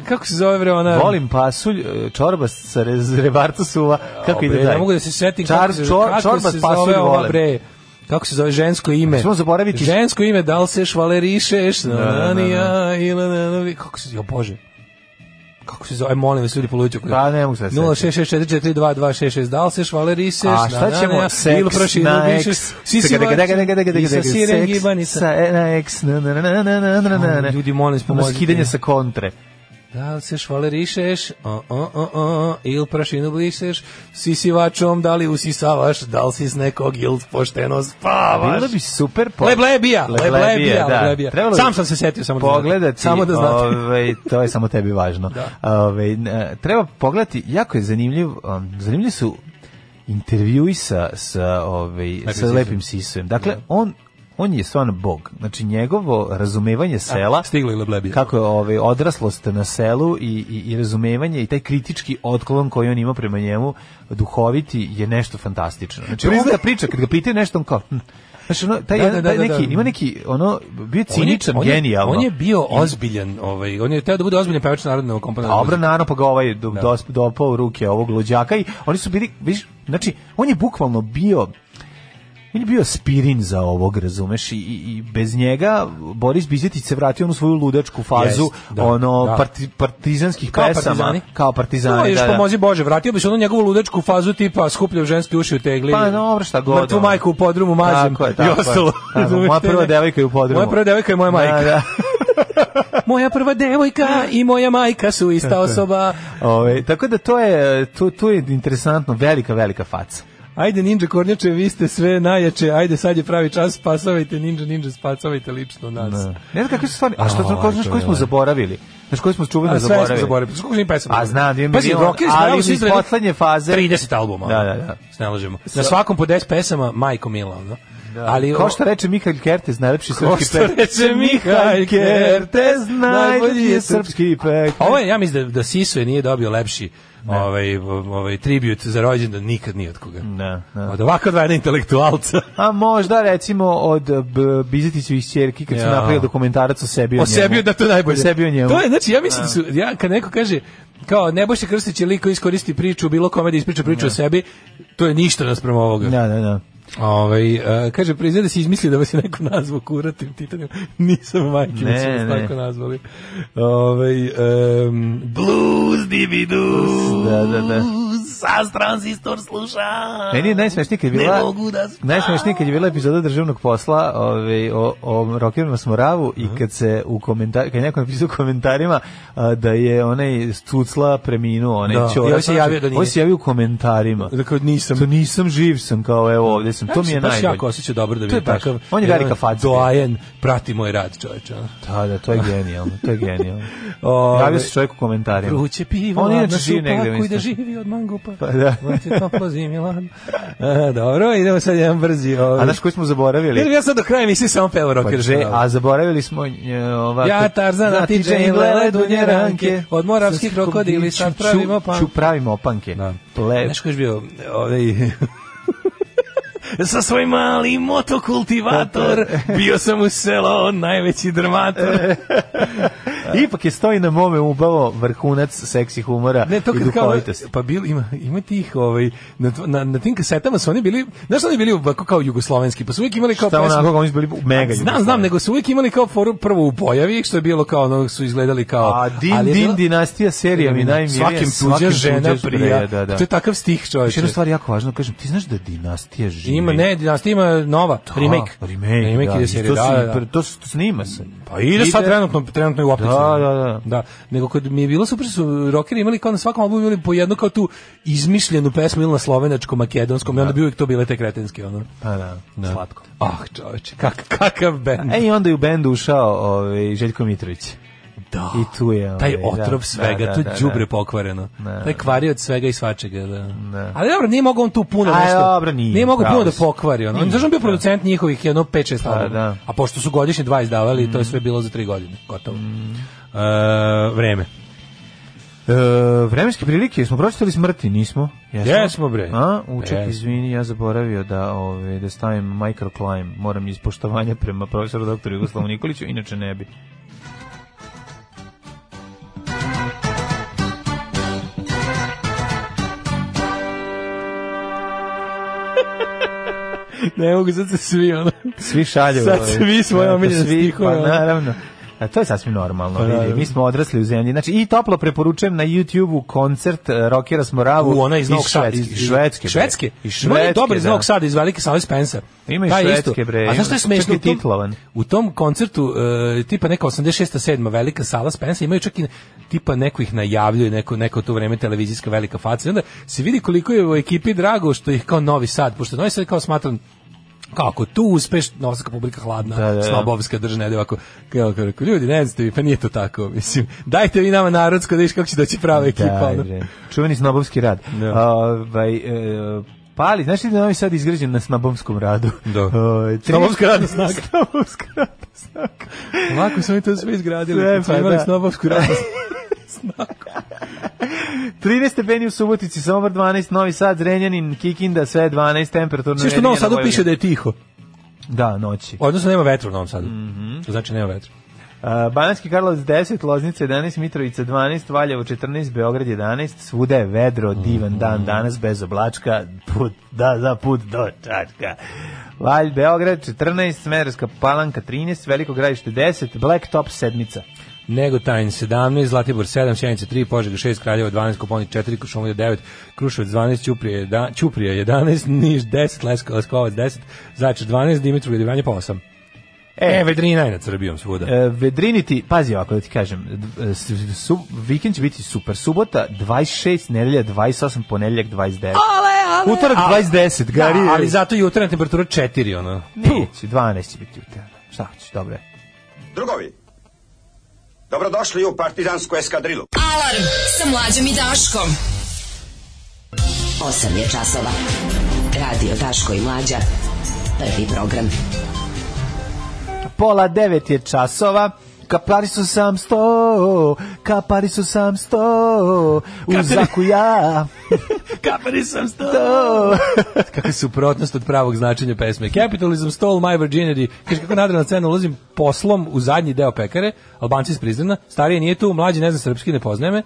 S6: kako se zove, bre, ona...
S7: Volim pasulj, e, čorba sa rez- rebarcu suva. Kako ide
S6: bre,
S7: dalje?
S6: Ne mogu da se setim
S7: Čar-
S6: kako se,
S7: čor-
S6: kako
S7: čorba
S6: se
S7: s pasulj
S6: zove ova
S7: volim.
S6: bre. Kako se zove žensko ime?
S7: Možemo zaboraviti-
S6: Žensko ime, da li se švalerišeš? Na,
S7: da, da.
S6: na, ni ja, ila, na, na, vi- Kako se, jo bože. Kako se zove, Aj, molim vas ljudi poluću.
S7: Pa, ne mogu se setiti.
S6: 0664422266, da li se švalerišeš?
S7: A šta ćemo?
S6: Ili
S7: Seks
S6: prošinu
S7: na
S6: bišeš,
S7: eks.
S6: si si
S7: Čekaj, čekaj, čekaj, čekaj, čekaj,
S6: i sa
S7: čekaj,
S6: sirem
S7: seks
S6: gibanica.
S7: sa- e, na eks, na, na, na, na, na, na, na, na, na.
S6: Ljudi, molim vas,
S7: Ono
S6: pomozite.
S7: skidanje sa kontre.
S6: Da li se švalerišeš, o, o, o, o, ili prašinu blišeš, sisivačom da li usisavaš, da li si s nekog ili pošteno spavaš.
S7: Bilo bi super po-
S6: Leblebija,
S7: Leblebija,
S6: leblebija,
S7: da.
S6: leblebija.
S7: Trebalo bi
S6: Sam sam se setio, samo da znate.
S7: pogledati,
S6: Samo da znate.
S7: ovaj, to je samo tebi važno. Ovaj, n- treba pogledati, jako je zanimljiv, um, zanimljivi su intervjui sa, sa, ovaj, sa
S6: Sisem.
S7: lepim sisujem. Dakle, on on je stvarno bog. Znači, njegovo razumevanje sela...
S6: stiglo je leblebija.
S7: Kako je ovaj, odraslost na selu i, i, i razumevanje i taj kritički otklon koji on ima prema njemu, duhoviti, je nešto fantastično. Znači, on kad priča, kad ga pitaju nešto, on kao... hm. Znači, ono, taj,
S6: Da,
S7: jedan-
S6: da, da,
S7: taj
S6: da,
S7: neki,
S6: da.
S7: ima neki, ono, bio je
S6: On je-
S7: ciničan,
S6: on je-
S7: genijalno.
S6: On je bio ozbiljan, ovaj, on je teo da bude ozbiljan pevač narodnog komponenta.
S7: A obra naravno pa ga ovaj do, dos, dopao u ruke ovog luđaka i oni su bili, viš, znači, on je bukvalno bio on je bio spirin za ovog, razumeš, i, i i bez njega Boris Bizetić se vratio u onu svoju ludačku fazu,
S6: Jest, da,
S7: ono,
S6: da.
S7: parti- partizanskih
S6: Kao
S7: pesama.
S6: partizani.
S7: Kao
S6: No,
S7: partizani,
S6: još
S7: da, da.
S6: pomozi Bože, vratio bi se u onu njegovu ludačku fazu tipa skupljao ženske uši u tegli.
S7: Pa, dobro, šta god,
S6: Mrtvu
S7: ono.
S6: majku u podrumu mazem
S7: Tako je,
S6: i
S7: tako je.
S6: ostalo.
S7: Tako,
S6: Razumeš,
S7: moja
S6: te
S7: prva
S6: ne-
S7: devojka je u podrumu.
S6: Moja prva devojka je moja majka.
S7: Da, da.
S6: Moja prva devojka i moja majka su ista osoba.
S7: Ove, tako da to je, tu, tu je interesantno, velika, velika faca.
S6: Ajde Ninja Kornjače, vi ste sve najjače. Ajde sad je pravi čas, spasavajte Ninja Ninja, spasavajte lično nas.
S7: Ne znam kakve su stvari, a što,
S6: Aj,
S7: to, znaš
S6: to
S7: koji
S6: je,
S7: smo
S6: da.
S7: zaboravili? Znaš koji smo čuveno
S6: A sve smo
S7: zaboravili?
S6: zaboravili. Skoliko ima pesama?
S7: A znam, dvije
S6: Pazi,
S7: milion,
S6: Rockers
S7: ali
S6: Brothers
S7: iz
S6: izradi
S7: poslednje faze-
S6: 30 albuma. ono.
S7: Da, da, da.
S6: Se ne lažemo. Na svakom po 10 pesama, majko mila, ono. Ali,
S7: Kao što reče Mihajl Kertes, najlepši
S6: Ko
S7: srpski
S6: što
S7: pek.
S6: reče Mihajl Kertes, najbolji je srpski
S7: pek.
S6: Ovo je, ja mislim da, da Siso je nije dobio lepši ovaj, ovaj tribut za rođendan nikad ni od koga.
S7: Ne, ne.
S6: Od ovako dva intelektualca.
S7: A možda recimo od Bizetićevih ćerki kad su
S6: Ja.
S7: napravili dokumentarac o sebi i
S6: o
S7: o njemu.
S6: sebi da to je najbolje.
S7: O sebi i o njemu.
S6: To je znači ja mislim da su ja kad neko kaže kao Nebojša Krstić je lik koji iskoristi priču bilo kome da ispriča priču o sebi, to je ništa naspram ovoga.
S7: Da, da, da.
S6: Ovaj e, kaže priznaje da si izmislio da vas je neko nazvao kuratim titanima. Nisam majke, mi su
S7: Ne,
S6: vas
S7: ne.
S6: tako nazvali. Ovaj em, blues dividu.
S7: Da, da, da.
S6: Sas transistor sluša.
S7: Meni je najsmešnije kad je
S6: Ne
S7: bila
S6: mogu da spavam.
S7: najsmešnije kad je bila epizoda državnog posla, ovaj o o rokerima na Smoravu
S6: Mhm.
S7: i kad se u komentar kad je neko napisao u komentarima a, da je onaj Stucla preminuo, onaj
S6: Da,
S7: da.
S6: i ovaj se javio da nije.
S7: se javio u komentarima.
S6: Dakle, nisam.
S7: To nisam živ sam kao evo ovdje sam. To mi je
S6: baš
S7: najbolje.
S6: jako osjećao dobro da
S7: To je
S6: vidim
S7: baš-
S6: takav.
S7: on je
S6: jedan
S7: velika faca.
S6: Doajen, prati moj rad, čoveče. ono.
S7: Da, da, to je genijalno, to je genijalno.
S6: Ove-
S7: Javio se čovjek u komentarima.
S6: Vruće pivo,
S7: On
S6: on
S7: inače
S6: je
S7: živi negde,
S6: negde, da
S7: mislim.
S6: živi od mangupa.
S7: Pa da.
S6: Vruće toplo zimi, ladno. E, dobro, idemo sad jedan brzi. Ovaj.
S7: A znaš koji smo
S6: Jer
S7: zaboravili?
S6: ja sad do kraja mislim samo peo rock
S7: Pa
S6: and
S7: dže,
S6: roll.
S7: a zaboravili smo e, ovako. znači,
S6: Ja Tarzan, a ti Džejle, ledunje ranke, od moravskih krokodili sad
S7: Ču-
S6: pravimo opanke.
S7: Ču pravimo opanke.
S6: Da.
S7: Ple,
S6: Znaš ko je još bio ovaj... Sa svoj mali motokultivator bio sam u selo najveći drmator.
S7: Ipak je stoji na mome ubavo vrhunac seksi humora
S6: Ne, to
S7: i
S6: kad kao,
S7: duhovitosti.
S6: pa bil, ima, ima tih, ovaj, na, tv- na, na tim kasetama su oni bili, znaš oni bili ovako kao jugoslovenski, pa su uvijek imali kao
S7: Šta
S6: pesmu-
S7: onako, oni su bili mega
S6: Znam, znam, nego su uvijek imali kao foru prvo u pojavi, što je bilo kao ono su izgledali kao...
S7: A din,
S6: ali je
S7: din,
S6: bilo-
S7: dinastija serija mi najmilija.
S6: Svakim tuđa
S7: svakim
S6: žena
S7: tuđa
S6: prija. Znači,
S7: Da, Znači, da.
S6: To je takav stih
S7: Još
S6: čovječe.
S7: jedna stvar jako važna, kažem, ti znaš da dinastija živi?
S6: Ima, ne, dinastija ima nova, remake.
S7: A, remake, da.
S6: ide
S7: i
S6: serija,
S7: to,
S6: da,
S7: se
S6: da,
S7: i
S6: da.
S7: pre- to, se- to snima se.
S6: Pa ide sad trenutno, trenutno je u optici.
S7: Da, da, da.
S6: Nego kad mi je bilo super, su rockeri imali kao na svakom albumu imali po jednu kao tu izmišljenu pesmu ili na slovenačkom, makedonskom, i onda bi uvijek to bile te kretenske, ono.
S7: Pa da, slatko.
S6: Ah, čoveče, kak, kakav band.
S7: E i onda je u bendu ušao ovaj, Željko Mitrović.
S6: da.
S7: I tu je, ovaj,
S6: taj otrov
S7: da,
S6: svega,
S7: da,
S6: to
S7: da, da,
S6: đubre
S7: da.
S6: pokvareno.
S7: Da,
S6: taj
S7: da.
S6: kvari od svega i svačega, da. Ali dobro, nije mogao on tu puno
S7: A,
S6: nešto.
S7: dobro, nije,
S6: mogao
S7: pravo
S6: puno da
S7: si.
S6: pokvari on. On
S7: Nije,
S6: zašto je bio
S7: da. Pa,
S6: producent njihovih jedno 5 6 albuma.
S7: da. Mm.
S6: A pošto su godišnje dva izdavali, to je sve bilo za 3 godine, gotovo. E, vreme.
S7: E, vremenske prilike, smo pročitali smrti, nismo?
S6: Jesmo, bre.
S7: A, uček,
S6: Jesmo.
S7: izvini, ja zaboravio da, ove, da stavim microclimb. Moram iz poštovanja prema profesoru doktoru Jugoslavu Nikoliću, inače ne bi.
S6: Ne mogu sad se svi ono.
S7: Svi šalju.
S6: Sad
S7: ovaj,
S6: svi svoje
S7: da,
S6: omiljene
S7: svi,
S6: stihove,
S7: Pa
S6: ono. Pa
S7: naravno. A to je sasvim normalno, vidi, mi smo odrasli u zemlji. Znači, i toplo preporučujem na YouTube-u koncert e, Rockera Smoravu.
S6: U ona iz Novog Sada.
S7: Švedske. Iz Švedske. bre.
S6: Švedske.
S7: Iz
S6: Ima onaj
S7: Švedske,
S6: dobar iz
S7: da.
S6: Novog Sada, iz Velike Save Spensa.
S7: Ima i
S6: Taj isto.
S7: Švedske, bre,
S6: A znaš što je
S7: ima.
S6: smešno?
S7: Čak i
S6: U tom-
S7: titlovan.
S6: U tom koncertu, e, tipa neka 86. 7. Velika Sala Spensa, imaju čak i tipa neko ih najavljuje, neko, neko to vreme televizijska velika faca. I onda se vidi koliko je u ekipi drago što ih kao Novi Sad, pošto Novi Sad kao smatram kako tu uspeš, novska publika hladna,
S7: Da, da, da.
S6: slabovska drža, ne ovako, kao, kao, rekao, ljudi, ne znate vi, pa nije to tako, mislim, dajte vi nama narodsko, da viš kako će doći prava ekipa.
S7: Da,
S6: ono.
S7: bre. Čuveni snobovski rad.
S6: Da.
S7: Ovaj, e, pali, znaš li da je Novi Sad izgrađen na snobovskom radu?
S6: Da.
S7: Ovaj, tri-
S6: Snobovska radna snaga.
S7: snobovska radna snaga.
S6: Ovako su oni to sve izgradili,
S7: Sve,
S6: kad su
S7: pa
S6: imali
S7: da.
S6: snobovsku radnu
S7: 13 stepeni u Subotici, Sombor 12, Novi Sad, Zrenjanin, Kikinda, sve 12, temperaturno
S6: Sve što u Novom Sadu piše da je tiho.
S7: Da, noći.
S6: Odnosno nema vetra u Novom Sadu.
S7: Mhm.
S6: To znači nema vetra.
S7: Uh, Bananski Karlovac 10, Loznica 11, Mitrovica 12, Valjevo 14, Beograd 11, svuda je vedro, divan
S6: Mhm.
S7: dan danas, bez oblačka, put, da, za put do Čačka. Valj, Beograd 14, Smederska palanka 13, Veliko gradište 10, Blacktop sedmica.
S6: Negotajn 17, Zlatibor 7, Sjenica 3, Požega 6, Kraljevo 12, Koponik 4, Košumlija 9, Kruševac 12, Ćuprija 11, Ćuprija 11 Niš 10, Lesko- Leskovac 10, Zaječar 12, Dimitrovgrad i Vranje po 8. E, vedrina je nad Srbijom svuda.
S7: E, Vedriniti, pazi ovako da ti kažem, d- e, s- su, vikend će biti super. Subota 26, nedelja 28, ponedeljak 29.
S6: ale,
S7: Utorak 20, gari.
S6: Da, ali zato jutarnja temperatura 4, ono.
S7: Neće, 12 će biti utorak. Šta hoćeš, dobro je.
S11: Drugovi, dobrodošli u partizansku eskadrilu.
S5: Alarm sa mlađom i Daškom.
S12: 8 je časova. Radio Daško i Mlađa. Prvi program.
S7: Pola devet je časova. Kapari su sam sto, kapari su sam sto, u zaku ja.
S6: Kapari sam sto. Kakva je suprotnost od pravog značenja pesme. Capitalism stole my virginity. Kaže kako nadrena scena ulazim poslom u zadnji deo pekare, Albanci iz Prizrena, starije nije tu, mlađi ne zna srpski, ne poznaje me.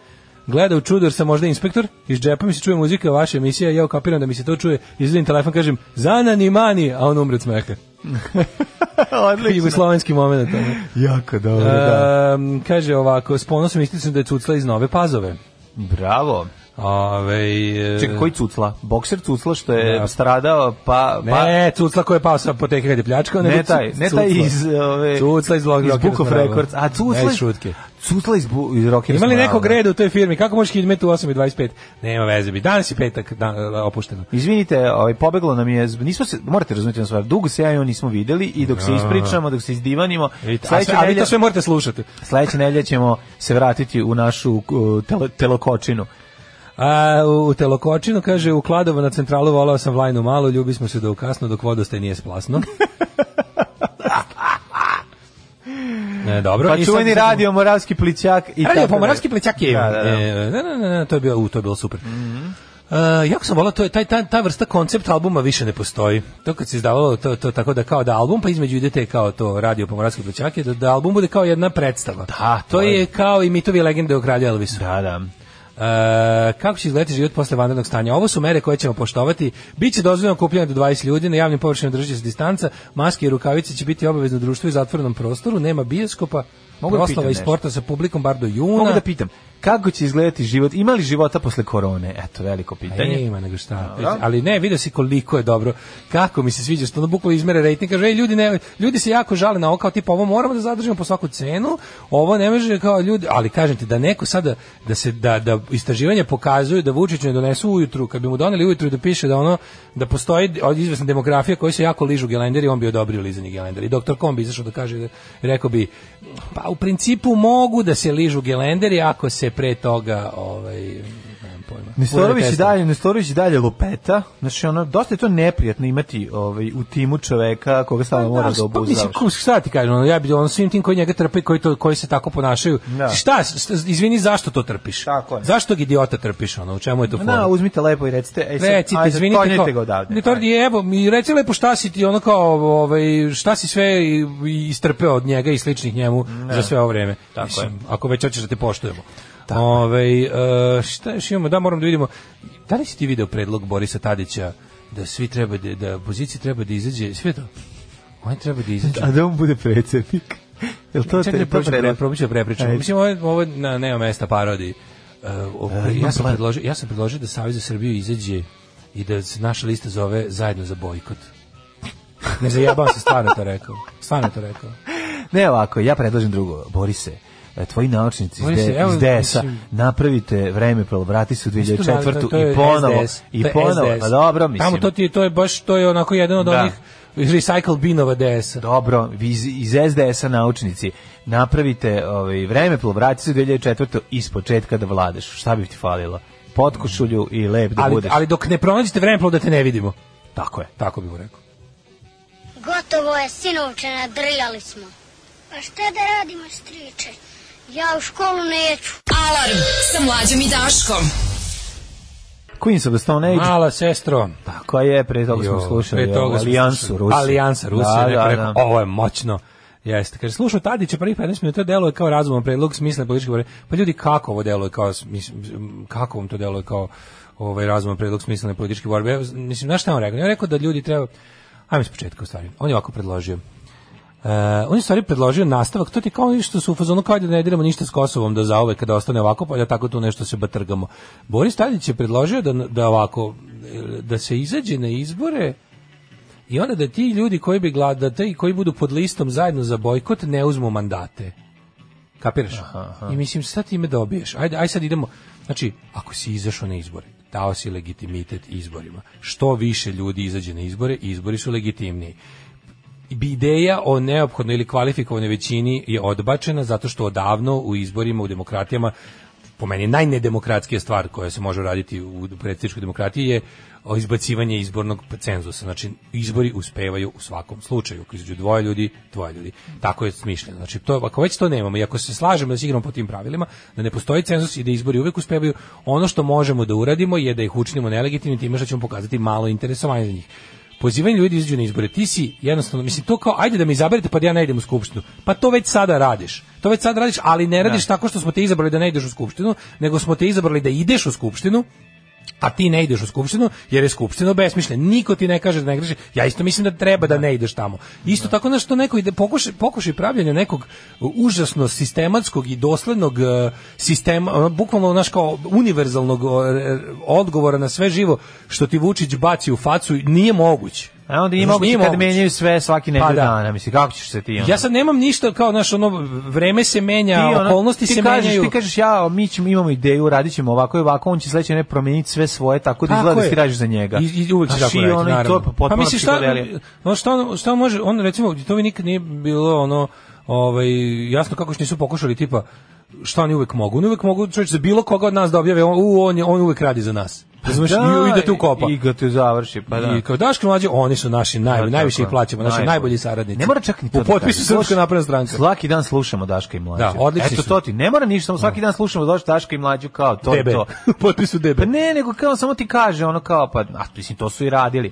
S6: Gleda u čudu jer sam možda inspektor, iz džepa mi se čuje muzika, vaša emisija, ja kapiram da mi se to čuje, izvedim telefon, kažem, zana ni mani, a on umre od smeha. Jugoslovenski moment. ono.
S7: jako dobro,
S6: Ehm, kaže ovako, s ponosom isticam da je cucla iz nove pazove.
S7: Bravo.
S6: Ove,
S7: Čekaj, koji cucla? Bokser cucla što je
S6: Da.
S7: stradao, pa... pa
S6: Ne, Cucla koji je pao sa apoteke kad je pljačkao, nego
S7: Ne taj,
S6: Cu-
S7: ne taj
S6: Cucla.
S7: iz ove
S6: Cucla iz Lock-
S7: iz
S6: Rockers
S7: Book of
S6: Morava.
S7: Records, a Cucla
S6: Ne,
S7: iz-
S6: šutke.
S7: Cucla iz Bu- iz Rockers.
S6: Ima li
S7: Morava.
S6: nekog reda u toj firmi? Kako možeš hidmet u 8.25? Nema veze, bi. Danas je petak, dan, opušteno.
S7: Izvinite, ovaj pobeglo nam je, nismo se, morate razumjeti na stvar, dugo se ja i on nismo videli i dok se ispričamo, dok se izdivanimo,
S6: Vidite, a
S7: sledeće
S6: sve- a vi
S7: nedelje-
S6: to sve morate slušati.
S7: Sledeće nedelje ćemo se vratiti u našu uh, tele, telokočinu.
S6: A, u Telokočinu, kaže, u Kladovo na centralu volao sam Vlajnu malo, ljubi smo se do ukasno, dok vodostaj nije splasno. E, dobro.
S7: Pa
S6: i sad-
S7: čuveni radio Moravski plićak i
S6: Radio
S7: tako
S6: Pomoravski
S7: dalje.
S6: plećak je.
S7: Da, da, Mhm. da.
S6: E, Ne, ne, ne, ne, to je bilo, u, to je bilo super. E, jako sam volao, to je, taj, taj, ta vrsta koncept albuma više ne postoji. To kad se izdavalo, to, to tako da kao da album, pa između ide te kao to radio Pomoravski plećak, je da, da album bude kao jedna predstava.
S7: Da,
S6: to,
S7: to
S6: je,
S7: je.
S6: kao i mitovi i legende o kralju Elvisu.
S7: Da, da.
S6: E, kako će izgledati život posle vanrednog stanja? Ovo su mere koje ćemo poštovati. Biće dozvoljeno kupljanje do 20 ljudi, na javnim površinama drži se distanca, maske i rukavice će biti obavezno u društvu i zatvorenom prostoru, nema bioskopa,
S7: Mogu da
S6: proslava
S7: pitam
S6: i
S7: nešto?
S6: sporta sa publikom bar do juna.
S7: Mogu da pitam, kako će izgledati život? Ima li života posle korone? Eto, veliko pitanje.
S6: Nema nego šta. Ali ne, vidio si koliko je dobro. Kako mi se sviđa što ono bukvalno izmere rejting. Kaže, ej, ljudi, ne, ljudi se jako žale na ovo, kao tipa, ovo moramo da zadržimo po svaku cenu, ovo ne može kao ljudi, ali kažem ti da neko sada, da se, da, da istraživanja pokazuju da Vučiću ne donesu ujutru, kad bi mu doneli ujutru da piše da ono da postoji od izvesna demografija koji se jako ližu gelenderi, on bi odobrio lizanje gelendera. I doktor Kom bi izašao da kaže da rekao bi pa u principu mogu da se ližu gelenderi ako se pre toga ovaj nemam pojma.
S7: Nestorović i
S6: urede
S7: dalje, Nestorović i dalje lupeta. Znači ono dosta je to neprijatno imati ovaj u timu čoveka koga stalno
S6: Pa,
S7: moraš
S6: ali
S7: da
S6: pa, mislim,
S7: obuzdavaš.
S6: ko- šta ti kažem, ono, ja bi on svim tim koji njega trpe i koji, to, koji se tako ponašaju.
S7: Da.
S6: Šta, šta, izvini, zašto to trpiš? Tako je. Zašto tog idiota trpiš, ono, u čemu je to fora?
S7: Na, uzmite lepo i recite, ej E, sad,
S6: Recite,
S7: ajde,
S6: izvinite,
S7: konjete
S6: kao,
S7: ga odavde.
S6: ne tvrdi, evo, mi reci lepo šta si ti ono kao, ovaj, šta si sve i- i istrpeo od njega i sličnih njemu
S7: Ne.
S6: za sve ovo vreme.
S7: Tako je.
S6: Ako već hoćeš da te poštujemo. Ovaj, e, šta još imamo? Da, moram da vidimo. Da li si ti video predlog Borisa Tadića da svi treba da, da pozicija treba da izađe, sve to? Oni treba da izađu.
S7: A da on bude predsjednik. Jel to
S6: Čekaj,
S7: te
S6: probat ću
S7: to
S6: pre- probat ću da prepričam.
S7: Ajde.
S6: Mislim, ovo, je- ovo je na, nema mesta parodiji. E, o-
S7: E, imam
S6: ja, sam
S7: plan.
S6: predložio, ja sam predložio da Savez za Srbiju izađe i da se naša lista zove zajedno za bojkot. Ne zajebam se, stvarno to rekao. Stvarno to rekao.
S7: Ne ovako, ja predlažem drugo. Borise, e, tvoji naučnici iz,
S6: Borise,
S7: D-
S6: evo,
S7: iz DS-a,
S6: mislim-
S7: napravite vreme, prvo, vrati se u
S6: Mislim, to- to- to
S7: 2004.
S6: je
S7: i ponovo,
S6: SDS,
S7: i
S6: to je
S7: ponovo,
S6: SDS.
S7: pa dobro, mislim.
S6: Tamo to ti je, to je baš, to je onako jedan od
S7: Da.
S6: onih recycle binova DS-a.
S7: Dobro, vi iz, iz SDS-a naučnici, napravite ovaj, vreme, plo, vrati se u 2004. iz početka da vladaš. Šta bi ti falilo? Potkošulju i lep da
S6: ali,
S7: budeš.
S6: ali dok ne pronađete vremenplov da te ne vidimo.
S7: Tako je.
S6: Tako bi mu rekao.
S13: Gotovo je, sinovče, nadrljali smo. A šta da radimo, striče? Ja u školu neću.
S12: Alarm sa mlađom i Daškom.
S7: Queens of the Stone Age.
S6: Mala sestro.
S7: Tako je, pre toga smo
S6: Jo,
S7: slušali
S6: pre toga
S7: ovu
S6: smo
S7: Alijansu
S6: slušali.
S7: Rusije.
S6: Alijansa Rusije, neko rekao, ovo je moćno. Jeste, kaže, slušao Tadića prvih 15 minuta, deluje kao razuman predlog, smislen politički govor. Pa ljudi, kako ovo deluje kao, mislim, kako vam to deluje kao ovaj razuman predlog smislene političke borbe? Ja, mislim, znaš šta on rekao? On je rekao da ljudi treba, ajmo s početka u stvari, on je ovako predložio. Uh, on je u stvari predložio nastavak, to ti je kao ono što su u fazonu kao da ne diramo ništa s Kosovom da zauvek kada ostane ovako, pa da tako tu nešto se batrgamo. Boris Tadić je predložio da, da ovako, e, da se izađe na izbore i onda da ti ljudi koji bi gladate i koji budu pod listom zajedno za bojkot ne uzmu mandate. Kapiraš? I mislim, šta ti ime dobiješ? Ajde, aj sad idemo. Znači, ako si izašao na izbore, dao si legitimitet izborima, što više ljudi izađe na izbore, izbori su legitimniji bi ideja o neophodnoj ili kvalifikovanoj većini je odbačena zato što odavno u izborima u demokratijama po meni najnedemokratskija stvar koja se može raditi u predsjedničkoj demokratiji je o izbacivanje izbornog cenzusa. Znači, izbori uspevaju u svakom slučaju. Ako izađu dvoje ljudi, dvoje ljudi. Tako je smišljeno. Znači, to, ako već to nemamo i ako se slažemo da se igramo po tim pravilima, da ne postoji cenzus i da izbori uvek uspevaju, ono što možemo da uradimo je da ih učinimo nelegitimnim time što ćemo pokazati malo interesovanja za njih pozivanje ljudi da izađu na izbore. Ti si jednostavno, mislim, to kao, ajde da me izaberete pa da ja ne idem u skupštinu. Pa to već sada radiš. To već sada radiš, ali ne radiš tako što smo te izabrali da ne ideš u skupštinu, nego smo te izabrali da ideš u skupštinu, a ti ne ideš u skupštinu jer je skupština besmišljena. Niko ti ne kaže da ne greši. Ja isto mislim da treba da ne ideš tamo. Isto tako na što neko ide pokušaj pokušaj pravljenja nekog užasno sistematskog i doslednog e, sistema, ono, bukvalno naš kao univerzalnog o, e, odgovora na sve živo što ti Vučić baci u facu nije moguć.
S7: A E, onda nije
S6: Znaš,
S7: moguće kad
S6: moguć.
S7: menjaju sve svaki nedelj
S6: Pa da.
S7: dana. Mislim, kako ćeš se ti onda?
S6: Ja sad nemam ništa kao naš ono vreme se menja,
S7: Ti, ono,
S6: okolnosti
S7: ti
S6: se
S7: kažeš,
S6: menjaju.
S7: Ti kažeš, ja, mi ćemo, imamo ideju, radit ćemo ovako i ovako, on će sledeće ne promeniti sve svoje, tako da
S6: Tako
S7: izgleda da
S6: je.
S7: ti radiš za njega.
S6: I, i uvek će
S7: Znaš,
S6: tako
S7: i
S6: raditi,
S7: ono, i to je
S6: naravno.
S7: pa potpuno
S6: mislim, šta,
S7: psihodelija.
S6: no, šta, on, šta on može, on recimo, to mi nikad nije bilo ono, ovaj, jasno kako što nisu pokušali, tipa, šta oni uvek mogu? Oni uvek mogu, čovječ, za bilo koga od nas da objave, on, u, on, je- on uvek radi za nas. Razumeš, da, i da te ukopa.
S7: Pa I ga te završi, pa da.
S6: I kao Daško mlađe, oni su naši
S7: Da,
S6: najbolji, najviše
S7: tako
S6: ih plaćamo, naši
S7: Najbolji.
S6: najbolji saradnici.
S7: Ne mora čak ni to.
S6: U potpisu Srpska napredna stranka.
S7: Svaki dan slušamo Daška i Mlađu.
S6: Da, odlični
S7: Eto
S6: su.
S7: to ti, ne mora ništa, samo svaki dan slušamo Daš- Daška i Mlađu kao to
S6: Debe.
S7: to.
S6: U potpisu Debe.
S7: Pa ne, nego kao samo ti kaže ono kao pa, a, mislim to su i radili.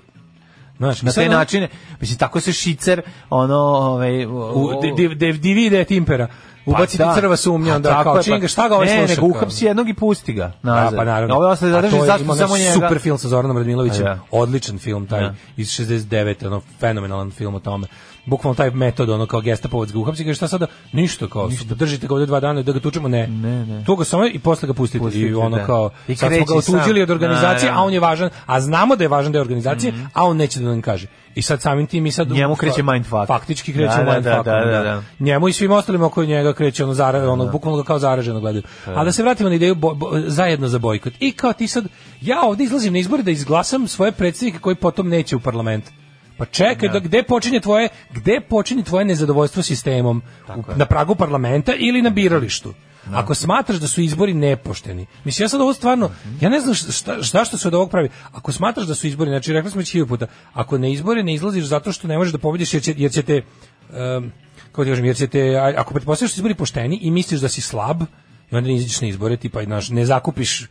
S6: Znaš,
S7: Na
S6: i sad ono,
S7: taj
S6: on-
S7: način, mislim tako se šicer ono, ovaj pa
S6: u de, de, de, divide et impera. Ubaci ti crva sumnja, onda kao činga, šta ga ovaj
S7: ne,
S6: sluša?
S7: nego
S6: kao?
S7: uhapsi jednog i pusti ga
S6: Da,
S7: nazad.
S6: pa naravno.
S7: Ove ostale
S6: A to
S7: zadrži,
S6: je
S7: zašto
S6: ima
S7: samo
S6: onaj
S7: njega?
S6: Super film sa Zoranom Radmilovićem,
S7: A da.
S6: odličan film taj
S7: Da.
S6: iz 69, ono fenomenalan film o tome. bukvalno taj metod ono kao gestapovac ga uhapsi kaže šta sada ništa kao ništa. držite ga ovde dva dana da ga tučemo ne,
S7: ne, ne.
S6: to ga samo i posle ga pustite,
S7: Pustite,
S6: i ono
S7: da.
S6: kao
S7: I
S6: sad smo
S7: kreće
S6: ga otuđili
S7: sam.
S6: od organizacije a
S7: Naravno. Mhm.
S6: on je važan a znamo da je važan deo organizacije a on neće da nam kaže i sad samim tim i sad
S7: Njemu kreće mindfuck.
S6: faktički kreće
S7: Da, da,
S6: mindfuck, ono,
S7: da, da, da.
S6: njemu i svim ostalima oko njega kreće ono zara, ono bukvalno ga kao zaraženo gledaju. A da se vratimo na ideju bo- bo- zajedno za bojkot. I kao ti sad ja ovdje izlazim na izbore da izglasam svoje predsjednike koji potom neće u parlament. Pa čekaj, da gde počinje tvoje gde počinje tvoje nezadovoljstvo sistemom? U- na pragu parlamenta ili na biralištu? Ako smatraš da su izbori nepošteni. Mislim, ja sad ovo stvarno, ja ne znam šta, šta- zašto se od ovog pravi. Ako smatraš da su izbori, znači rekli smo već hiljadu puta, ako na izbore ne izlaziš zato što ne možeš da pobediš jer, će, jer će te em, kako ti kažem, jer će te, a- ako pretpostavljaš da su izbori pošteni i misliš da si slab, i onda ne izađeš na izbore, tipa, znaš, ne zakupiš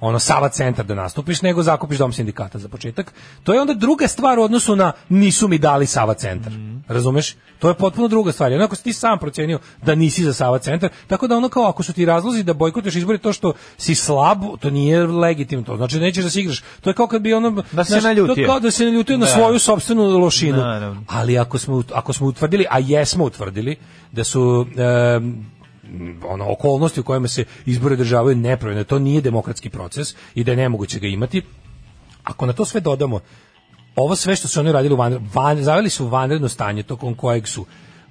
S6: ono Sava centar da nastupiš, nego zakupiš dom sindikata za početak. To je onda druga stvar u odnosu na nisu mi dali Sava centar.
S7: Mhm.
S6: Razumeš? To je potpuno druga stvar. Onako si ti sam procenio da nisi za Sava centar, tako da ono kao ako su ti razlozi da bojkotuješ izbore to što si slab, to nije legitimno. To znači da nećeš da se igraš. To je kao kad bi ono
S7: Da si
S6: znaš,
S7: se naljutio.
S6: to je kao da se naljutio na
S7: Da.
S6: svoju sopstvenu lošinu.
S7: Naravno.
S6: Ali ako smo ut- ako smo utvrdili, a jesmo utvrdili da su em, ono okolnosti u kojima se izbori održavaju nepravedne, to nije demokratski proces i da je nemoguće ga imati. Ako na to sve dodamo ovo sve što su oni radili u vanre- van, zaveli su u vanredno stanje tokom kojeg su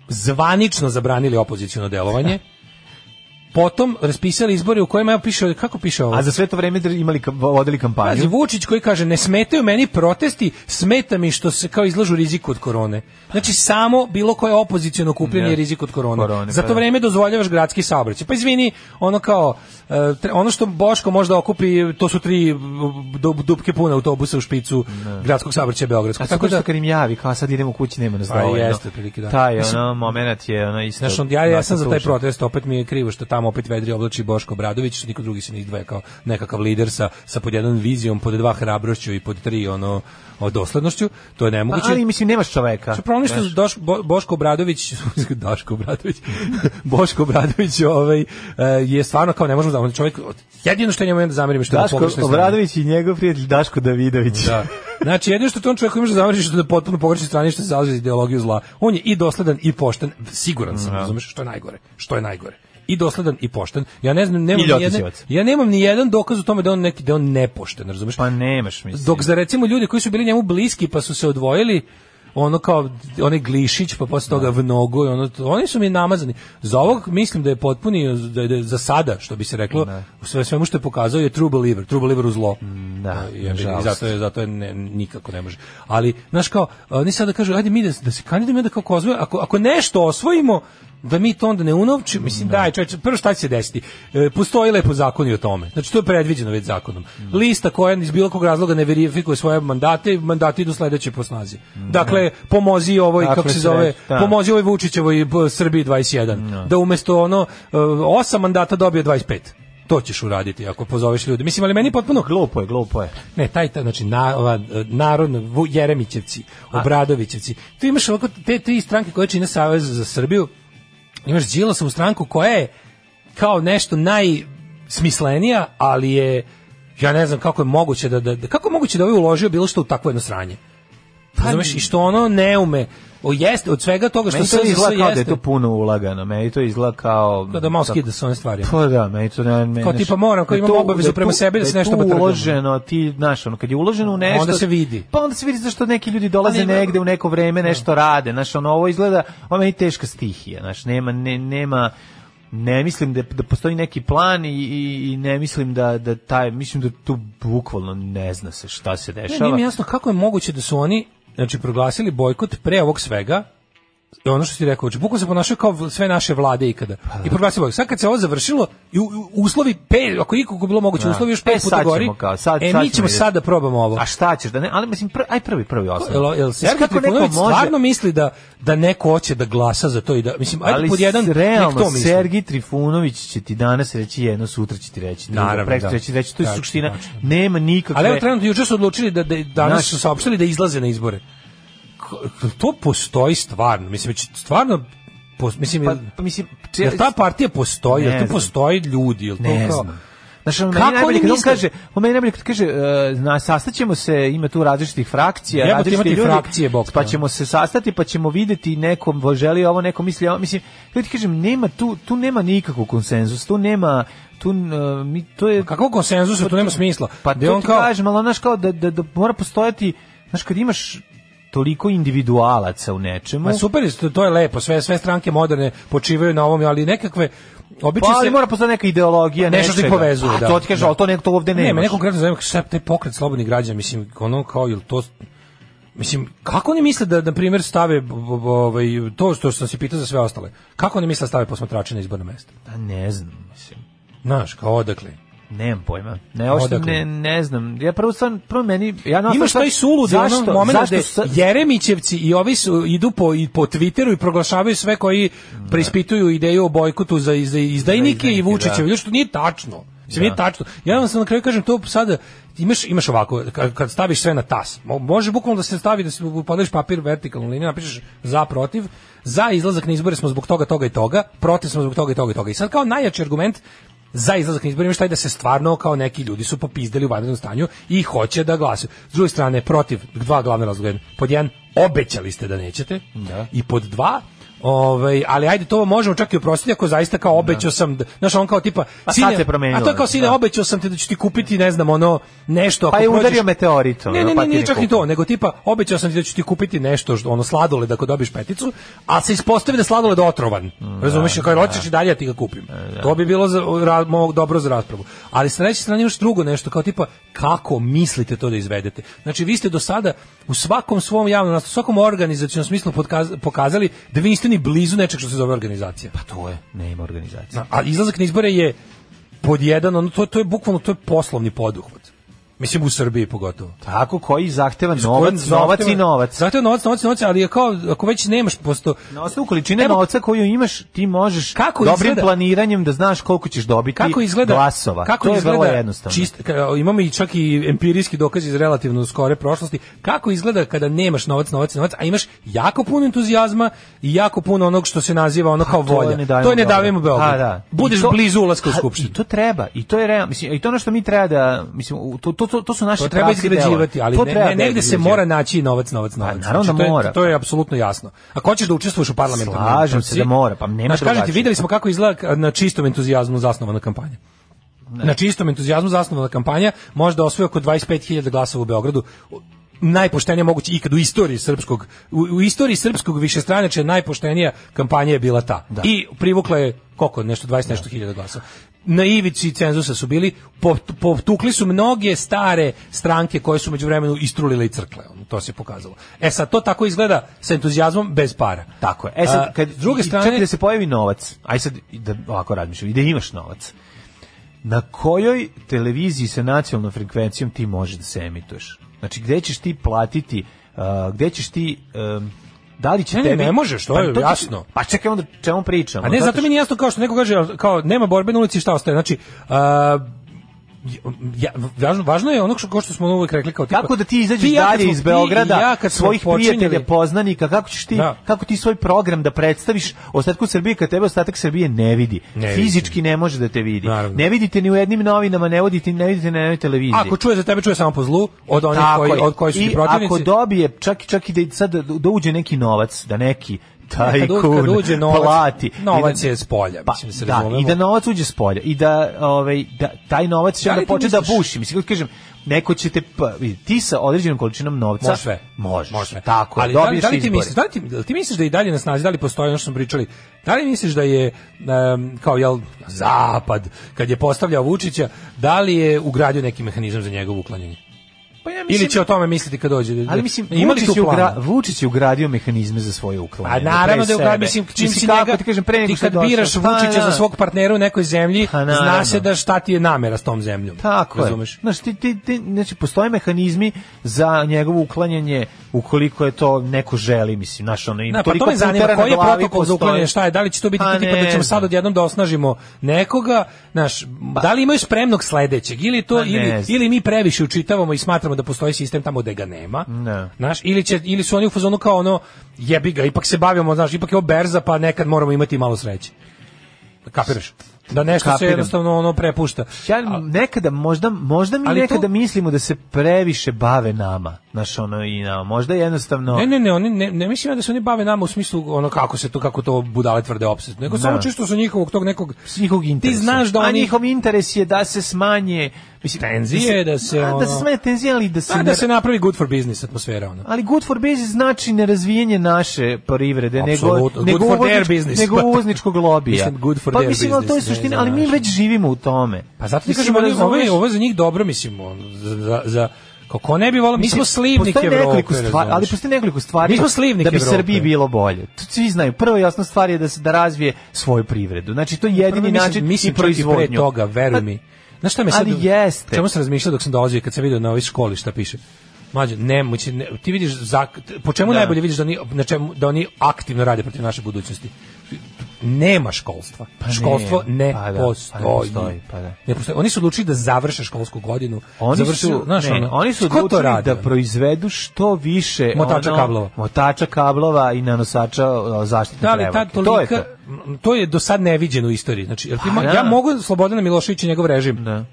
S6: zvanično zabranili opoziciono delovanje. Potom raspisali izbore u kojima ja piše kako piše ovo?
S7: A za sve to vreme dr- imali kam- vodili
S6: Pazi,
S7: kampanju.
S6: Vučić koji kaže ne smetaju meni protesti, smeta mi što se kao izlažu riziku od korone. Znači samo bilo koje opoziciono kupljenje
S7: Da.
S6: je rizik od korone.
S7: Korone,
S6: Za
S7: pa
S6: to
S7: da.
S6: vreme dozvoljavaš gradski saobraćaj. Pa izvini, ono kao e, tre- ono što Boško možda okupi, to su tri du- dupke pune autobusa u špicu gradskog saobraćaja beogradskog.
S7: A tako da kad im javi, kao sad idemo kući, nema nas
S6: Pa
S7: dovoljno.
S6: jeste, otprilike da.
S7: Taj
S6: Mislim-
S7: ono, moment je ono isto.
S6: Znaš, on- ja, ja sam za taj
S7: dosta tužan.
S6: protest, opet mi je krivo što tamo opet vedri oblači Boško Bradović, što niko drugi se ne izdvaja kao nekakav lider sa, sa pod jednom vizijom, pod dva hrabrošću i pod tri ono, o doslednošću, to je
S7: Pa,
S6: nemoguće.
S7: ali mislim, nemaš čoveka.
S6: Što Pa problem je što
S7: Znaš.
S6: Doš, Bo- Boško Obradović, Daško Obradović, Boško Obradović ovaj, e, je stvarno kao ne možemo da on je čovjek, jedino što njemu imam da zamerim je što je na
S7: Daško
S6: pogrešnoj strani.
S7: Obradović i njegov prijatelj Daško Davidović.
S6: Da. Znači, jedino što tom čovjeku imaš da zameriš što je na potpuno pogrešni strani što se zalaže za ideologiju zla. On je i dosledan i pošten, siguran sam, razumeš, što je najgore, što je najgore. I dosledan i pošten. Ja ne znam, nemam
S7: I
S6: ni jedne,
S7: ljotićevac.
S6: ja nemam ni jedan dokaz u tome da je on neki da je on nepošten, razumeš?
S7: Pa nemaš, mislim.
S6: Dok za recimo ljudi koji su bili njemu bliski pa su se odvojili, ono kao onaj Glišić pa posle toga Vnogo i ono to- oni su mi namazani. Za ovog mislim da je potpuni da je, da je za sada što bi se reklo u sve svemu što je pokazao je true believer, true believer u zlo.
S7: da,
S6: I- i
S7: nažalost.
S6: zato je zato je ne- nikako ne može. Ali znaš kao oni sada kažu ajde mi da, da se kandidujemo i da kako osvojimo, ako ako nešto osvojimo da mi to onda ne unovčimo, mislim daj čoveče, prvo šta će se desiti? E, postoji lepo zakon i o tome. Znači to je predviđeno već zakonom. Lista koja iz bilo kog razloga ne verifikuje svoje mandate, mandati idu sledeće po snazi. Dakle, pomozi ovoj
S7: Dakle,
S6: kako se
S7: sreć-
S6: zove,
S7: da.
S6: pomozi ovoj Vučićevoj b- Srbiji 21 da umesto ono e, osam mandata dobije 25. To ćeš uraditi ako pozoveš ljude. Mislim, ali meni potpuno
S7: Glupo je, glupo je.
S6: ne, taj, taj znači na, ova, e, narodno Vu- Jeremićevci, Obradovićevci. Tu imaš ovako te tri stranke koje čine Savez za Srbiju. Imaš Đilasovu stranku koja je kao nešto najsmislenija, ali je ja ne znam kako je moguće da, da, da- kako je moguće da ovaj uložio bilo što u takvo jedno sranje.
S7: Pa
S6: Razumeš? I što ono ne ume. O, jeste, od svega toga što
S7: Meni
S6: se
S7: to izgleda kao da je to puno ulagano. Meni to izgleda kao...
S6: da malo
S7: tako-
S6: skida sa one stvari.
S7: Pa da, meni to ne... meni
S6: Kao
S7: ne-
S6: tipa moram, kao
S7: da je
S6: imam
S7: tu-
S6: obavezu
S7: je
S6: prema
S7: tu-
S6: sebi da se
S7: je
S6: nešto
S7: tu
S6: pretrgnem.
S7: uloženo, ti, znaš, ono, kad je uloženo u nešto...
S6: Onda se vidi.
S7: Pa onda se vidi zašto neki ljudi dolaze
S6: ima-
S7: negde u neko vreme, nešto rade. Znaš, ono, ovo izgleda... Ovo je meni teška stihija, znaš, nema... Ne, nema ne mislim da, da postoji neki plan i, i, i ne mislim da, da taj, mislim da tu bukvalno ne zna se šta se
S6: Ne,
S7: dešava.
S6: nije mi jasno kako je moguće da su oni znači proglasili bojkot pre ovog svega i ono što si rekao, znači bukvalno se ponašaju kao sve naše vlade ikada.
S7: Pa
S6: I proglasili bojkot. Sad kad se ovo završilo i u- u- uslovi pet, ako je ikako bilo moguće, uslovi još
S7: E,
S6: pet puta
S7: sad
S6: gori.
S7: ćemo kao, sad-
S6: e,
S7: sad
S6: mi
S7: ćemo
S6: ćemo
S7: vidjeti.
S6: sad da probamo ovo.
S7: A šta ćeš da ne, ali mislim pr, aj prvi prvi
S6: Jel,
S7: osnov.
S6: jel se Sergej Trifunović stvarno misli da da neko hoće da glasa za to i da mislim ajde
S7: ali
S6: pod jedan nek
S7: realno
S6: to misli.
S7: Sergij Trifunović će ti danas reći jedno, sutra će ti reći drugo,
S6: Naravno,
S7: preksutra
S6: da.
S7: će ti reći, to je
S6: Tačno,
S7: suština,
S6: tačno.
S7: nema nikakve.
S6: Ali evo trenutno juče su odlučili da, da danas
S7: Naš-
S6: su saopštili da izlaze na izbore. Ko- To postoji stvarno. Mislim već stvarno pos- mislim
S7: pa,
S6: jel-
S7: pa mislim, če-
S6: Jel ta partija postoji,
S7: Ne
S6: jel tu
S7: znam.
S6: postoji ljudi, jel to
S7: Ne
S6: kao...
S7: znam. Znaš, on
S6: Kako
S7: meni najbolje
S6: oni
S7: kad on
S6: misle?
S7: kaže, on meni najbolje kad kaže, e, na sastaćemo se, ima tu različitih frakcija,
S6: Jebote,
S7: različiti
S6: imate
S7: ljudi,
S6: frakcije, bog
S7: pa
S6: te. ono.
S7: ćemo se sastati, pa ćemo videti nekom želi ovo, neko misli ovo, mislim, ja ti kažem, nema tu, tu nema nikakvog konsenzus, tu nema, tu, e, mi, to je...
S6: Kakvog konsenzusa, tu nema smisla.
S7: Pa
S6: Gde
S7: to
S6: on
S7: ti
S6: kao-
S7: kažem, ali znaš kao da, da, da mora postojati, znaš, kad imaš toliko individualaca u nečemu,
S6: Ma super, je, to- to je lepo, sve sve stranke moderne počivaju na ovom, ali nekakve obično
S7: pa, ali
S6: se
S7: mora postojati neka ideologija,
S6: nešto što ih
S7: nečega.
S6: povezuje,
S7: Pa,
S6: da.
S7: to ti kažem,
S6: Da.
S7: ali to nekto ovde
S6: Ne, me
S7: nemaš.
S6: neko konkretno zanima šta taj pokret slobodnih građana, mislim, ono kao jel to Mislim, kako oni misle da, na primjer, stave b- b- ovaj, to što sam se pitao za sve ostale, kako oni misle da stave posmatrače na izborno mesto?
S7: Pa ne znam, mislim.
S6: Znaš, kao odakle?
S7: Nemam pojma. Ne, ošto
S6: Odakle?
S7: ne, ne znam. Ja prvo sam, prvo meni... Ja na
S6: Imaš taj suludi ono moment gde
S7: sa-
S6: Jeremićevci i ovi su, idu po, i po Twitteru i proglašavaju sve koji preispituju ideju o bojkotu za, izda- izdajnike i Vučićevi,
S7: da.
S6: da. što nije tačno. Mislim,
S7: Da.
S6: nije tačno. Ja vam sam na kraju kažem to sada imaš imaš ovako kad, kad staviš sve na tas mo- može bukvalno da se stavi da se podeliš papir vertikalnu liniju napišeš za protiv za izlazak na izbore smo zbog toga toga i toga protiv smo zbog toga i toga i toga i sad kao najjači argument za izlazak na izbore imaš taj da se stvarno kao neki ljudi su popizdeli u vanrednom stanju i hoće da glasaju. S druge strane, protiv dva glavna razloga. Jedan, Pod jedan, obećali ste da nećete.
S7: Da.
S6: I pod dva, Ovaj, ali ajde to možemo čak i oprostiti ako zaista kao obećao sam, da- znaš on kao tipa
S7: A Pa sad
S6: sine-
S7: se promenilo,
S6: A to je kao sine
S7: da.
S6: obećao sam ti da ću ti kupiti ne znam ono nešto ako
S7: Pa je
S6: prođeš-
S7: udario meteorit, ono,
S6: Ne, ne,
S7: pa
S6: ne,
S7: ti
S6: nije
S7: ne
S6: čak ni
S7: kupio.
S6: to, nego tipa obećao sam ti da ću ti kupiti nešto što ono sladoled ako dobiješ peticu, a se ispostavi da je sladoled otrovan. Razumeš, kao
S7: da.
S6: hoćeš i dalje ja ti ga kupim.
S7: E,
S6: To bi bilo za, ra, mo- dobro za raspravu. Ali sa treće strane imaš drugo nešto, kao tipa kako mislite to da izvedete. Znači vi ste do sada u svakom svom javnom nastupu, u svakom organizacijom smislu podkaz- pokazali da vi niste ni blizu nečeg što se zove organizacija.
S7: Pa to je, nema organizacije.
S6: Zna- A izlazak na izbore je pod jedan, ono, to, to je bukvalno to je poslovni poduhvat. Mislim u Srbiji pogotovo.
S7: Tako koji zahteva novac,
S6: Zahteva-
S7: novac i novac.
S6: Zahteva novac, novac, i novac, ali je kao, ako već nemaš posto...
S7: Na osnovu količine
S6: Evo-
S7: novca koju imaš, ti možeš
S6: Kako
S7: dobrim
S6: izgleda-
S7: planiranjem da znaš koliko ćeš dobiti
S6: Kako izgleda
S7: glasova.
S6: Kako
S7: to je
S6: izgleda
S7: vrlo jednostavno.
S6: čist- ka- imamo i čak i empirijski dokaz iz relativno skore prošlosti. Kako izgleda kada nemaš novac, novac, novac, a imaš jako puno entuzijazma i jako puno onog što se naziva ono kao
S7: Pa to je
S6: volja.
S7: Ne davimo
S6: to je ne
S7: Beograd.
S6: davimo
S7: A,
S6: Beograd.
S7: da.
S6: Budeš
S7: I to-
S6: blizu ulaska u
S7: a,
S6: skupštinu.
S7: I to treba, i to je realno, mislim, i to je ono što mi treba da, mislim, u- to, to, to, to su naše
S6: To treba
S7: Znači, pravci
S6: izgrađivati,
S7: dela.
S6: ali
S7: To
S6: ne,
S7: treba
S6: ne, negde se
S7: izgrađivati. Pa,
S6: mora naći novac, novac, novac. Znači,
S7: naravno da
S6: to je,
S7: mora.
S6: To je apsolutno jasno. Ako hoćeš da učestvuješ u parlamentarnoj
S7: Slažem se
S6: trci,
S7: da mora, pa nema
S6: Znači, znaš, kažem ti,
S7: drugačije.
S6: videli smo kako izgleda ka- na čistom entuzijazmu zasnovana kampanja. Na čistom entuzijazmu zasnovana kampanja može da osvoji oko 25.000 glasova u Beogradu najpoštenije moguće ikad u istoriji srpskog u, u istoriji srpskog višestranačja najpoštenija kampanja je bila ta. I privukla je koliko nešto 20 nešto hiljada glasova. Na ivici cenzusa su bili, pot- potukli su mnoge stare stranke koje su međuvremenu istrulile i crkle. ono, To se pokazalo. E sad, to tako izgleda sa entuzijazmom bez para.
S7: Tako je. E sad,
S6: A,
S7: kad,
S6: s druge
S7: i- i
S6: strane,
S7: čekaj da se pojavi novac, aj sad i da ovako razmišljam, i da imaš novac, na kojoj televiziji sa nacionalnom frekvencijom ti možeš da se emituješ? Znači, gde ćeš ti platiti, uh, gde ćeš ti... um, da li će
S6: Ne, ne,
S7: tebi...
S6: ne možeš, to je
S7: ti-
S6: jasno.
S7: Pa čekaj onda čemu pričamo.
S6: A Pa ne,
S7: Zato
S6: zato mi nije jasno kao što neko kaže, al- kao nema borbe na ulici, šta ostaje? Znači, a, ja, važno, važno je ono što, kao što smo uvek rekli kao tipa,
S7: Kako da ti izađeš
S6: i ja kad
S7: dalje
S6: smo-
S7: iz
S6: ti i
S7: Beograda,
S6: ja kad smo
S7: svojih
S6: počinjali-
S7: prijatelja, poznanika, kako ćeš ti,
S6: Da.
S7: kako ti svoj program da predstaviš ostatku Srbije kad tebe ostatak Srbije ne vidi.
S6: Ne vidi.
S7: Fizički ne može da te vidi.
S6: Naravno.
S7: Ne vidite ni u jednim novinama, ne vodite, ne vidite na jednoj televiziji.
S6: Ako čuje za tebe, čuje samo po zlu, od onih
S7: Tako
S6: koji,
S7: je.
S6: od koji su ti
S7: I
S6: protivnici.
S7: ako dobije, čak, čak i da, sad, da uđe neki novac, da neki
S6: Kad
S7: taj
S6: u- kad uđe novac,
S7: plati.
S6: novac
S7: I da-
S6: je s polja,
S7: Pa,
S6: mislim da se
S7: da,
S6: razumemo.
S7: i da novac uđe s polja i da ovaj da taj novac će
S6: Da li
S7: onda
S6: ti
S7: početi da
S6: misliš-
S7: buši. Mislim kako ti kažem, neko će te pa, vidi, ti sa određenom količinom novca
S6: Može sve.
S7: Možeš.
S6: Može sve.
S7: Tako,
S6: Ali
S7: Ali,
S6: da li,
S7: dobiješ
S6: da li ti
S7: izbore.
S6: misliš, da li ti, da li ti misliš da i dalje na snazi, da li postoji ono što smo pričali, da li misliš da je em, kao jel zapad, kad je postavljao Vučića, da li je ugradio neki mehanizam za njegovo uklanjanje?
S7: Pa ja
S6: Ili će o tome misliti kad dođe?
S7: Ali mislim,
S6: Ima li
S7: Vučić,
S6: tu
S7: je
S6: plana?
S7: ugra, Vučić je ugradio mehanizme za svoje
S6: A
S7: uklanjanje.
S6: Pa naravno
S7: pre
S6: da je
S7: sebe.
S6: ugradio, mislim, čim si
S7: kako
S6: njega,
S7: ti kažem, pre nego
S6: ti
S7: što je
S6: kad
S7: došao.
S6: biraš
S7: Pa,
S6: Vučića
S7: da.
S6: za svog partnera u nekoj zemlji,
S7: Pa, naravno.
S6: zna se da šta ti je namera s tom zemljom.
S7: Tako
S6: razumeš?
S7: je. Znaš, ti, ti, ti, znači, postoje mehanizmi za njegovo uklanjanje ukoliko je to neko želi, mislim, znaš, ono, i
S6: Na, pa
S7: toliko
S6: to me zanima,
S7: putera na
S6: koji je
S7: glavi
S6: protokol za
S7: postoji.
S6: uklanjanje, šta je, da li će to biti
S7: Pa
S6: to tipa
S7: ne
S6: da ćemo sad
S7: znam.
S6: odjednom da osnažimo nekoga, znaš, da li imaju spremnog sledećeg, ili to,
S7: Pa ne
S6: ili,
S7: znam.
S6: ili mi previše učitavamo i smatramo da postoji sistem tamo gde ga nema,
S7: Ne.
S6: znaš, ili, će, ili su oni u fazonu kao ono, jebi ga, ipak se bavimo, znaš, ipak je ovo berza, pa nekad moramo imati i malo sreće. Kapiraš? Da nešto se
S7: Kapiram.
S6: jednostavno ono prepušta.
S7: Ja nekada možda možda mi
S6: Ali to-
S7: nekada mislimo da se previše bave nama, naš ono i nama. Možda jednostavno
S6: Ne, ne, ne, oni ne, ne mislim ja da se oni bave nama u smislu ono kako se to kako to budale tvrde opsed, nego
S7: Da.
S6: samo čisto su njihovog tog nekog
S7: njihovog
S6: Ti znaš da
S7: A
S6: oni
S7: njihov interes je da se smanje mislim,
S6: tenzije da se
S7: A,
S6: ono,
S7: da se smanje tenzije, ali da se,
S6: a,
S7: ne-
S6: da se napravi good for business atmosfera ono.
S7: Ali good for business znači nerazvijenje naše privrede, nego,
S6: Apsolutno.
S7: nego,
S6: Good for their
S7: uvoznič-
S6: business. Pa,
S7: nego uvozničkog lobija.
S6: Mislim, good for
S7: pa
S6: their
S7: mislim, ali to je
S6: business, ne
S7: suština,
S6: za
S7: ali mi
S6: naš.
S7: već živimo u tome.
S6: Pa zato ti
S7: Mislim,
S6: kažem, oni-
S7: razumeš?
S6: ovo, je, ovo je za njih dobro, mislim, ono, za, za, za kako ne bi volao, mi smo slivnik
S7: postoji
S6: Evrope,
S7: nekoliko stvari, ali
S6: razumeš.
S7: postoji nekoliko stvari
S6: Mi smo slivnik
S7: da bi
S6: Evrope.
S7: Srbiji bilo bolje. To svi znaju. Prva i osnovna stvar je da se da razvije svoju privredu. Znači to je jedini
S6: Prvo mislim-
S7: način
S6: mislim
S7: i
S6: čak i
S7: proizvodnju. Pa
S6: pre toga, veruj mi. Znaš šta me sad...
S7: Ali jeste.
S6: Čemu sam razmišljao dok sam dolazio i kad sam vidio na ovoj školi šta piše? Mlađe, nemoći, ne, ti vidiš za, po čemu
S7: Da.
S6: najbolje vidiš da oni, na čemu, da oni aktivno rade protiv naše budućnosti? Nema školstva.
S7: ne,
S6: Školstvo ne,
S7: pa da, pa ne
S6: postoji.
S7: postoji, pa da.
S6: Ne postoji. Oni su odlučili da završe školsku godinu.
S7: Oni
S6: završe,
S7: su,
S6: znaš,
S7: ne,
S6: ono,
S7: oni su
S6: ko to
S7: odlučili
S6: radi,
S7: da
S6: ono?
S7: proizvedu što više
S6: Motača
S7: ono,
S6: kablova.
S7: motača kablova i nanosača o, zaštitne
S6: Da li
S7: trevake.
S6: ta
S7: To je
S6: tolika,
S7: to.
S6: m, to je do sad neviđeno u istoriji. Znači, jer ti
S7: Pa
S6: mo-
S7: da.
S6: ja mogu Slobodana Miloševića i njegov režim da.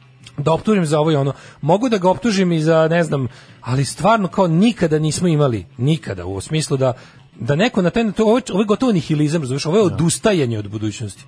S6: optužim za ovo i ono. Mogu da ga optužim i za, ne znam, ali stvarno kao nikada nismo imali, nikada, u smislu da, da neko na taj, to, ovo, je- ovo je gotovo nihilizam, razumiješ, ovo je odustajanje od budućnosti.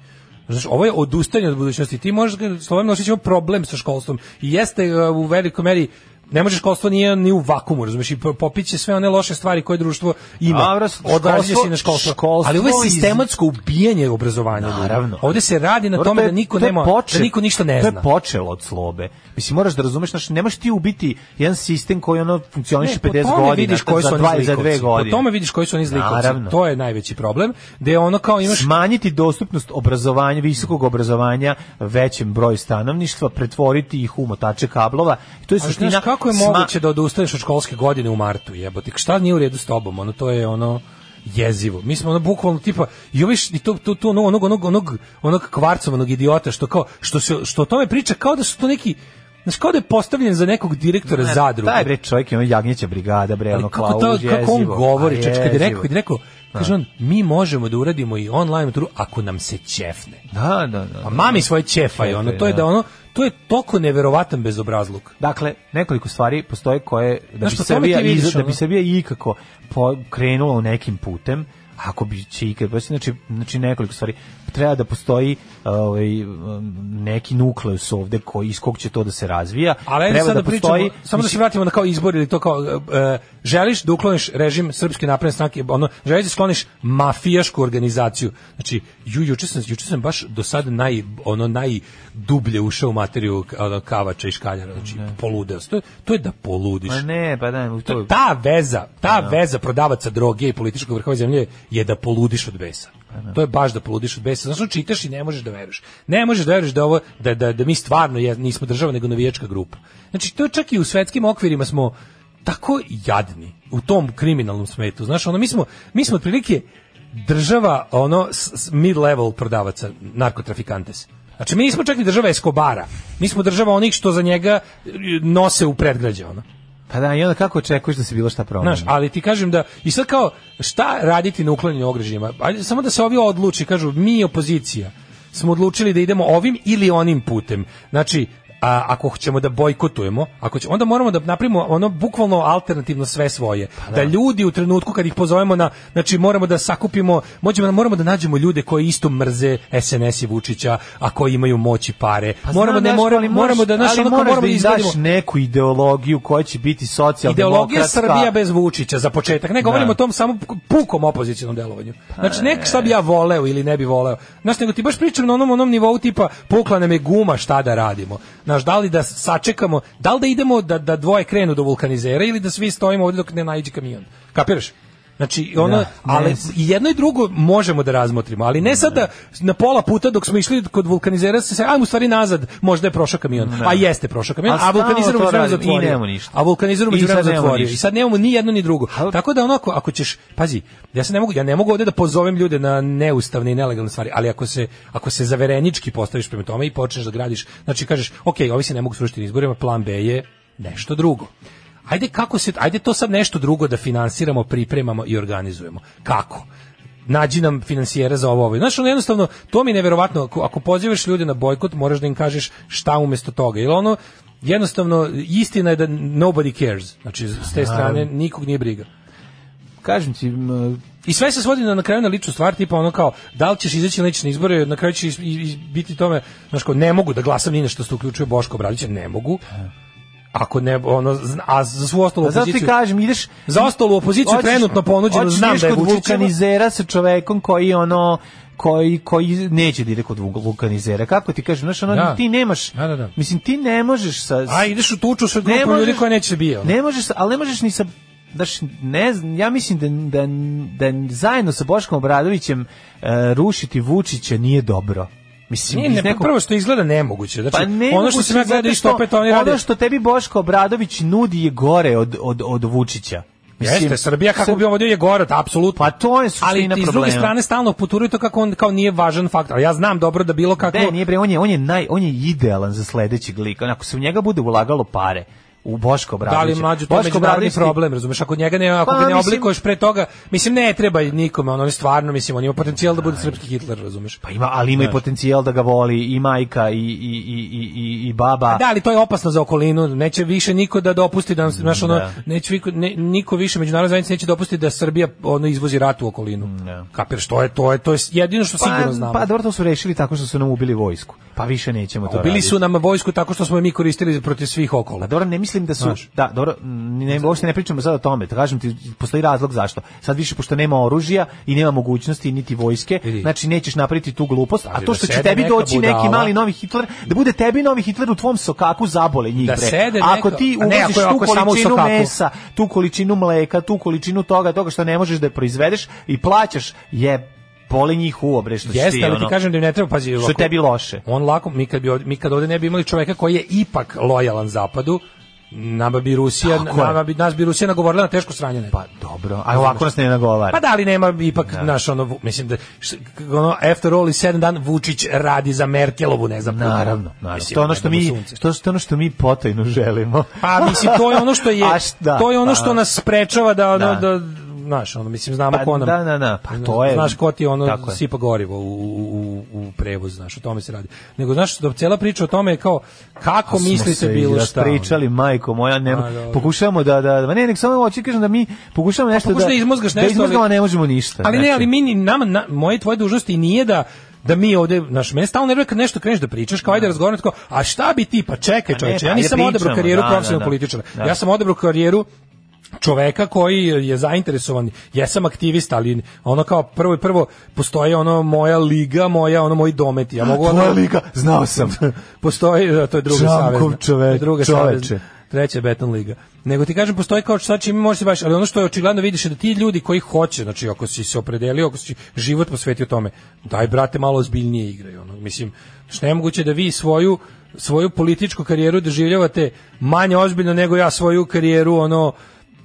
S6: Znaš, ovo je odustajanje od budućnosti. Ti možeš, ga- Slobodan Milošević ima problem sa školstvom i jeste e, u velikoj meri ne može školstvo nije ni u vakumu, razumiješ, i po- popiće sve one loše stvari koje društvo ima.
S7: A, vras-
S6: Odražuje
S7: školstvo-
S6: se na školstvo.
S7: školstvo
S6: Ali ovo je
S7: iz-
S6: sistematsko ubijanje obrazovanja. ljudi.
S7: Naravno.
S6: Ovde se radi na
S7: Dobro,
S6: tome
S7: to je-
S6: da niko
S7: to je
S6: nema,
S7: poče-
S6: da niko ništa ne
S7: to je
S6: zna.
S7: počelo od slobe. Mislim, moraš da razumeš, znaš, nemaš ti ubiti jedan sistem koji ono funkcioniše 50
S6: po tome
S7: godina,
S6: vidiš koji
S7: za,
S6: su oni
S7: dva, za dve
S6: zlikovci.
S7: godine.
S6: Po tome vidiš koji su oni zlikovci.
S7: Naravno.
S6: To je najveći problem. Da je ono kao imaš
S7: Smanjiti dostupnost obrazovanja, visokog obrazovanja većem broju stanovništva, pretvoriti ih u motače kablova. I to je
S6: Ali
S7: suština.
S6: Pa znaš kako je
S7: sma-
S6: moguće da odustaneš od školske godine u martu, jebote? Šta nije u redu s tobom? Ono to je ono jezivo. Mi smo ono bukvalno tipa i oviš i to to to onog onog onog onog onog kvarcovanog idiota što kao što se što o tome priča kao da su to neki Znaš, kao da je postavljen za nekog direktora
S7: Ne,
S6: zadruge.
S7: Taj bre čovjek je ono jagnjeća brigada, bre, ono
S6: Ali kako,
S7: klauž,
S6: ta,
S7: jezivo.
S6: kako on govori,
S7: Pa
S6: čač, kad je rekao,
S7: jezivo.
S6: kad je rekao, kaže on, mi možemo da uradimo i online maturu ako nam se ćefne.
S7: Da, da, da.
S6: Pa mami svoje ćefaj, ono, to je da ono, to je toliko neverovatan bezobrazluk.
S7: Dakle, nekoliko stvari postoje koje da
S6: Znaš,
S7: bi
S6: po tome
S7: Srbija
S6: ti vidiš,
S7: iz- da bi
S6: ono.
S7: Srbija ikako po- krenula u nekim putem ako bi će ikad pa znači znači nekoliko stvari treba da postoji ovaj um, neki nukleus ovde koji iz kog će to da se razvija
S6: Ali ajde
S7: treba
S6: sad da, pričamo, samo da se
S7: mislim,
S6: vratimo na kao izbor ili to kao, e, e, želiš da ukloniš režim Srpske napredne stranke, ono, želiš da skloniš mafijašku organizaciju. Znači, ju, juče, sam, juče sam baš do sada naj, ono, najdublje ušao u materiju ono, kavača i škaljara, znači, poludeo. sam. To, je- to je da poludiš.
S7: Ma ne, pa da, to,
S6: To- Znači, ta veza, ta veza prodavaca droge i političkog vrha ove zemlje je da poludiš od besa. To je baš da poludiš od besa. Znači čitaš i ne možeš da veruješ. Ne možeš da veruješ da ovo da da, da mi stvarno je, nismo država nego navijačka grupa. Znači to čak i u svetskim okvirima smo tako jadni u tom kriminalnom smetu. Znaš, ono mi smo mi smo otprilike država ono s- s mid level prodavaca narkotrafikantes. Znači mi nismo čak ni država Escobara. Mi smo država onih što za njega e, nose u predgrađe ono.
S7: pa da i onda kako očekuješ da se bilo šta promeni
S6: Znaš, ali ti kažem da, i sad kao, šta raditi na uklanjanju ograđenjima? Ajde, samo da se ovi odluči, kažu, mi opozicija smo odlučili da idemo ovim ili onim putem. Znači, a, ako ćemo da bojkotujemo, ako će, onda moramo da napravimo ono bukvalno alternativno sve svoje.
S7: Pa
S6: da. ljudi u trenutku kad ih pozovemo na, znači moramo da sakupimo, moćemo, moramo da nađemo ljude koji isto mrze SNS i Vučića, a koji imaju moć i pare.
S7: Pa
S6: moramo,
S7: znam,
S6: ne,
S7: znaš,
S6: moramo,
S7: ali moraš-
S6: moramo da, znaš,
S7: ali
S6: ono kao
S7: moraš
S6: moramo
S7: da
S6: da
S7: im
S6: izgradimo-
S7: daš neku ideologiju koja će biti socijaldemokratska.
S6: Ideologija Srbija bez Vučića za početak. Ne govorimo o tom samo pukom opozicionom delovanju.
S7: Pa
S6: Znači nek šta bi ja voleo ili ne bi voleo. Znaš, nego ti baš pričam na onom onom nivou tipa pukla nam je guma šta da radimo. Znaš, da li da sačekamo, da li da idemo da, da dvoje krenu do vulkanizera ili da svi stojimo ovdje dok ne naiđe kamion. Kapiraš? Znači, ono,
S7: Da, ne
S6: ali
S7: znam.
S6: i jedno i drugo možemo da razmotrimo, ali ne sada na pola puta dok smo išli kod vulkanizera se se, ajmo u stvari nazad, možda je prošao kamion. A jeste prošao kamion,
S7: A
S6: a,
S7: stalno
S6: vulkanizer
S7: to
S6: mu
S7: radimo i
S6: zatvorio.
S7: nemamo ništa.
S6: A vulkanizer
S7: I
S6: u međuvremenu
S7: sad nemamo
S6: zatvorio.
S7: ništa.
S6: I sad nemamo ni jedno ni drugo. Tako da onako ako ćeš, pazi, ja se ne mogu ja ne mogu ovde da pozovem ljude na neustavne i nelegalne stvari, ali ako se ako se zaverenički postaviš prema tome i počneš da gradiš, znači kažeš, ok, ovi se ne mogu srušiti na izborima, plan B je nešto drugo. Ajde kako se ajde to sad nešto drugo da finansiramo, pripremamo i organizujemo. Kako? nađi nam finansijera za ovo. ovo. Znaš, ono jednostavno, to mi je neverovatno, ako, ako pozivaš ljude na bojkot, moraš da im kažeš šta umesto toga. Jer ono, jednostavno, istina je da nobody cares. Znači, s te strane, nikog nije briga.
S7: Kažem ti,
S6: I sve se svodi na, na kraju na ličnu stvar, tipa ono kao, da li ćeš izaći na lične izbore, na kraju će is- i- i biti tome, znaš kao, ne mogu da glasam ni na što se uključuje Boško Obradovića, ne mogu. Ako ne, ono, zna- a za svu ostalu
S7: A Pa zato
S6: opoziciju...
S7: ti kažem, ideš...
S6: Za ostalu opoziciju
S7: Hoćeš-
S6: trenutno ponuđeno,
S7: hoćeš
S6: znam
S7: ideš
S6: da je
S7: kod
S6: Vučićeva.
S7: vulkanizera sa čovekom koji ono koji koji neće da ide kod vul- vulkanizera. Kako ti kažem, znaš, ono,
S6: Da.
S7: ti nemaš,
S6: Da, da, da.
S7: mislim, ti ne možeš sa...
S6: A ideš u tuču sa
S7: Ne
S6: grupom
S7: možeš-
S6: ljudi koja neće se bije. ono.
S7: Ne možeš, sa- ali ne možeš ni sa daš, ne znam, ja mislim da, da, da zajedno sa Boškom Obradovićem e, rušiti Vučića nije dobro. Mislim,
S6: Nije,
S7: iz
S6: ne, pa
S7: nekog-
S6: prvo što izgleda nemoguće. Znači,
S7: pa ne
S6: ono što sam ja gledao isto opet oni rade.
S7: Ono što tebi Boško Obradović nudi je gore od, od, od Vučića.
S6: Jeste, Srbija kako
S7: Srb-
S6: bi ovo je gore, apsolutno.
S7: Pa to je suština
S6: Ali ti s druge
S7: problema.
S6: strane stalno poturuje to kako on kao nije važan faktor. Ali Ja znam dobro da bilo kako
S7: Ne, nije bre, on je, on je, naj, on je idealan za sledećeg lika. Onako se u njega bude ulagalo pare. U Boško
S6: Da
S7: Obradovića.
S6: li mlađu to je međunarodni
S7: Obradović ti-
S6: problem, razumeš? Ako njega ne, ako
S7: Pa,
S6: ga ne
S7: mislim-
S6: oblikuješ pre toga, mislim ne treba nikome, on, on je stvarno, mislim, on ima potencijal da bude srpski Hitler, razumeš?
S7: Pa ima, ali ima i
S6: Znaš.
S7: potencijal da ga voli i majka i, i, i, i- i, i baba.
S6: Da, ali to je opasno za okolinu. Neće više niko da dopusti da nam se- znaš, ono,
S7: Da.
S6: neće viko- ne- niko više međunarodna zajednica neće dopustiti da Srbija ono izvozi rat u okolinu. Kapiraš, to je to je to je jedino što sigurno znamo.
S7: pa, pa dobro, to su rešili tako što su nam ubili vojsku. Pa više nećemo to
S6: Ubili
S7: raditi.
S6: su nam vojsku tako što smo je mi koristili protiv svih
S7: Pa
S6: okola.
S7: dobro, ne mislim da su...
S6: Znaš.
S7: Da, dobro, m, ne, uopšte ne pričamo sad o tome. Da kažem ti, postoji razlog zašto. Sad više, pošto nema oružja i nema mogućnosti niti vojske,
S6: Vidi.
S7: znači nećeš napraviti tu glupost,
S6: Ali
S7: a to
S6: da
S7: što će
S6: sede
S7: tebi
S6: neka
S7: doći neki
S6: budala-
S7: mali novi Hitler, da bude tebi novi Hitler u tvom sokaku zabole njih,
S6: Da
S7: bre.
S6: sede
S7: Ako
S6: neka-
S7: ti
S6: a ne,
S7: uvoziš
S6: ako je-
S7: tu
S6: ako je samo u
S7: količinu
S6: sokaku.
S7: mesa, tu količinu mleka, tu količinu toga, toga što ne možeš da proizvedeš i plaćaš, je boli njih uvo, bre, što si
S6: Jeste,
S7: ti,
S6: ali ti
S7: ono,
S6: kažem da im ne treba pazi.
S7: što
S6: ovako-
S7: je tebi loše.
S6: On lako, mi kad, bi, ovde- mi kad ovde ne bi imali čoveka koji je ipak lojalan zapadu, nama bi Rusija,
S7: Tako je.
S6: nama bi, nas bi Rusija nagovorila na teško sranje. ne?
S7: Pa dobro, a ovako nas ne nagovara.
S6: Pa da li nema ipak naš ono vu- mislim da š- k- ono after all i 7 dan Vučić radi za Merkelovu ne znam
S7: Naravno, naravno. to je ono što mi to što ono što mi potajno želimo.
S6: pa mislim to je ono što je
S7: A š- da,
S6: to je ono
S7: pa,
S6: što nas sprečava da ono
S7: Da.
S6: da, znaš ono mislim znamo
S7: Pa
S6: ko nam
S7: da, da, da, pa to je-
S6: znaš ko ti ono
S7: tako je.
S6: sipa gorivo u, u, u, u prevoz znaš o tome se radi nego znaš da cela priča o tome je kao kako
S7: Smo
S6: mislite
S7: se
S6: bilo
S7: i
S6: šta ono?
S7: Pričali majko moja, ne
S6: A, dobro.
S7: pokušavamo da da da ne, nek samo hoću kažem da mi pokušavamo nešto
S6: pokušaj
S7: da
S6: da izmozgaš
S7: da
S6: nešto,
S7: izmozgamo,
S6: ali-
S7: a ne možemo ništa.
S6: Ali ne,
S7: znači.
S6: ali mi ni- nama na, moje i tvoje dužnosti nije da da mi ovde, naš meni stalno nervira kad nešto kreneš da pričaš, kao ajde razgovaramo tako, a šta bi ti, pa čekaj
S7: ne,
S6: čoveče,
S7: pa
S6: ja
S7: ajde
S6: nisam
S7: pričamo,
S6: odabrao karijeru
S7: da, da,
S6: profesionalnog
S7: da.
S6: političara.
S7: Da.
S6: Ja sam odabrao karijeru čoveka koji je zainteresovan, jesam aktivista, ali ono kao prvo i prvo postoji ono moja liga, moja ono moji dometi. Ja mogu
S7: Pa, Tvoja
S6: ono,
S7: lika, znao sam.
S6: postoji, da, to je druga
S7: Čamkov
S6: savezna.
S7: čovek-
S6: to je druga
S7: čoveče.
S6: savezna, Treća je beton liga. Nego ti kažem, postoji kao šta čime možeš se baš, ali ono što je očigledno vidiš je da ti ljudi koji hoće, znači ako si se opredelio, ako si život posvetio tome, daj brate malo ozbiljnije igraju. Ono. Mislim, što je moguće da vi svoju svoju političku karijeru doživljavate manje ozbiljno nego ja svoju karijeru ono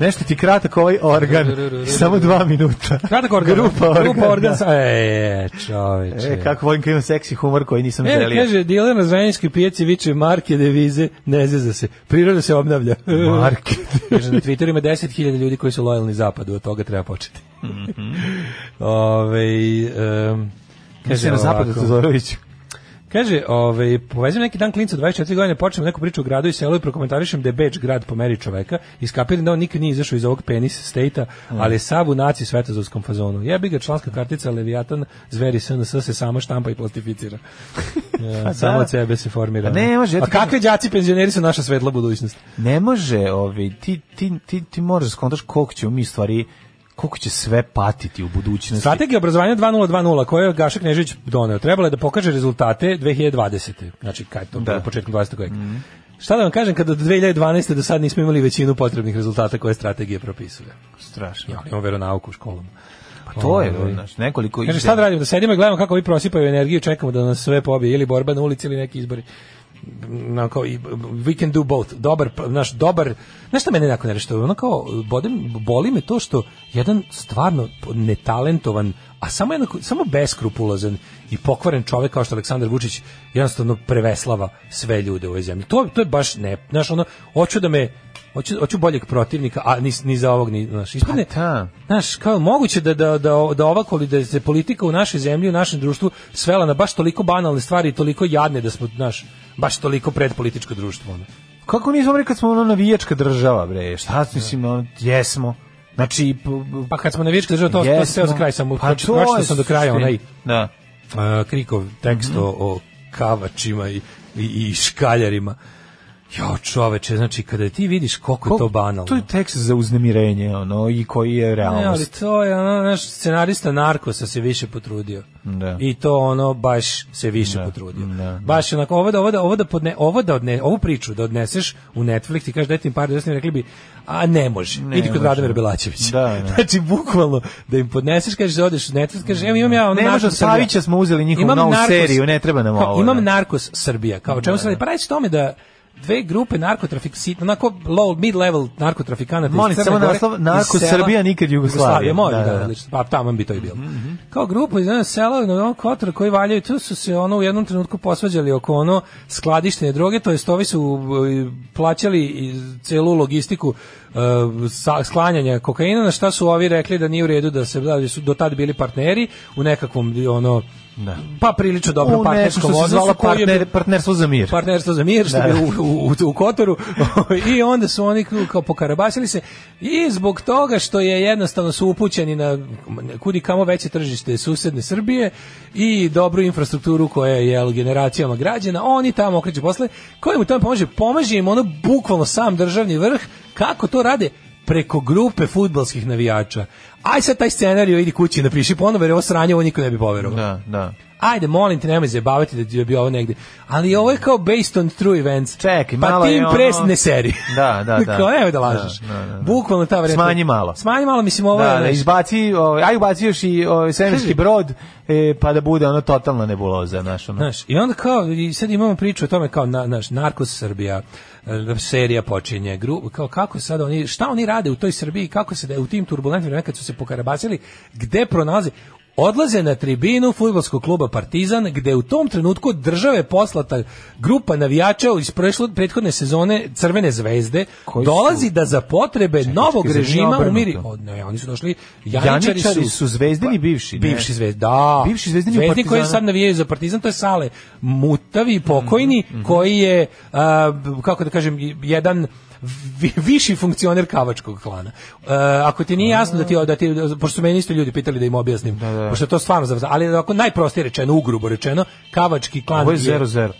S7: Nešto ti kratak ovaj organ, samo dva minuta.
S6: Kratak organ.
S7: Grupa organ,
S6: Grupa organ.
S7: da.
S6: sa- E, čoveče.
S7: E, kako volim kad imam seksi humor koji nisam
S6: E,
S7: želio.
S6: kaže, diler na Zrenjaninskoj pijaci viče marke, devize, ne zeza se. Priroda se obnavlja.
S7: Marke.
S6: kaže, na Twitteru ima 10.000 ljudi koji su lojalni zapadu, od toga treba početi.
S7: Mhm.
S6: Ove, um,
S7: Kaže
S6: kaže,
S7: na zapadu
S6: ovako.
S7: Todoroviću.
S6: Kaže, ovaj, povezam neki dan klinca od 24 godine, počnem neku priču o gradu i selu i prokomentarišem da je Beč grad po meri čoveka. Iskapiram da on nikad nije izašao iz ovog penis stejta,
S7: Mm.
S6: ali je sav u naci svetozovskom fazonu. Jebi ga članska kartica Leviatan, zveri SNS se sama štampa i plastificira. Ja, samo od sebe se formira.
S7: A Pa ne, može, ja ti
S6: A kakvi đaci penzioneri su naša svetla budućnost?
S7: Ne može, ovaj, ti, ti, ti, ti moraš da skontaš koliko ćemo mi stvari, koliko će sve patiti u budućnosti.
S6: Strategija obrazovanja 2020 koju je Gaša Knežević doneo, trebala je da pokaže rezultate 2020. Znači, kaj je to
S7: Da.
S6: da. početkom 20. veka. Šta da vam kažem, kada od 2012. do sad nismo imali većinu potrebnih rezultata koje strategije propisuje.
S7: strašno.
S6: Ja, imamo veronauku u školama.
S7: Pa to je,
S6: Ovaj.
S7: znaš, nekoliko...
S6: Kaže,
S7: ide-
S6: šta da radimo, da sedimo i gledamo kako ovi prosipaju energiju, čekamo da nas sve pobije, ili borba na ulici ili neki izbori. ono kao, i- we can do both. Dobar, pr- naš dobar, znaš šta mene jako nerešta, ono kao, bode, boli me to što jedan stvarno netalentovan, a samo, jednako, samo beskrupulozan i pokvaren čovek kao što je Aleksandar Vučić jednostavno preveslava sve ljude u ovoj zemlji. To, to je baš ne, znaš, ono, hoću da me, hoću, hoću boljeg protivnika, a ni, ni za ovog, ni, znaš,
S7: Pa
S6: ispadne, znaš, kao moguće da, da, da, da ovako, li da se politika u našoj zemlji, u našem društvu svela na baš toliko banalne stvari i toliko jadne da smo, znaš, baš toliko predpolitičko društvo. Ono.
S7: Kako nismo rekli kad smo ono navijačka država, bre? Šta s- mislim, ono, jesmo. Znači,
S6: pa kad smo navijačka država, to- to
S7: jesmo. Pa
S6: sve od kraja sam pročitao,
S7: to
S6: pročitao
S7: je
S6: sam do kraja
S7: suština.
S6: onaj-
S7: Da.
S6: a, Krikov tekst o, o kavačima i, i, i škaljarima. Jo, čoveče, znači, kada ti vidiš koliko je to banalno.
S7: To je tekst za uznemirenje, ono, i koji je
S6: Ne, ali
S7: realnost.
S6: to je, ono, naš scenarista Narkosa se više potrudio.
S7: Da.
S6: I to ono baš se više potrudio. Baš onako ovo da ovo da ovo da podne ovo da odne ovu priču da odneseš u Netflix i kažeš dajte im par desni rekli bi a ne može.
S7: Ne
S6: Idi kod
S7: može.
S6: Radomira Belačevića.
S7: Da, da.
S6: Znači bukvalno da im podneseš kažeš da odeš u Netflix kažeš evo imam ja ono
S7: Ne može,
S6: Narkos
S7: od
S6: Srbija.
S7: Savića smo uzeli njihovu
S6: Imam
S7: novu
S6: Narkos-
S7: seriju, ne treba nam
S6: Kao,
S7: ovo,
S6: Imam
S7: da.
S6: Narkos Srbija. Kao o čemu se radi? Pa radi se o tome da dve grupe narkotrafik sit, onako low mid level narkotrafikanata iz
S7: Molim,
S6: Crne
S7: samo
S6: Gore,
S7: naslov,
S6: iz
S7: Narko
S6: sela-
S7: Srbija, nikad Jugoslavija.
S6: može,
S7: Da,
S6: da,
S7: da.
S6: odlično. Pa tamo bi to i
S7: Mhm,
S6: bilo. Kao grupa iz jednog sela na ovom kotoru koji valjaju, tu su se ono u jednom trenutku posvađali oko ono skladištenje droge, to jest ovi su e, plaćali i celu logistiku e, sa- sklanjanja kokaina, na šta su ovi rekli da nije u redu da se da su do tad bili partneri u nekakvom ono pa prilično dobro
S7: U
S6: partnerskom
S7: nečem što se
S6: odvala
S7: zove partner- partnerstvo za mir.
S6: partnerstvo za mir što
S7: Da,
S6: bi
S7: da.
S6: u, u, u, u Kotoru i onda su oni kao- kao pokarabasili se i zbog toga što je jednostavno su upućeni na kudi kamo veće tržište susedne Srbije i dobru infrastrukturu koja je jel, generacijama građena, oni tamo okreću posle, koji mu tamo pomaže? Pomaže im ono bukvalno sam državni vrh kako to rade preko grupe futbalskih navijača. Aj sad taj scenarij idi kući i napiši ponovo jer ovo sranje ovo niko ne bi poverovao
S7: Da, da.
S6: ajde, molim te, nemoj zabavati da ti je bio ovo negde. Ali ovo je kao based on true events. Čekaj,
S7: malo
S6: pa
S7: je
S6: tim
S7: ono-
S6: pres ne seri.
S7: Da, da, da.
S6: kao, nemoj da lažeš.
S7: Da, da, da.
S6: Bukvalno ta varijanta.
S7: Smanji malo.
S6: Smanji malo, mislim, ovo
S7: Da,
S6: je... ono
S7: da,
S6: znaš,
S7: izbaci, ovaj, aj ubaci još i ovaj, svemirski brod, e, pa da bude ono totalna nebuloza, znaš, ono.
S6: Znaš, i onda kao, i sad imamo priču o tome kao, na, naš, Narkos Srbija, e, serija počinje, gru, kao kako sad oni, šta oni rade u toj Srbiji, kako se da u tim turbulentnim vremenima kad su se pokarabasili, gde pronalaze, odlaze na tribinu fudbalskog kluba Partizan, gde u tom trenutku od države je poslata grupa navijača iz prošle prethodne sezone Crvene zvezde, dolazi da za potrebe novog
S7: zar nije
S6: režima
S7: obrnuto?
S6: umiri. O, ne, oni su došli,
S7: Janičari,
S6: Janičari, pa,
S7: su zvezdini bivši, ne?
S6: Bivši zvezd, da.
S7: Bivši zvezdini u
S6: Zvezdni koji
S7: Partizanu.
S6: sad navijaju za Partizan, to je Sale Mutavi, pokojni,
S7: Mhm,
S6: koji je, a, b- kako da kažem, jedan vi- viši funkcioner kavačkog klana. E, ako ti nije jasno da ti, da ti, pošto su meni isto ljudi pitali da im objasnim, pošto je to stvarno zavzalo, ali ako najprostije rečeno, ugrubo rečeno, kavački klan
S7: Ovo je 0-0.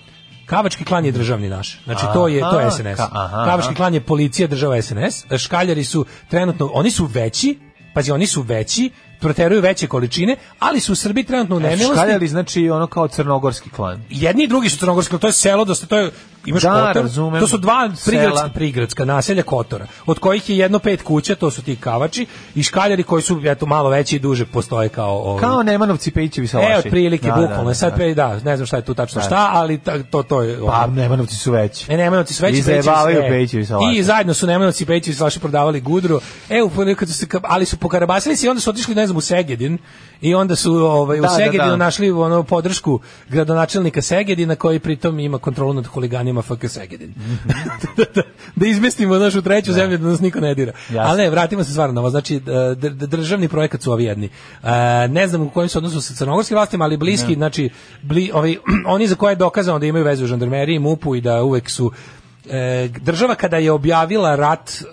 S6: Kavački klan je državni naš. Znači to je to je
S7: Aha,
S6: SNS.
S7: ka- aha,
S6: Kavački
S7: aha.
S6: klan je policija, država SNS. Škaljari su trenutno oni su veći, pazi oni su veći, proteruju veće količine, ali su u Srbiji
S7: E,
S6: trenutno u nemilosti.
S7: Škaljali, znači, ono kao crnogorski klan.
S6: Jedni i drugi su crnogorski, to je selo, dosta, to je, imaš
S7: Da,
S6: Kotor,
S7: razumem.
S6: to su dva
S7: Sela.
S6: prigradska, prigradska naselja Kotora, od kojih je jedno pet kuća, to su ti kavači, i škaljari koji su eto, malo veći i duže postoje kao... ovaj,
S7: Kao Nemanovci, Pejićevi sa
S6: E, otprilike, bukvalno. Sad, pe- da, ne znam šta je tu tačno
S7: Da.
S6: šta, ali ta- to, to je...
S7: Pa,
S6: ono.
S7: Nemanovci su veći.
S6: E, Nemanovci su već
S7: I zajebavaju Pejićevi sa
S6: I
S7: vašim.
S6: zajedno su Nemanovci i Pejićevi sa vašim prodavali gudru. E, u ponedjeljak kad su se, ka- ali su pokarabasili se i onda su otišli, ne znam, u Segedin. I onda su ovaj,
S7: Da,
S6: u
S7: da,
S6: Segedinu
S7: da.
S6: našli ono, podršku gradonačelnika Segedina koji pritom ima kontrolu nad huliganima FK Segedin.
S7: Mhm.
S6: da, da, da izmestimo našu treću zemlju da nas niko ne dira.
S7: Jasno.
S6: Ali ne, vratimo se stvarno na ovo. Znači, d- d- državni projekat su ovi jedni. E, ne znam u kojem su odnosu sa crnogorskim vlastima, ali bliski, znači, bli, ovi, oni za koje je dokazano da imaju vezu u žandarmeriji, MUP-u i da uvek su e, država kada je objavila rat e,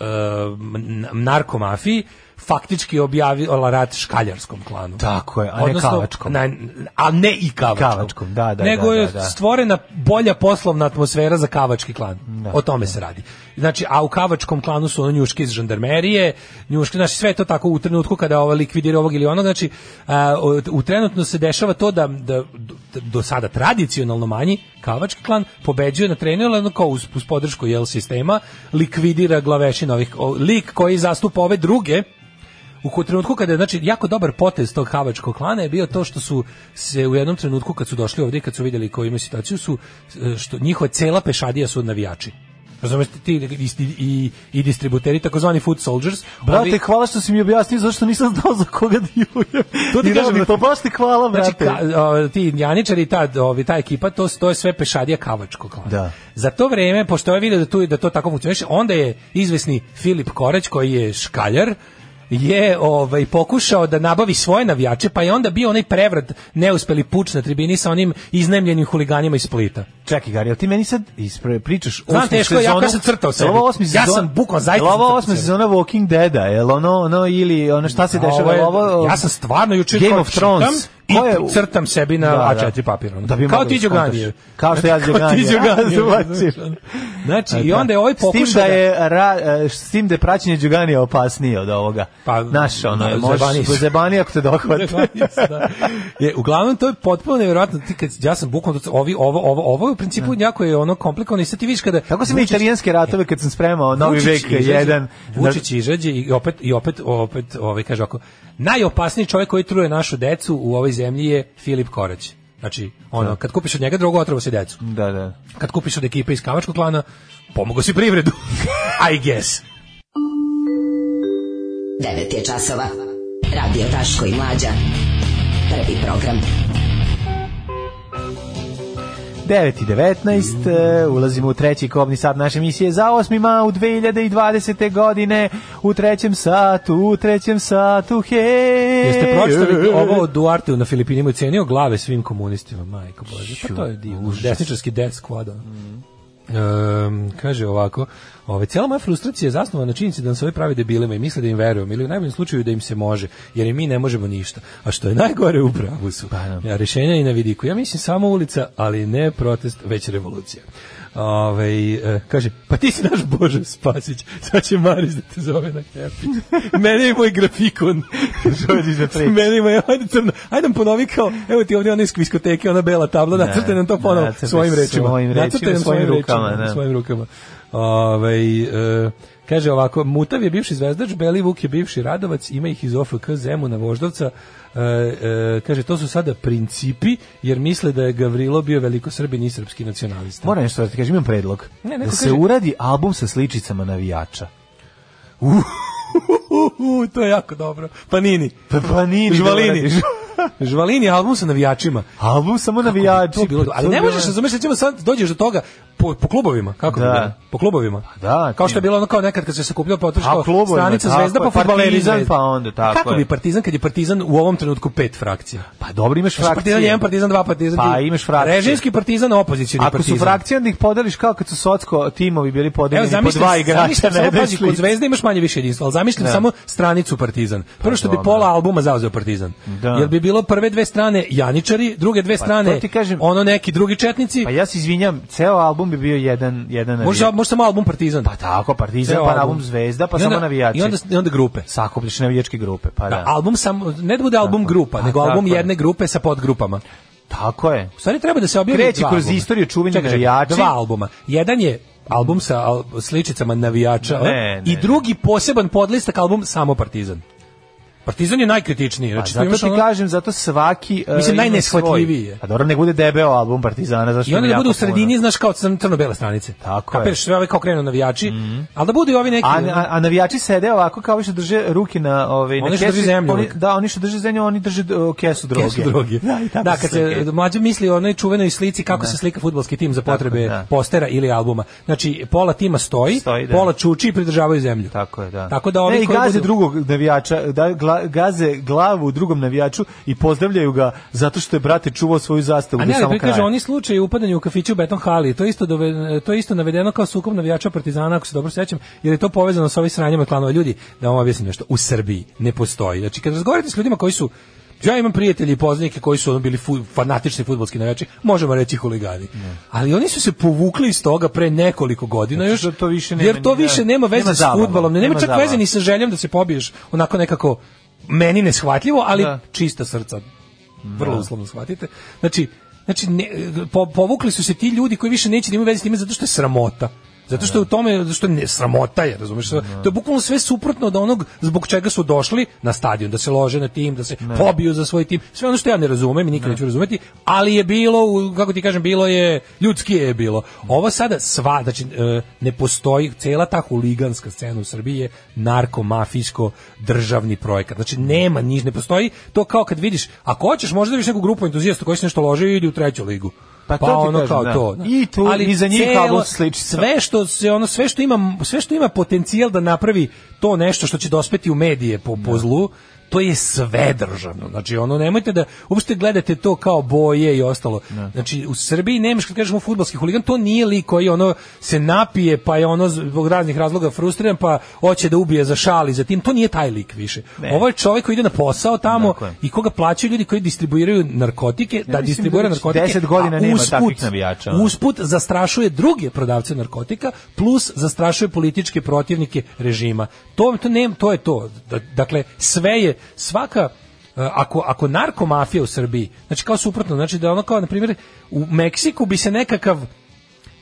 S6: n- narkomafiji, faktički objavila rat škaljarskom klanu.
S7: Tako je, a ne kavačkom.
S6: na- a ne i kavačkom.
S7: Kavačkom, da, da,
S6: Nego
S7: da,
S6: je
S7: da, da.
S6: stvorena bolja poslovna atmosfera za kavački klan.
S7: Da.
S6: o tome se radi. Znači, a u kavačkom klanu su ono njuške iz žandarmerije, njuške, znači sve je to tako u trenutku kada ova likvidira ovog ili onog, znači a, o- u trenutno se dešava to da, da do- do sada tradicionalno manji kavački klan pobeđuje na trenju, ali ono kao uz, uz podršku jel sistema likvidira glavešin ovih o, lik koji zastupa ove druge u ko- trenutku kada je, znači, jako dobar potez tog havačkog klana je bio to što su se u jednom trenutku kad su došli ovdje i kad su vidjeli koju imaju situaciju su, e, što njihova cela pešadija su navijači. Razumeš ti i, i, i distributeri takozvani food soldiers.
S7: Brate,
S6: ovi-
S7: hvala što si mi objasnio zašto nisam znao za koga dilujem.
S6: To ti kažem,
S7: I da mi-
S6: brate.
S7: pa baš ti hvala,
S6: Znači,
S7: brate.
S6: ka- o, ti Janičari, ta, ovi, ta ekipa, to, to je sve pešadija kavačkog klana.
S7: Da.
S6: Za to vreme, pošto je vidio da, tu, da to tako funkcioniše, onda je izvesni Filip Korać, koji je škaljar, je ovaj pokušao da nabavi svoje navijače, pa je onda bio onaj prevrat neuspeli puč na tribini sa onim iznemljenim huliganima iz Splita.
S7: Čekaj, Gari, ali ti meni sad ispre, pričaš
S6: Znam,
S7: osmu
S6: teško je, ja
S7: sezonu-
S6: kad sam crtao sebi.
S7: Jel ovo osmi
S6: Ja
S7: sezon-
S6: sam bukvalno zaista
S7: Jel
S6: sam crtao
S7: ovo osma
S6: sebi.
S7: sezona Walking Deada, jel ono, ono ili ono šta se
S6: A ovo
S7: dešava,
S6: je-
S7: jel ovo...
S6: ja sam stvarno juče
S7: Game
S6: kao
S7: of Thrones.
S6: čitam i
S7: Ko je-
S6: crtam sebi na
S7: Da, da.
S6: A4 papir. ono.
S7: Da
S6: kao
S7: bi
S6: Znači,
S7: mogao
S6: ti
S7: da skontaš.
S6: Đoganije.
S7: Kao što ja
S6: ti Đoganije.
S7: Đoganije.
S6: Znači, i onda je ovaj
S7: S tim
S6: pokušao
S7: da
S6: da-
S7: je, ra, e, s tim da je praćenje Đoganija opasnije od ovoga. Pa, Znaš, ono,
S6: ne,
S7: možeš
S6: zajebani su.
S7: zajebani ako te dohvate.
S6: Zajebani su, Pa da. je, uglavnom to je potpuno nevjerojatno ti kad ja sam bukvalno ovi ovo ovo ovo je u principu jako je ono komplikovano i sad ti vidiš kada
S7: Tako sam i italijanske ratove kad sam spremao Novi
S6: Vučić
S7: vek
S6: izađe-
S7: 1.
S6: Vučić izađe i opet i opet opet ovaj kaže ovako najopasniji čovjek koji truje našu decu u ovoj zemlji je Filip Korać. Znači, ono,
S7: Da.
S6: kad kupiš od njega drogu, otrova se decu.
S7: Da, da.
S6: Kad kupiš od ekipe iz Kavačkog klana, pomogao si privredu. I guess.
S12: 9 je časova. Radio Daško i Mlađa. Prvi program.
S7: 9 i 19, e, ulazimo u treći kobni sat naše emisije za 8. u 2020. godine, u trećem satu, u trećem satu, hej!
S6: Jeste pročitali ovo o Duarteu na Filipinima i cenio glave svim komunistima, majko bože. Pa to je divno. Desničarski death squad. ono. Ehm, kaže ovako, ove, cijela moja frustracija je zasnovana na činjenici da nam se ovi pravi debilima i misle da im verujemo ili u najboljem slučaju da im se može, jer i mi ne možemo ništa. A što je najgore u pravu su. Ja, rešenja i na vidiku. Ja mislim samo ulica, ali ne protest, već revolucija. Ove, e, kaže, pa ti si naš Bože Spasić, sad će Maris da te zove na happy. Mene je moj grafikon.
S7: Dođi za priču.
S6: Meni ima, ajde crno, ajde nam ponovi kao, evo ti ovdje ona iz diskoteke, ona bela tabla,
S7: Ne,
S6: nacrtaj nam to ponovo
S7: nacrtaj
S6: svojim rečima.
S7: svojim rečima,
S6: Nacrtaj nam
S7: svojim rukama,
S6: rečima,
S7: da.
S6: svojim rukama. Ovaj, e, kaže ovako, Mutav je bivši zvezdač, Beli Vuk je bivši Radovac, ima ih iz OFK Zemuna Voždovca, E, e, kaže, to su sada principi, jer misle da je Gavrilo bio veliko srbin i srpski nacionalista.
S7: Moram nešto da ti kažem, imam predlog.
S6: Ne, neko
S7: da se
S6: kaže-
S7: uradi album sa sličicama navijača.
S6: U, to je jako dobro. Panini.
S7: Pa, Panini,
S6: Žvalini.
S7: dobro,
S6: Žvalini, album sa navijačima.
S7: Album samo navijači.
S6: To bilo, ali ne možeš razumeš da ćemo sad dođeš do toga po, po klubovima, kako bi
S7: Da. Pa
S6: bilo? Po klubovima.
S7: Da,
S6: Kao što je bilo ono kao nekad kad se sakupljao potroš
S7: A,
S6: kao
S7: klubovima,
S6: stranica
S7: tako
S6: Zvezda pa
S7: je,
S6: fudbaleri iz
S7: Partizan,
S6: Zvezde.
S7: pa onda, tako
S6: Kako
S7: je.
S6: bi Partizan kad je Partizan u ovom trenutku pet frakcija.
S7: Pa dobro, imaš
S6: Znači,
S7: frakcije.
S6: Partizan 1, Partizan 2, Partizan
S7: Pa
S6: tri.
S7: imaš frakcije.
S6: Režimski Partizan, opozicioni
S7: Ako
S6: Partizan.
S7: su frakcije, onda ih podeliš kao kad su socko timovi bili
S6: Evo
S7: podeljeni po
S6: zamislim,
S7: dva igrača
S6: zamislim
S7: na
S6: samo,
S7: jedan
S6: pazi, kod
S7: sličicu.
S6: Zvezde imaš manje više jedinstva, ali zamislim
S7: Da. Pa
S6: samo stranicu Partizan. Prvo što bi
S7: dobro.
S6: pola albuma zauzeo Partizan.
S7: Da.
S6: Jer bi bilo prve dve strane Janičari, druge dve
S7: Pa,
S6: strane
S7: to ti kažem.
S6: ono neki drugi četnici.
S7: Pa ja se izvinjam, ceo album bi bio jedan, jedan
S6: Možda, možda samo album Partizan.
S7: Znači, Pa tako, Partizan,
S6: Ceo
S7: pa
S6: album.
S7: album Zvezda, pa
S6: I onda-
S7: samo navijači.
S6: i onda- i onda grupe.
S7: Sakupljaš navijačke grupe, pa da.
S6: Da, album sam, ne da bude album grupa,
S7: Pa,
S6: nego album
S7: tako je.
S6: jedne grupe sa podgrupama.
S7: Tako je.
S6: U stvari treba da se objavi
S7: Kreći
S6: dva
S7: kroz
S6: albuma.
S7: istoriju čuvenih
S6: Čekaj, čekaj,
S7: navijača.
S6: Dva albuma. Jedan je album sa al- sličicama navijača
S7: Ne,
S6: a?
S7: ne,
S6: i drugi poseban podlistak album samo Partizan. Partizan je najkritičniji.
S7: Pa,
S6: Znači,
S7: zato ti
S6: ono-
S7: kažem, zato svaki... e,
S6: Mislim,
S7: ima
S6: najneshvatljiviji
S7: svoj.
S6: je.
S7: A dobro, nek bude debeo album Partizana, zašto
S6: I onda
S7: mi
S6: da
S7: jako
S6: bude u
S7: puno.
S6: sredini, znaš, kao crn- crno-bela stranica.
S7: Tako je. Mhm.
S6: Kapiraš, sve ove kao krenu navijači, ali da budu i ovi neki...
S7: A, a, a navijači sede ovako kao više drže ruke na ovaj na
S6: Oni što
S7: kesi,
S6: drže zemlju
S7: Oni,
S6: uvek.
S7: da, oni što drže zemlju, oni drže e, kesu droge.
S6: Kesu droge.
S7: Da, i tako
S6: Da, kad se
S7: slike.
S6: mlađe misli o onoj čuvenoj slici kako se slika fudbalski tim za potrebe
S7: da.
S6: postera ili albuma. Znači, pola tima stoji,
S7: Stoji, da.
S6: pola čuči i pridržavaju zemlju.
S7: Tako je, da.
S6: Tako da ovi
S7: ne, i
S6: koji
S7: gaze
S6: budu-
S7: drugog navijača, da, gla- gaze glavu drugom navijaču i pozdravljaju ga zato što je brate čuvao svoju zastavu
S6: A
S7: do
S6: ne, ali
S7: samog
S6: prikaže,
S7: kraja.
S6: oni slučaj upadanja u kafiću u Beton Hali, to je isto, dove- to je isto navedeno kao sukob navijača Partizana, ako se dobro sećam, jer je to povezano sa ovim sranjama klanova ljudi. Da vam objasnim nešto, u Srbiji ne postoji. Znači, kad razgovarate s ljudima koji su Ja imam prijatelji i poznanike koji su ono bili fu- fanatični fudbalski navijači, možemo reći huligani. Ali oni su se povukli iz toga pre nekoliko godina
S7: Zato
S6: još,
S7: što Znači, to više nema
S6: jer to
S7: ni-
S6: više nema veze
S7: nema
S6: s
S7: zabave.
S6: fudbalom, ne- nema
S7: Nema
S6: čak
S7: zabave.
S6: veze ni sa željom da se pobiješ, onako nekako meni neshvatljivo, ali
S7: Da.
S6: čista srca vrlo uslovno shvatite. Znači, znači ne, po- povukli su se ti ljudi koji više neće da imaju veze s time zato što je sramota. Zato što je u tome što ne sramota je, razumeš? To je bukvalno sve suprotno od onog zbog čega su došli na stadion, da se lože na tim, da se pobiju za svoj tim. Sve ono što ja ne razumem i nikad neću razumeti, ali je bilo, u- kako ti kažem, bilo je ljudski je bilo. Ovo sada sva, znači e, ne postoji cela ta huliganska scena u Srbiji je narkomafijsko državni projekat. Znači nema niš, ne postoji to kao kad vidiš, ako hoćeš možda da vidiš neku grupu entuzijasta koji se nešto lože ili u treću ligu. ono
S7: Pa to ti kažem, da. I tu, i za njih
S6: celo-
S7: kabel sličica.
S6: Sve što se ono sve što ima sve što ima potencijal da napravi to nešto što će dospeti u medije po, po zlu, to je sve državno. Znači ono nemojte da uopšte gledate to kao boje i ostalo. Znači u Srbiji nemaš kad kažemo fudbalski huligan, to nije lik koji ono se napije pa je ono zbog raznih razloga frustriran pa hoće da ubije za šali za tim, to nije taj lik više.
S7: Ne.
S6: Ovo je čovjek koji ide na posao tamo
S7: Tako je.
S6: i koga plaćaju ljudi koji distribuiraju narkotike, da
S7: mislim
S6: distribuira
S7: da već
S6: narkotike.
S7: 10 godina
S6: a
S7: nema
S6: usput-
S7: takvih navijača, ono.
S6: usput zastrašuje druge prodavce narkotika plus zastrašuje političke protivnike režima. To to ne, to je to. Da- Dakle sve je svaka e, ako ako narkomafija u Srbiji, znači kao suprotno, znači da ono kao na primjer u Meksiku bi se nekakav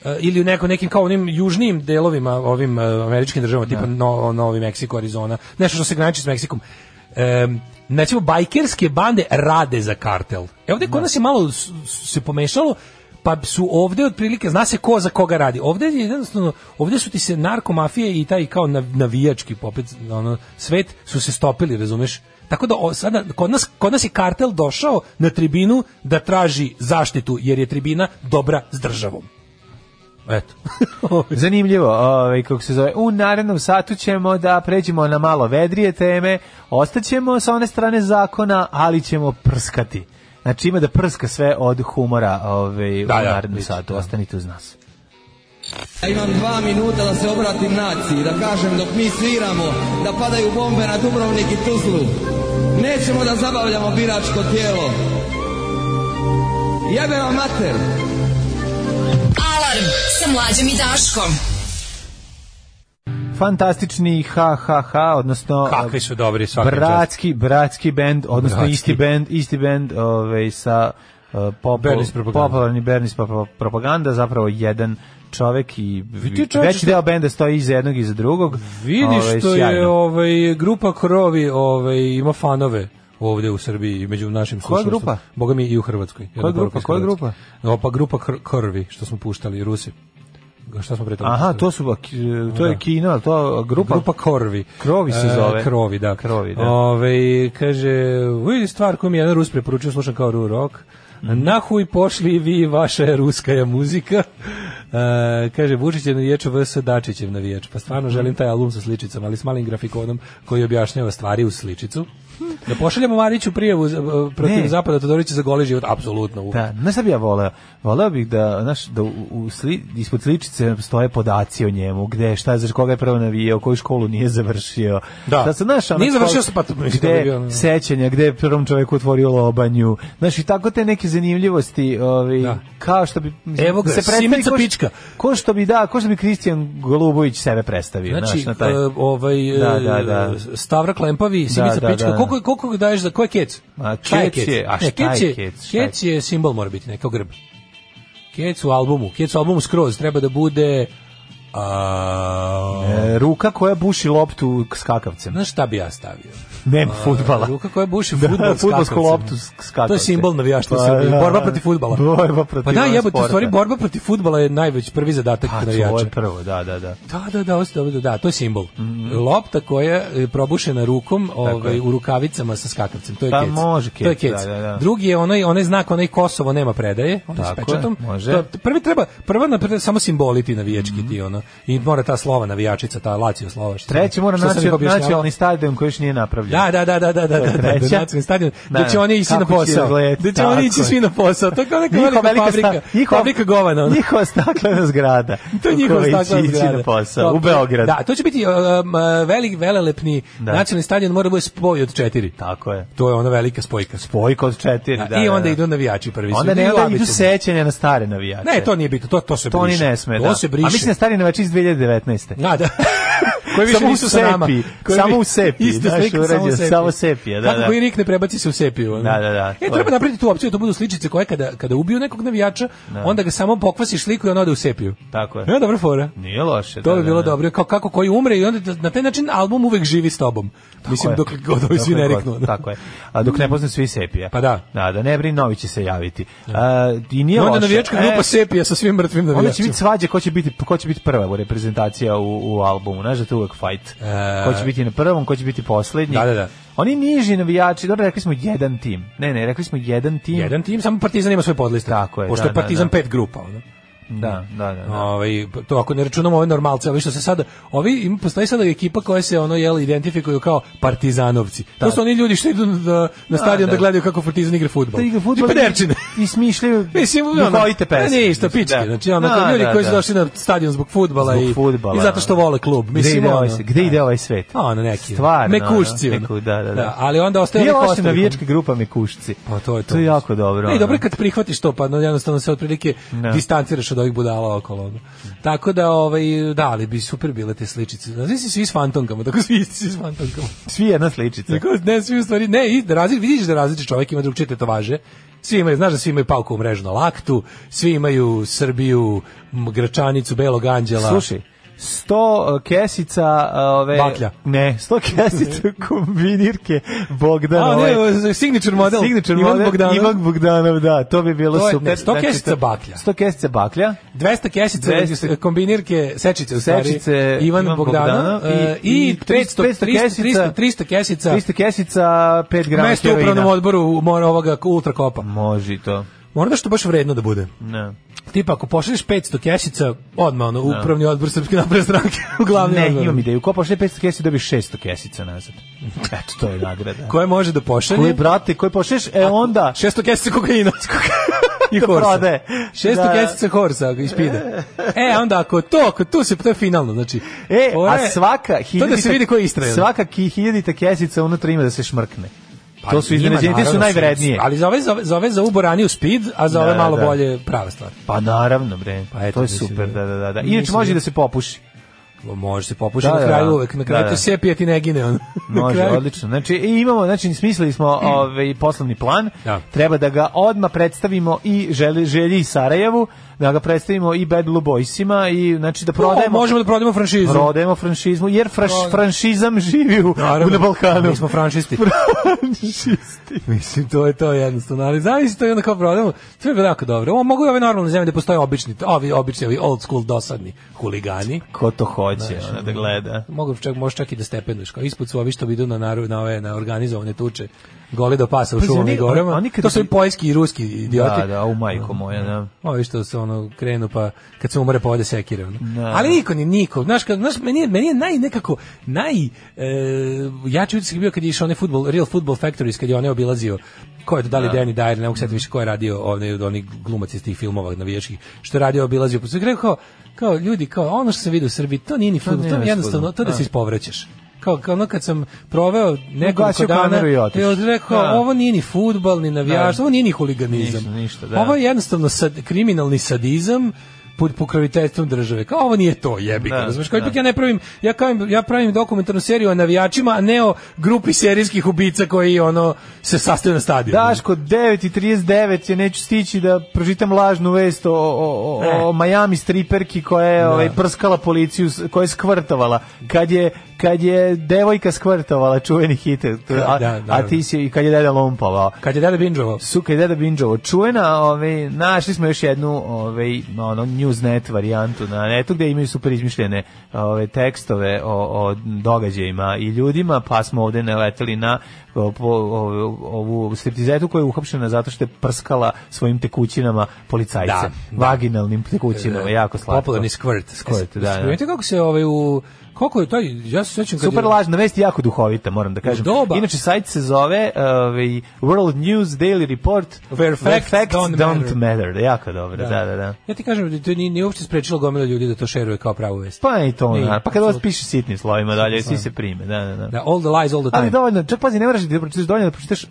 S6: e, ili u neko, nekim kao onim južnijim delovima ovim e, američkim državama tipa no, Novi Meksiko, Arizona, nešto što se graniči s Meksikom. Em, recimo, bajkerske bande rade za kartel. E ovdje kod nas je malo s- s- se pomešalo, pa su ovdje otprilike, zna se ko za koga radi. Ovdje je jednostavno, ovdje su ti se narkomafije i taj kao nav- navijački popet, ono, svet su se stopili, razumeš? Tako da o, sada kod nas kod nas je kartel došao na tribinu da traži zaštitu jer je tribina dobra s državom. Eto.
S7: Zanimljivo, ovaj, kako se zove. U narednom satu ćemo da pređemo na malo vedrije teme, ostaćemo sa one strane zakona, ali ćemo prskati. Znači ima da prska sve od humora ovaj, u narednom satu. Ostanite uz nas.
S14: Ja imam dva minuta da se obratim naciji, da kažem dok mi sviramo, da padaju bombe na Dubrovnik i Tuzlu. Nećemo da zabavljamo biračko tijelo. Jebe vam mater!
S5: Alarm sa mlađom i Daškom.
S7: Fantastični ha ha ha, odnosno
S6: Kakvi su dobri svaki čas.
S7: bratski, bratski bend, odnosno
S6: Bratski.
S7: isti bend, isti bend ovaj, sa uh, popu-
S6: Bernis propaganda.
S7: popularni Bernis propa- propaganda, zapravo jedan čovek i
S6: Vidi čoveče
S7: veći
S6: što-
S7: deo benda stoji iza jednog i iza drugog.
S6: Vidi
S7: Ovaj,
S6: što je
S7: sjajno.
S6: ovaj grupa Krovi ovaj ima fanove ovdje u Srbiji i među našim
S7: Koja
S6: slušalcima.
S7: grupa?
S6: Boga mi i u Hrvatskoj. Jedna
S7: Koja grupa,
S6: poruka iz
S7: koja
S6: Hrvatske.
S7: grupa?
S6: No, pa grupa Kr- Krvi što smo puštali Rusi. Šta smo pre toga
S7: Aha,
S6: puštali?
S7: to su bak- to je Kina, to je grupa
S6: Grupa Korvi.
S7: Krovi se
S6: E,
S7: zove.
S6: krovi, da.
S7: Krovi, da.
S6: Ove, kaže, vidi stvar koju mi je jedan Rus preporučio, slušam kao Ru Rock.
S7: Mhm.
S6: Nahuj pošli vi, vaša je ruskaja muzika. E, kaže, Vučić je naviječ vs. Dačićev naviječ. Pa
S7: Mhm.
S6: stvarno želim taj album sa sličicama, ali s malim grafikonom koji objašnjava stvari u sličicu. Da pošaljemo Mariću prijavu za- e, protiv
S7: Ne.
S6: Zapada Todorića za goli život, apsolutno. uvek.
S7: Da, znaš šta bi ja voleo? Voleo bih da, znaš, da u, u sli, ispod sličice stoje podaci o njemu, gde, šta, je, za koga je prvo navijao, koju školu nije završio.
S6: Da.
S7: se, znaš, ono,
S6: Nije završio
S7: kao-
S6: se, pa to- mislim, to bi
S7: gde,
S6: bio, ne.
S7: sećanja, gde je prvom čoveku otvorio lobanju. Znaš, i tako te neke zanimljivosti, ovaj, kao što bi... mislim,
S6: Evo ga,
S7: predstavi
S6: Simica
S7: ko š-
S6: Pička.
S7: Ko što bi, da, ko što bi Kristijan Golubović sebe predstavio,
S6: Znači,
S7: znaš, na taj...
S6: e, ovaj, e,
S7: Da, da, da.
S6: Stavra Klempavi, Simica
S7: da,
S6: Pička,
S7: da.
S6: koliko, koliko daješ za, ko je kec?
S7: Ma,
S6: Šta
S7: kec je- a
S6: Ne,
S7: šta je
S6: je-
S7: kec? Šta je-
S6: Kec je simbol, mora biti, nekao grb. Kec u albumu, kec u albumu skroz, treba da bude... A,
S7: E, ruka koja buši loptu s kakavcem.
S6: Znaš šta bi ja stavio?
S7: Nema
S6: A,
S7: fudbala.
S6: Ruka koja buši
S7: Da,
S6: fudbal s
S7: fudbalsku
S6: kakavcem.
S7: loptu s kakavcem.
S6: To je simbol navijaštva
S7: Pa,
S6: Srbije.
S7: da.
S6: Borba protiv fudbala.
S7: Borba protiv
S6: Pa da,
S7: ovog
S6: jebote, u stvari
S7: sporta.
S6: borba protiv fudbala je najveći prvi zadatak
S7: Pa,
S6: navijača.
S7: to je prvo, da, da, da.
S6: Da, da, da, osta- da, da, to je simbol. Lopta koja je probušena rukom, ovaj
S7: Mhm. je.
S6: u rukavicama sa skakavcem, to je
S7: Pa
S6: kec.
S7: može
S6: To je
S7: kec,
S6: kec.
S7: da, da, da.
S6: Drugi je onaj onaj znak, onaj Kosovo nema predaje, onaj s
S7: Tako je,
S6: pečatom.
S7: može. Mhm.
S6: To- prvi treba, prva napred samo simboliti navijački ti ono. I mora ta slova navijačica, ta Lazio slova. što-
S7: Treći mora
S6: što sam
S7: naći
S6: ih objašnjavao.
S7: nacionalni stadion koji još nije napravljen.
S6: Da, da, da, da, da, da,
S7: To
S6: da,
S7: je
S6: da, da,
S7: treća.
S6: nacionalni stadion,
S7: Da,
S6: da će oni ići
S7: kako
S6: na
S7: će
S6: posao,
S7: izgledati,
S6: da će oni
S7: tako
S6: ići
S7: je.
S6: svi na posao, to je kao neka
S7: Njihova
S6: velika
S7: velika
S6: fabrika,
S7: sta- njihova-
S6: fabrika govana. ono.
S7: Njihova staklena zgrada.
S6: To je
S7: u
S6: njihova
S7: kojoj će
S6: stakla
S7: ići
S6: zgrada.
S7: na posao,
S6: To-
S7: u Beograd.
S6: Da, to će biti um, velik, velelepni
S7: Da.
S6: nacionalni stadion, mora da bude spoj od četiri.
S7: Tako je.
S6: To je ona velika spojka.
S7: Spojka od četiri, da,
S6: I
S7: da,
S6: onda
S7: da.
S6: idu navijači prvi.
S7: Onda
S6: Idu
S7: ne, onda idu
S6: Abitur.
S7: sećanja na stare navijače.
S6: Ne, to nije bitno, to, to se
S7: To
S6: briše.
S7: oni ne sme,
S6: to
S7: da.
S6: se briše.
S7: A mislim da stari navijači iz 2019.
S6: Da, da.
S7: Koji više
S6: Samo u
S7: nisu sa
S6: sepi.
S7: nama.
S6: Koji
S7: Samo
S6: vi-
S7: u sepi,
S6: Ista
S7: znaš,
S6: slika,
S7: urađeno, samo sepija, da,
S6: Kako
S7: da.
S6: koji rik ne prebaci se u sepiju. ono.
S7: Da, da, da, to
S6: E,
S7: je.
S6: treba napraviti tu opciju, da to budu sličice koje kada, kada ubiju nekog navijača,
S7: Da.
S6: onda ga samo pokvasiš sliku i on ode u sepiju.
S7: Tako je.
S6: Ne, dobra fora.
S7: Nije loše.
S6: To
S7: da,
S6: bi
S7: da,
S6: bilo
S7: da.
S6: dobro. Kao kako koji umre i onda na taj način album uvek živi s tobom. Mislim,
S7: je.
S6: dok god ovi svi
S7: Dokle
S6: ne
S7: god,
S6: riknu. da.
S7: Tako je. A dok ne poznam svi sepija. Pa da. Da, da ne brin, novi će se javiti. A, I nije
S6: Onda
S7: loše. E,
S6: navijačka grupa sepija sa svim mrtvim navijačima.
S7: Onda će biti svađa ko će biti, ko će biti prva u reprezentacija u, u albumu. Znaš da to je uvek fight. Ko će biti na prvom, ko će biti poslednji.
S6: E. Da, da, da.
S7: Oni niži navijači, dobro, rekli smo jedan tim. Ne, ne, rekli smo jedan tim.
S6: Jedan tim, samo Partizan ima svoj podliste.
S7: Tako je,
S6: Pošto
S7: da,
S6: je
S7: da,
S6: Partizan
S7: da.
S6: pet grupa. ono.
S7: Da, da, da. da.
S6: Ovaj to ako ne računamo ove normalce, ovi što se sada, ovi im postoji sada ekipa koja se ono jel identifikuju kao Partizanovci. To
S7: Da.
S6: su oni ljudi što idu na, na stadion da,
S7: da.
S6: gledaju kako Partizan igra fudbal.
S7: Da igra fudbal
S6: I pederčine.
S7: I smišljaju
S6: pa Mislim, ono,
S7: duhovite pesme.
S6: Ne, isto pičke.
S7: Da.
S6: Znači, ono,
S7: Da,
S6: ljudi
S7: da,
S6: koji su
S7: da.
S6: došli na stadion zbog fudbala
S7: Zbog
S6: i,
S7: fudbala,
S6: i zato što
S7: da.
S6: vole klub.
S7: Gde
S6: Mislim,
S7: ide, ovaj,
S6: ono,
S7: se- gde ide ovaj svet?
S6: A, ono, neki.
S7: Stvarno,
S6: Mekušci, ono.
S7: Meku, da, da, da.
S6: Da, ali onda ostaje
S7: Nije
S6: onih
S7: loše
S6: ostalih,
S7: navijačka grupa Mekušci.
S6: Pa to je to.
S7: To je jako dobro.
S6: Ne, i dobro je
S7: ono.
S6: kad prihvatiš to, pa no, jednostavno se otprilike
S7: Da.
S6: distanciraš od ovih budala okolo. ono. Tako da, ovaj, da, ali bi super bile te sličice. Znači si svi s fantomkama, tako svi isti si s fantomkama.
S7: Svi jedna sličica.
S6: Tako, ne, svi u stvari, ne, i da razlik, vidiš da različit čovjek ima drugčije tetovaže. Svi imaju, znaš da svi imaju pauku u mrežu na laktu, svi imaju Srbiju, m, Gračanicu, Belog anđela.
S7: Slušaj, 100 kesica e, ove
S6: Baklja.
S7: Ne, 100 kesica kombinirke Bogdan
S6: A,
S7: ovaj.
S6: ne, ovo je signature model.
S7: Signature
S6: Ivan
S7: model,
S6: Bogdanov.
S7: Ivan Bogdanov, da, to bi bilo
S6: To je,
S7: super.
S6: ne, 100
S7: Znači,
S6: kesica
S7: to-
S6: baklja.
S7: 100 kesica baklja.
S6: 200 kesica
S7: 200
S6: kombinirke sečice u stvari
S7: Sečice
S6: Ivan, Bogdanov
S7: Bogdanov
S6: e, i, 500 300 300 300 kesica
S7: 300 kesica 5 grama
S6: mesto u
S7: heroina.
S6: upravnom odboru mora ovoga ultra kopa
S7: Može i to.
S6: mora da što baš vredno da bude
S7: Ne.
S6: tipa ako pošalješ 500 kesica odmah ono upravni odbor srpske napredne stranke u glavni
S7: Ne,
S6: odbor.
S7: imam ideju. Ko pošle 500 kesica, dobiš 600 kesica nazad. Eto, to je nagrada.
S6: koje može da pošalje
S7: Koji, brate, koji pošleš, e onda...
S6: 600 kesica kokaina i
S7: Da
S6: horsa.
S7: prodaje.
S6: 600
S7: Da.
S6: kesica horsa ako ispide. E, onda ako to, ako tu se, to je finalno, znači.
S7: E,
S6: ovo
S7: a
S6: je-
S7: svaka
S6: To
S7: hiljadita,
S6: da se vidi ko je Istrajan.
S7: Svaka ki- hiljadita kesica unutra ima da se šmrkne.
S6: Pa
S7: to su
S6: ima,
S7: iznenađenje, te su
S6: naravno,
S7: najvrednije.
S6: Ali za ove, za ove, za ove za uboraniju speed, a za ove
S7: Da,
S6: malo
S7: da.
S6: bolje prava stvar.
S7: Pa naravno, bre,
S6: Pa eto,
S7: to je
S6: mislim,
S7: super, da, da, da. da.
S6: mislim,
S7: Inače može
S6: da.
S7: da se popuši.
S6: Može se popušiti
S7: Da,
S6: na
S7: da,
S6: kraju
S7: da.
S6: uvek, na kraju
S7: Da,
S6: te
S7: da.
S6: sepije ti ne gine. Ono. Na
S7: Može,
S6: kraju.
S7: odlično. Znači, i imamo, znači, smislili smo ovaj poslovni plan,
S6: Da.
S7: treba da ga odmah predstavimo i želi, želji Sarajevu, da ga predstavimo i Bad Blue Boysima i, znači, da
S6: O,
S7: prodajemo...
S6: možemo da prodajemo franšizu.
S7: Prodajemo franšizmu, jer fraš,
S6: Prodajemo.
S7: franšizam živi u,
S6: Naravno.
S7: na Balkanu.
S6: Mi smo franšisti. Mislim, to je to jednostavno. Ali zamisli to i onda kao prodajemo. To je bilo jako dobro. Ovo mogu i ove normalne zemlje da postoje obični, ovi obični, ovi old school dosadni huligani.
S7: Ko to hoće, ono, da gleda.
S6: Mogu čak, možeš čak i da stepenuješ. Kao ispod su ovi što idu na, naru, na, ove, na organizovane tuče. Goli do pasa u
S7: Pazi,
S6: šumama
S7: oni-
S6: i gorama.
S7: oni kad
S6: to su i
S7: bi-
S6: poljski i ruski idioti.
S7: Da, da, u majko moja, da.
S6: Ovi što se ono krenu pa kad se umore pa ode sekira. ono.
S7: Da.
S6: Ali niko ni niko. Znaš, kad, znaš meni, je, meni je naj nekako naj e, jači utisak bio kad je išao onaj futbol, Real Football Factories kad je onaj obilazio ko je to, da li Danny Dyer, ne mogu se setiti više ko je radio onaj od onih glumaca iz tih filmova navijačkih, što je radio obilazio. Pa se rekao kao, kao ljudi, kao ono što se vidi u Srbiji, to nije ni fudbal,
S7: nije
S6: to je
S7: ni
S6: jednostavno,
S7: fudbal,
S6: to da
S7: da.
S6: se ispovrećaš. Kao, kao ono kad sam proveo nekoliko
S7: Ugasio
S6: dana
S7: kameru i otišao.
S6: od rekao,
S7: Da.
S6: ovo nije ni fudbal, ni navijaštvo,
S7: Da.
S6: ovo nije ni huliganizam.
S7: Ništa, ništa, da.
S6: Ovo je jednostavno sad, kriminalni sadizam pod pokroviteljstvom države. Kao ovo nije to, jebi ga,
S7: Da,
S6: razumeš? Kao
S7: da.
S6: ipak ja ne pravim, ja, kao, ja pravim dokumentarnu seriju o navijačima, a ne o grupi serijskih ubica koji ono se sastaju na stadionu.
S7: Daško, 9.39 je, neću stići da pročitam lažnu vest o, o, o, o Miami striperki koja je ovaj, prskala policiju, s- koja je skvrtovala. Kad je, kad je devojka skvrtovala, čuveni hit, a,
S6: da,
S7: a ti si, i kad je deda lompovao.
S6: Kad je dada binđovao.
S7: Su kad je deda binđovo čuvena, ovaj, našli smo još jednu ovaj, ono, newsnet varijantu na netu gde imaju super izmišljene ovaj, tekstove o, o događajima i ljudima, pa smo ovde naleteli na o, po- ovu, ovu striptizetu koja je uhapšena zato što je prskala svojim tekućinama policajce.
S6: Da,
S7: Vaginalnim tekućinama, jako slatko.
S6: Popularni skvrt.
S7: Squirt, da, da.
S6: Vidite kako se ovaj u... Koliko je taj, ja se sećam kad
S7: Super
S6: je...
S7: lažna vest, jako duhovita, moram da kažem.
S6: Doba.
S7: Inače, sajt se zove ovaj, World News Daily Report
S6: Where facts don't
S7: matter. Jako dobro, da, da, da.
S6: Ja ti kažem, da to nije, nije uopšte sprečilo gomila ljudi da to šeruje kao pravu vest.
S7: Pa i to,
S6: Nije,
S7: naravno. pa kada vas
S6: apsolutno.
S7: piše sitnim slovima dalje, svi
S6: slovima.
S7: se prime, da, da, da.
S6: Da, all the lies, all the time.
S7: Ali dovoljno, čak pazi, ne moraš da pročitaš dovoljno da pročitaš uh,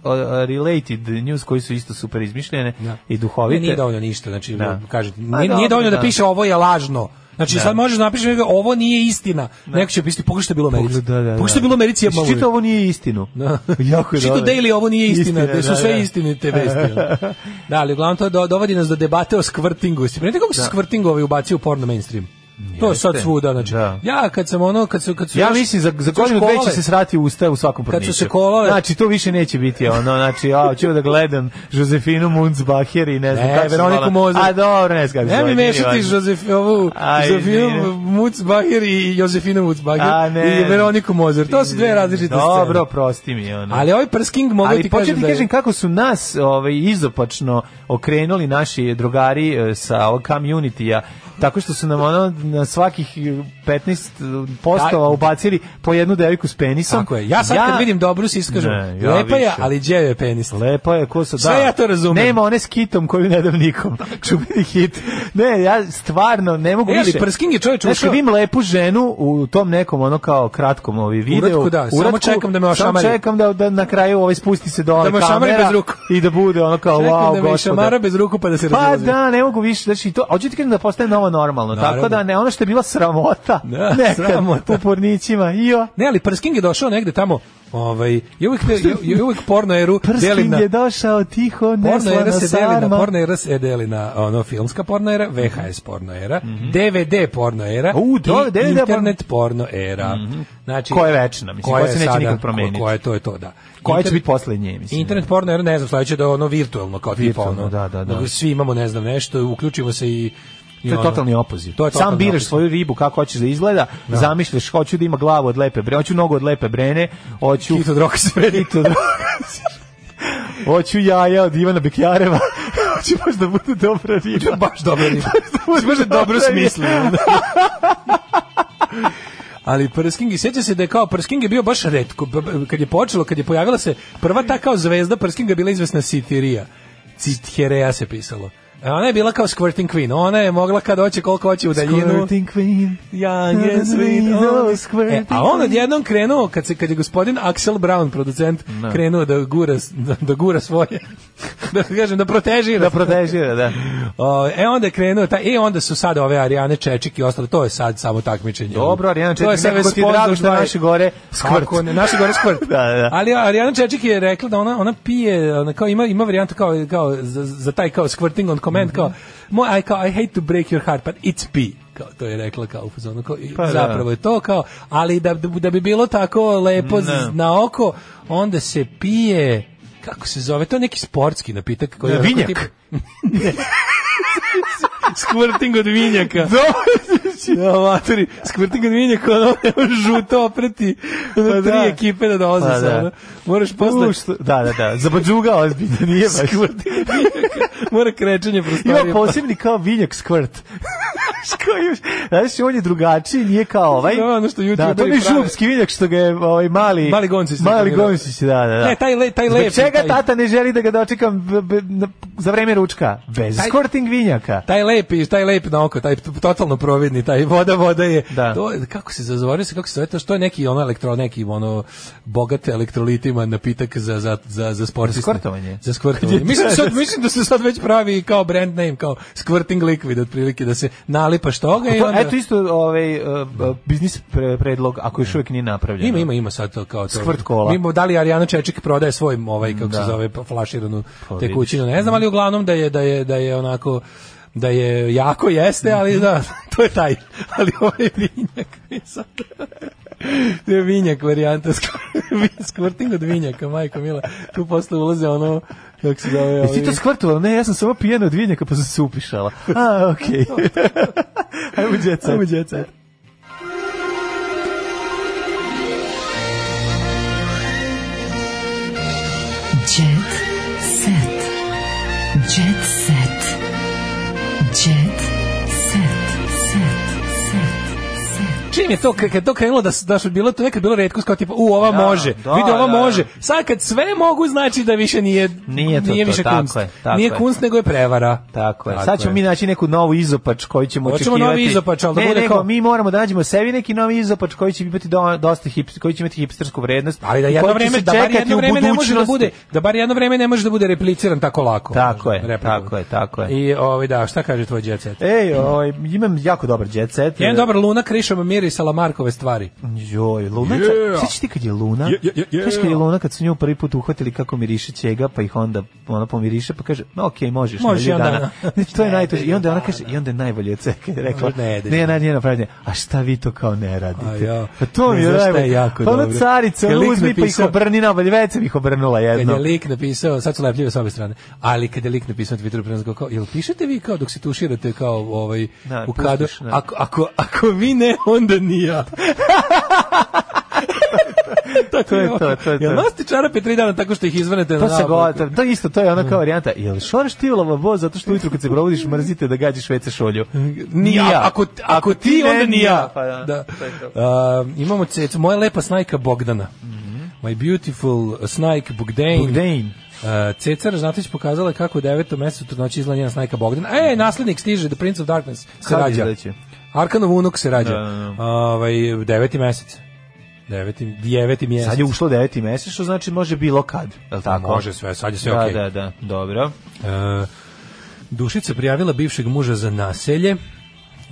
S7: related news koji su isto super izmišljene
S6: Da.
S7: i
S6: Ne,
S7: duhovite.
S6: nije dovoljno ništa, znači
S7: Pa Da.
S6: kažete,
S7: A
S6: nije, nije
S7: dobro,
S6: dovoljno da
S7: da.
S6: piše ovo je lažno, Znači sad možeš da napišeš nekako, ovo nije istina. Neko će pisati pogledaj što je bilo u Americi.
S7: Pogled- Pa da, da, da.
S6: Pogledaj što Pa je bilo u Americi je
S7: Čito ovo nije istinu. Da. jako je
S6: Čito
S7: dobro.
S6: Daily ovo nije istina, da su
S7: da,
S6: sve
S7: da.
S6: istinite vesti. ono. da, ali uglavnom to do, dovodi nas do debate o skvrtingu. Jeste primetili kako se
S7: Da.
S6: skvrting ovaj ubacio u porno mainstream? To je sad
S7: Jeste.
S6: svuda, znači. Ja kad sam ono, kad su, kad su
S7: Ja
S6: još-
S7: mislim za za
S6: kad su još
S7: godinu dve će
S6: kolale-
S7: se srati u usta u svakom
S6: Kad su
S7: porniću.
S6: se kolale-
S7: Znači to više neće biti ono, znači ja hoću da gledam Josefinu Munzbacher i ne znam
S6: Ne,
S7: kako se
S6: Veroniku
S7: zvala.
S6: Mozer.
S7: A dobro, ne znam. kako se
S6: Ne
S7: zove,
S6: mi
S7: nije
S6: mešati
S7: važno.
S6: Josef, ovu
S7: Aj, nije.
S6: Josefinu Mutzbacher i Josefinu
S7: A,
S6: Mutzbacher
S7: ne.
S6: i Veroniku Mozer. To su dve različite scene.
S7: Dobro, prosti mi ono.
S6: Ali ovaj prsking mogu
S7: Ali
S6: ti
S7: početi
S6: kažem da je-
S7: kažem kako su nas ovaj izopačno okrenuli naši drugari e, sa ovog community-a tako što su nam ono na svakih e, 15 postova
S6: Da.
S7: ubacili po jednu devojku s penisom.
S6: Tako je. Ja sad kad vidim dobru se iskažem.
S7: Ne, ja
S6: Lepa je,
S7: više.
S6: ali gdje je penis?
S7: Lepa je, ko se da.
S6: Sve ja to razumem.
S7: Nema one s kitom koju ne dam nikom. Čuveni hit. Ne, ja stvarno ne mogu
S6: E, ali
S7: više.
S6: Prsking je čovječ
S7: Znaš, kad
S6: ušao-
S7: vidim lepu ženu u tom nekom ono kao kratkom ovi video.
S6: Uratku, da, samo čekam da me ošamari.
S7: Samo čekam da, da na kraju ovaj spusti se dole
S6: Da me ošamari
S7: kamera
S6: bez ruku.
S7: I da bude ono kao
S6: Čekam
S7: wow,
S6: da me
S7: gospode.
S6: šamara bez ruku pa da se
S7: Pa
S6: razlazi.
S7: da, ne mogu više, znači to, hoću ti kažem da postaje novo normalno,
S6: Naravno.
S7: tako da ne, ono što je bila sramota,
S6: Da,
S7: nekad
S6: sramota.
S7: u pornićima, jo,
S6: Ne, ali Prsking je došao negde tamo, ovaj, ja uvijek, ja, ja uvijek porno eru delim
S7: prskin
S6: na...
S7: je došao tiho,
S6: Porno era
S7: neslana
S6: se deli na,
S7: sarma.
S6: porno era se deli na ono, filmska porno era, VHS porno era, DVD porno era
S7: Mhm. U, to-
S6: i
S7: DVD porno- Mhm.
S6: internet porno era. znači,
S7: Koja je večna, mislim, koja
S6: je
S7: se neće
S6: sada-
S7: nikad promeniti.
S6: ko- Koja je to, je to, da.
S7: Koja će
S6: Inter-
S7: biti posle nje, mislim.
S6: Internet porno era, ne znam, sledeće da je ono virtualno, kao tipa
S7: Virtualno,
S6: ono.
S7: da, da, da.
S6: Svi imamo, ne znam, nešto, uključimo se i... i
S7: To je
S6: ono.
S7: totalni opoziv.
S6: To je totalni
S7: Sam biraš
S6: opoziv.
S7: svoju ribu kako hoćeš da izgleda, zamišljaš, hoću da ima glavu od lepe brene, hoću nogu od lepe brene, hoću...
S6: Kit od Roka Sveri.
S7: Kit od Roka Hoću jaja od Ivana Bekjareva. Hoću baš da bude dobra riba.
S6: baš dobra riba.
S7: Hoću
S6: Baš da dobro smisli.
S7: smislim.
S6: Ali Prsking, i sjeća se da je kao Prsking je bio baš redko, b- b- kad je počelo, kad je pojavila se prva ta kao zvezda Prskinga je bila izvesna Sitirija. Citherea se pisalo. A Ona je bila kao Squirting Queen, ona je mogla kad hoće koliko hoće u daljinu.
S7: Squirting queen.
S6: Ja, yes, we
S7: oh,
S6: know. E, a on odjednom krenuo, kad, se, kad je gospodin Axel Brown, producent,
S7: Da.
S6: krenuo da gura, s- da, da gura svoje, da kažem, da protežira.
S7: Da protežira, da.
S6: O, e onda je krenuo, ta, e onda su sad ove Arijane Čečik i ostalo, to je sad samo takmičenje.
S7: Dobro, Arijana
S6: To je
S7: Čečik,
S6: sad
S7: nekako
S6: već
S7: ti je drago što
S6: sponzor,
S7: naše gore skvrt.
S6: Kako ne, naše gore skvrt.
S7: Da, da.
S6: Ali Arijana Čečik je rekla da ona ona pije, ona kao ima ima varijantu kao kao za, za taj kao squirting on command kao
S7: Mhm.
S6: moj I kao I hate to break your heart but it's pee kao to je rekla kao u fazonu kao i
S7: Pa da.
S6: zapravo je to kao ali da da bi bilo tako lepo z-
S7: Ne.
S6: na oko onda se pije kako se zove to je neki sportski napitak koji je onako
S7: Vinjak.
S6: tipa- Squirting od vinjaka. Da, materi, squirting od vinjaka, ono, ono žuto opreti, ono,
S7: Pa da.
S6: tri ekipe da dolaze
S7: Pa
S6: sa,
S7: da.
S6: ono. Moraš posle,
S7: U, što- Da, da, da. Zabadžuga ozbiljno, nije baš.
S6: mora krečenje prostorije.
S7: Ima posebni kao vinjak skvrt. Koji još, znaš, on je drugačiji, nije kao ovaj.
S6: Da, ono što
S7: Da, to
S6: youtuberi
S7: je
S6: prave.
S7: šupski vinjak što ga je ovaj mali...
S6: Mali Goncić.
S7: Mali Goncić, da, da, da.
S6: Ne, taj le- taj
S7: Zbog
S6: lepi,
S7: čega
S6: taj-
S7: tata ne želi da ga dočekam b- b- na- za vreme ručka? Bez
S6: Taj-
S7: skorting vinjaka.
S6: Taj lepi, taj lep na oko, taj t- totalno providni, taj voda voda je.
S7: Da.
S6: To je- kako se zazvorio se, kako se zove to, što je neki ono elektro, neki ono bogat elektrolitima napitak za za za za sportiste.
S7: Za skvrtovanje.
S6: Za skvrtovanje. Mislim sad mislim da se sad već pravi kao brand name, kao squirting liquid otprilike da se nalipaš toga i
S7: To,
S6: E, onda
S7: eto isto ovaj uh, b- biznis pre- predlog ako još uvijek nije napravljen.
S6: Ima, ima, ima sad to kao to.
S7: Skvrt kola.
S6: Mi imamo- da li Arijana Čečik prodaje svoj ovaj kako se
S7: Da.
S6: zove pa, flaširanu
S7: Pa
S6: tekućinu, ne znam, ali uglavnom da je da je da je onako da je jako jeste,
S7: Mhm.
S6: ali da to je taj. Ali ovaj vinjak je sad. To je vinjak varijanta squirting od vinjaka, majko mila. Tu posle ulaze ono kako se zove.
S7: Jesi ti
S6: ovi-
S7: to skvrtovala? Ne, ja sam samo pijena od vinjaka pa sam se upišala. A, okej. Ajmo djeca.
S6: Ajmo, jet set.
S5: Jet set. Jet set. Jet set. Set. Set. Set.
S6: čim je to kad kad to krenulo da s- da su bilo to nekad bilo retko kao tipa u ova
S7: Da,
S6: može,
S7: da,
S6: vidi ova
S7: da,
S6: može.
S7: da.
S6: Sad kad sve mogu znači da više nije
S7: Nije to to,
S6: više
S7: tako
S6: kunst.
S7: je, tako
S6: nije
S7: je.
S6: kunst nego je prevara.
S7: Tako je.
S6: Tako
S7: Sad ćemo
S6: je.
S7: mi naći neku novu izopač koju ćemo
S6: Hoćemo
S7: očekivati.
S6: novi izopač, ali da
S7: ne,
S6: bude
S7: nego,
S6: kao-
S7: mi moramo da nađemo sebi neki novi izopač koji će imati do, dosta hip, koji će imati hipstersku vrednost.
S6: Ali da
S7: i
S6: jedno
S7: koji će
S6: vreme
S7: se
S6: da bar
S7: čekati
S6: jedno
S7: u
S6: vreme ne može da
S7: budućnosti.
S6: bude da bar jedno vreme ne može da bude repliciran tako lako.
S7: Tako je,
S6: Replikovan.
S7: tako je, tako je.
S6: I ovaj da, šta kaže tvoj đec?
S7: Ej, ovaj, imam jako dobar jet set.
S6: Jedan dobar Luna Krišom miri Salamarkove stvari.
S7: Joj, Luna, yeah. sećaš ti kad je Luna?
S6: Yeah, yeah, yeah, yeah.
S7: Sećaš kad je Luna kad su nju prvi put uhvatili kako miriše ćega, pa ih onda ona pomiriše pa kaže: "Ma okej, možeš,
S6: Možeš
S7: nedelju
S6: jedan
S7: dana."
S6: dana.
S7: Znači to je najteže. I onda ona kaže: "I onda je najbolje od svega." kad je rekla:
S6: Možda nedelju.
S7: "Ne, ne, ne, napravljanje. A šta vi to kao ne
S6: A
S7: radite?"
S6: ja.
S7: Pa to mi
S6: Ne,
S7: je
S6: znaš šta
S7: najbolje.
S6: je jako
S7: pa ona
S6: dobro?
S7: carica,
S6: Kad
S7: ona
S6: lik
S7: uzmi pa ih
S6: napisao-
S7: obrni na bolje, već sam ih obrnula
S6: Kad
S7: jedno.
S6: je lik napisao, sad su lepljive s obe strane, ali kad je lik napisao na Twitteru pre nas, kao, jel pišete vi kao dok se tuširate kao ovaj,
S7: Da,
S6: u kadu?
S7: pustiš, da.
S6: Ako, ako, ako vi ne, onda ni ja.
S7: To je to, to je to.
S6: Jel nosite čarape tri dana tako što ih izvanete na
S7: To se
S6: naopak?
S7: gotovo, to je isto, to je ona kao varijanta. Jel šoraš ti u lavabo zato što ujutru kad se provodiš mrzite da gađiš WC šolju?
S6: Ni ja. Ako, ako, ti,
S7: ne,
S6: onda ni ja.
S7: Pa da,
S6: Da.
S7: to je to. Mhm.
S6: A, imamo cecu, moja lepa snajka Bogdana. My beautiful snajk Bogdan.
S7: Bogdan.
S6: Uh, Cecar Žnatić pokazala kako u devetom mesecu trudnoći izgleda njena snajka Bogdana. E, naslednik stiže, The Prince of Darkness se
S7: Kad
S6: rađa.
S7: izleće?
S6: Arkanov unuk se rađa.
S7: Da, da,
S6: Ovaj, deveti mesec. Deveti, deveti mjesec.
S7: Sad je ušlo deveti mesec, što znači može bilo kad, je li tako?
S6: Može sve, sad je sve
S7: da,
S6: okej.
S7: Da, da, dobro.
S6: E, Dušica prijavila bivšeg muža za naselje.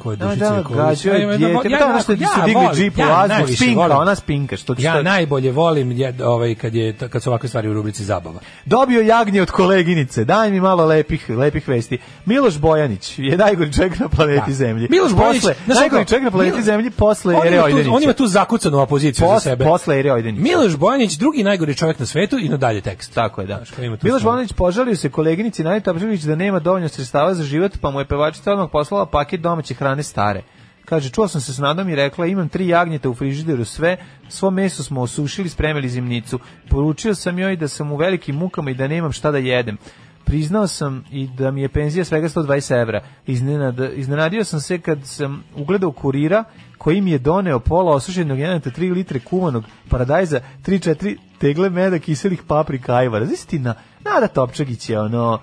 S6: Ko je
S7: Da,
S6: Dušica
S7: da,
S6: Jakovljević?
S7: gađao
S6: Ja
S7: je
S6: imam jedno-
S7: djete. Ja, ono što
S6: ja
S7: su digli
S6: volim,
S7: džip u
S6: ja
S7: vazduh,
S6: najviše
S7: spinka,
S6: volim.
S7: ona spinka. Što,
S6: Ja
S7: što,
S6: najbolje volim jed, ovaj, kad, je, kad su ovakve stvari u rubrici zabava.
S7: Dobio jagnje od koleginice, daj mi malo lepih, lepih vesti. Miloš Bojanić je najgori čovjek na planeti
S6: Da.
S7: Zemlji.
S6: Miloš Bojanić,
S7: Posle-
S6: znaš
S7: najgori
S6: kako,
S7: čovjek na planeti
S6: Mil-
S7: Zemlji posle
S6: On
S7: Ere
S6: ima, tu,
S7: Ojdenića.
S6: on ima tu zakucanu opoziciju
S7: Pos-
S6: za sebe.
S7: Posle Ere Ojdenića.
S6: Miloš Bojanić, drugi najgori čovjek na svetu i nadalje tekst.
S7: Tako je, da.
S6: Znaš, kao ima tu
S7: Miloš
S6: svoje.
S7: Banović požalio se koleginici Nadi Tapčević da nema dovoljno sredstava za život, pa mu je pevačica odmah poslala paket domaće hrane stare. Kaže, čuo sam se s Nadom i rekla, imam tri jagnjeta u frižideru, sve, svo meso smo osušili, spremili zimnicu. Poručio sam joj da sam u velikim mukama i da nemam šta da jedem. Priznao sam i da mi je penzija svega 120 evra. Iznenad, iznenadio sam se kad sam ugledao kurira koji mi je doneo pola osušenog janeta, 3 litre kuvanog paradajza, 3-4 tegle meda, kiselih paprika, ajvara. Znaš ti na, Nada Topčagić je ono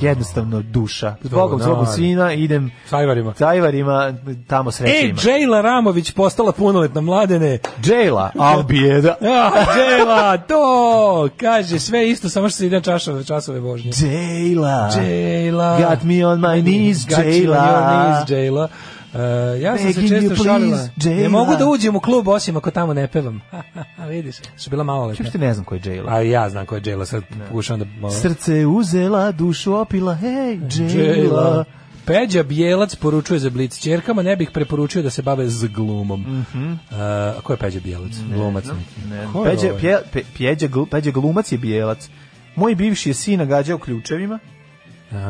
S7: jednostavno duša. Zbogom,
S6: Dobro,
S7: zbogom
S6: Nada.
S7: svina idem
S6: S ajvarima.
S7: s ajvarima tamo
S6: E,
S7: srećima.
S6: Džejla Ramović postala punoletna mladene.
S7: Džela, albijeda.
S6: Ja, Džejla, to! Kaže, sve isto, samo što se ide na časove, časove vožnje.
S7: Džela.
S6: Džejla.
S7: Got me on my knees,
S6: Got you on
S7: Džela.
S6: your knees, Džejla. E, ja sam se
S7: Begging you,
S6: često
S7: please,
S6: šalila. Ne
S7: Džejla.
S6: mogu da uđem u klub osim ako tamo ne pevam. Vidiš, su bila malo lepa.
S7: Uopšte ne znam ko je Džela.
S6: A ja znam ko je Džejla, sad pokušavam da... malo-
S7: Srce uzela, dušu opila, hej, Džela.
S6: Đela. Peđa Bijelac poručuje za Blic. Čerkama ne bih preporučio da se bave z glumom. E, a ko je Peđa Bijelac? Glumac neki.
S7: Mhm. Ne,
S6: Ko je
S7: Peđa,
S6: ovaj?
S7: pje, pe, pjeđa, glu- Peđa glumac je bijelac. Moj bivši je sin nagađao ključevima.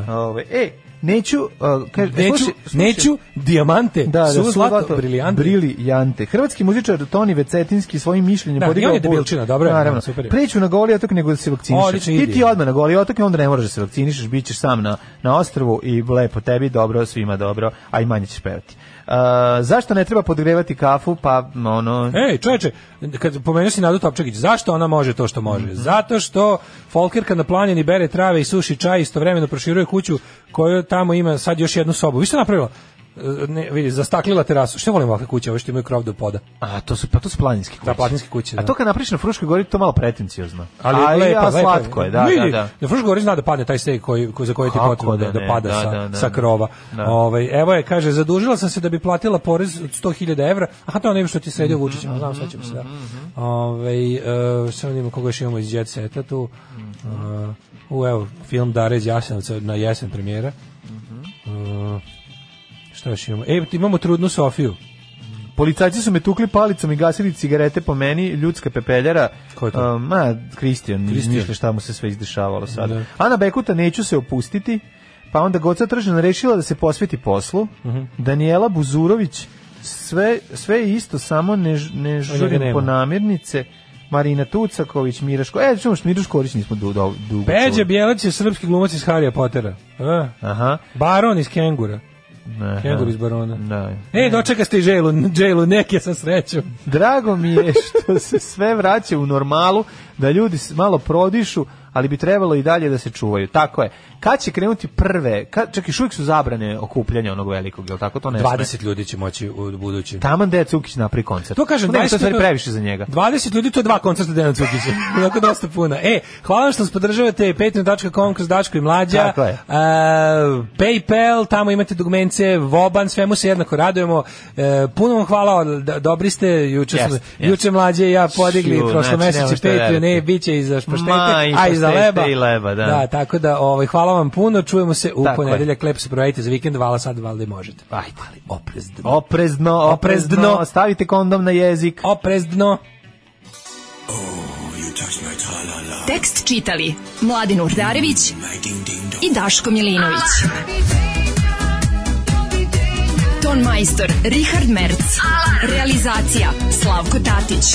S7: Ove, e, neću... Uh, kaže, e,
S6: Neću,
S7: slušaj, slušaj.
S6: neću dijamante,
S7: Da, da,
S6: E, su
S7: su
S6: zlato,
S7: zlato,
S6: briljante.
S7: brilijante. Hrvatski muzičar Toni Vecetinski svojim mišljenjem
S6: Da,
S7: podigao
S6: i on je debilčina, dobro je,
S7: Naravno.
S6: super je.
S7: Preću na goli otok nego da se vakcinišeš.
S6: Odlična
S7: Ti ti
S6: ideja.
S7: odmah na goli otok i onda ne moraš da se vakcinišeš, bit ćeš sam na, na ostrvu i lepo tebi, dobro, svima dobro, a i manje ćeš pevati. Uh, zašto ne treba podgrevati kafu? Pa, ono...
S6: Ej, čoveče, kad pomenuo si Nadu Topčagić, zašto ona može to što
S7: Mhm.
S6: može? Zato što Folkerka na planini bere trave i suši čaj, istovremeno proširuje kuću koju tamo ima sad još jednu sobu. Vi ste napravila? E, Ne, vidi, zastaklila terasu. Što volim ovakve kuće, ove što imaju krov do poda.
S7: A to su pa to su planinski kuće.
S6: Da, planinske kuće,
S7: A
S6: da.
S7: to kad napriš na Fruškoj gori to je malo pretenciozno.
S6: Ali
S7: a, i-
S6: lepa,
S7: a
S6: lepa.
S7: slatko je, da,
S6: Vidi,
S7: da, da.
S6: Na Fruškoj gori zna da padne taj steg koji, koji- za koji ti
S7: Kako
S6: potrebno da,
S7: da
S6: da
S7: ne,
S6: pada
S7: da,
S6: sa,
S7: da, da,
S6: sa
S7: da.
S6: krova.
S7: Da.
S6: Ovaj, evo je, kaže, zadužila sam se da bi platila porez od 100.000 evra, a to je ono što ti
S7: Mhm,
S6: sredio Vučićem, znam, sad ćemo se da. Ovaj, e, samo da imamo koga još imamo iz Jet Seta tu.
S7: Mhm.
S6: E, u, evo, film Dare iz Jasenovca na jesen premijera.
S7: Mhm.
S6: E, šta još imamo? E, imamo trudnu Sofiju.
S7: Policajci su me tukli palicom i gasili cigarete po meni, ljudska pepeljara.
S6: Ko je to?
S7: Um, ma, Kristijan,
S6: Kristijan.
S7: ništa šta mu se sve izdešavalo sad.
S6: Da.
S7: Ana Bekuta, neću se opustiti. Pa onda Goca Tržan rešila da se posveti poslu.
S6: Mhm.
S7: Daniela Buzurović, sve, sve je isto, samo ne, ž- ne žurim
S6: nema.
S7: po namirnice. Marina Tucaković, Miraško... E, čemu što Miraš Korić nismo du, du, dugo
S6: Peđa
S7: čuli.
S6: Bjelac je srpski glumac iz Harija Pottera. E,
S7: Aha.
S6: Baron iz Kengura. Kengur iz Barona.
S7: Da.
S6: E, dočeka ste i Dželu, Dželu, neke sa srećom.
S7: Drago mi je što se sve vraća u normalu, da ljudi s- malo prodišu, ali bi trebalo i dalje da se čuvaju. Tako je. Kad će krenuti prve, kad, čak i šuvijek su zabrane okupljanja onog velikog, je li tako? To ne sme.
S6: 20 ljudi će moći u budući.
S7: Taman Deja Cukić napravi koncert.
S6: To kažem,
S7: ne, to je
S6: 20
S7: stvari previše za njega.
S6: 20 ljudi, to je dva koncerta Dejana Cukića. Onako dosta puno. E, hvala vam što nas podržavate, patreon.com kroz Daško i Mlađa.
S7: Tako je.
S6: E, Paypal, tamo imate dugmence, Voban, svemu se jednako radujemo. E, puno vam hvala, d- dobri ste, juče, yes,
S7: Jest, jest.
S6: juče Mlađe i ja podigli
S7: Šu,
S6: prošlo
S7: znači, nema
S6: meseče
S7: šta
S6: Patreon,
S7: raditi.
S6: ne, bit će i za špaštete,
S7: Ma, i
S6: a i za
S7: špaštete
S6: leba.
S7: i leba, da.
S6: tako da, ovaj, hvala vam puno, čujemo se u
S7: Tako je. Pa.
S6: ponedeljak, lepo se provajte za vikend, vala sad, valjda i možete.
S7: Ajde.
S6: Ali oprezno.
S7: Oprezno, oprezno,
S6: Oprezno.
S7: stavite kondom na jezik.
S6: Oprezno.
S5: Tekst čitali Mladin Urdarević i Daško Milinović. Ton majstor Richard Merc. Realizacija Slavko Tatić.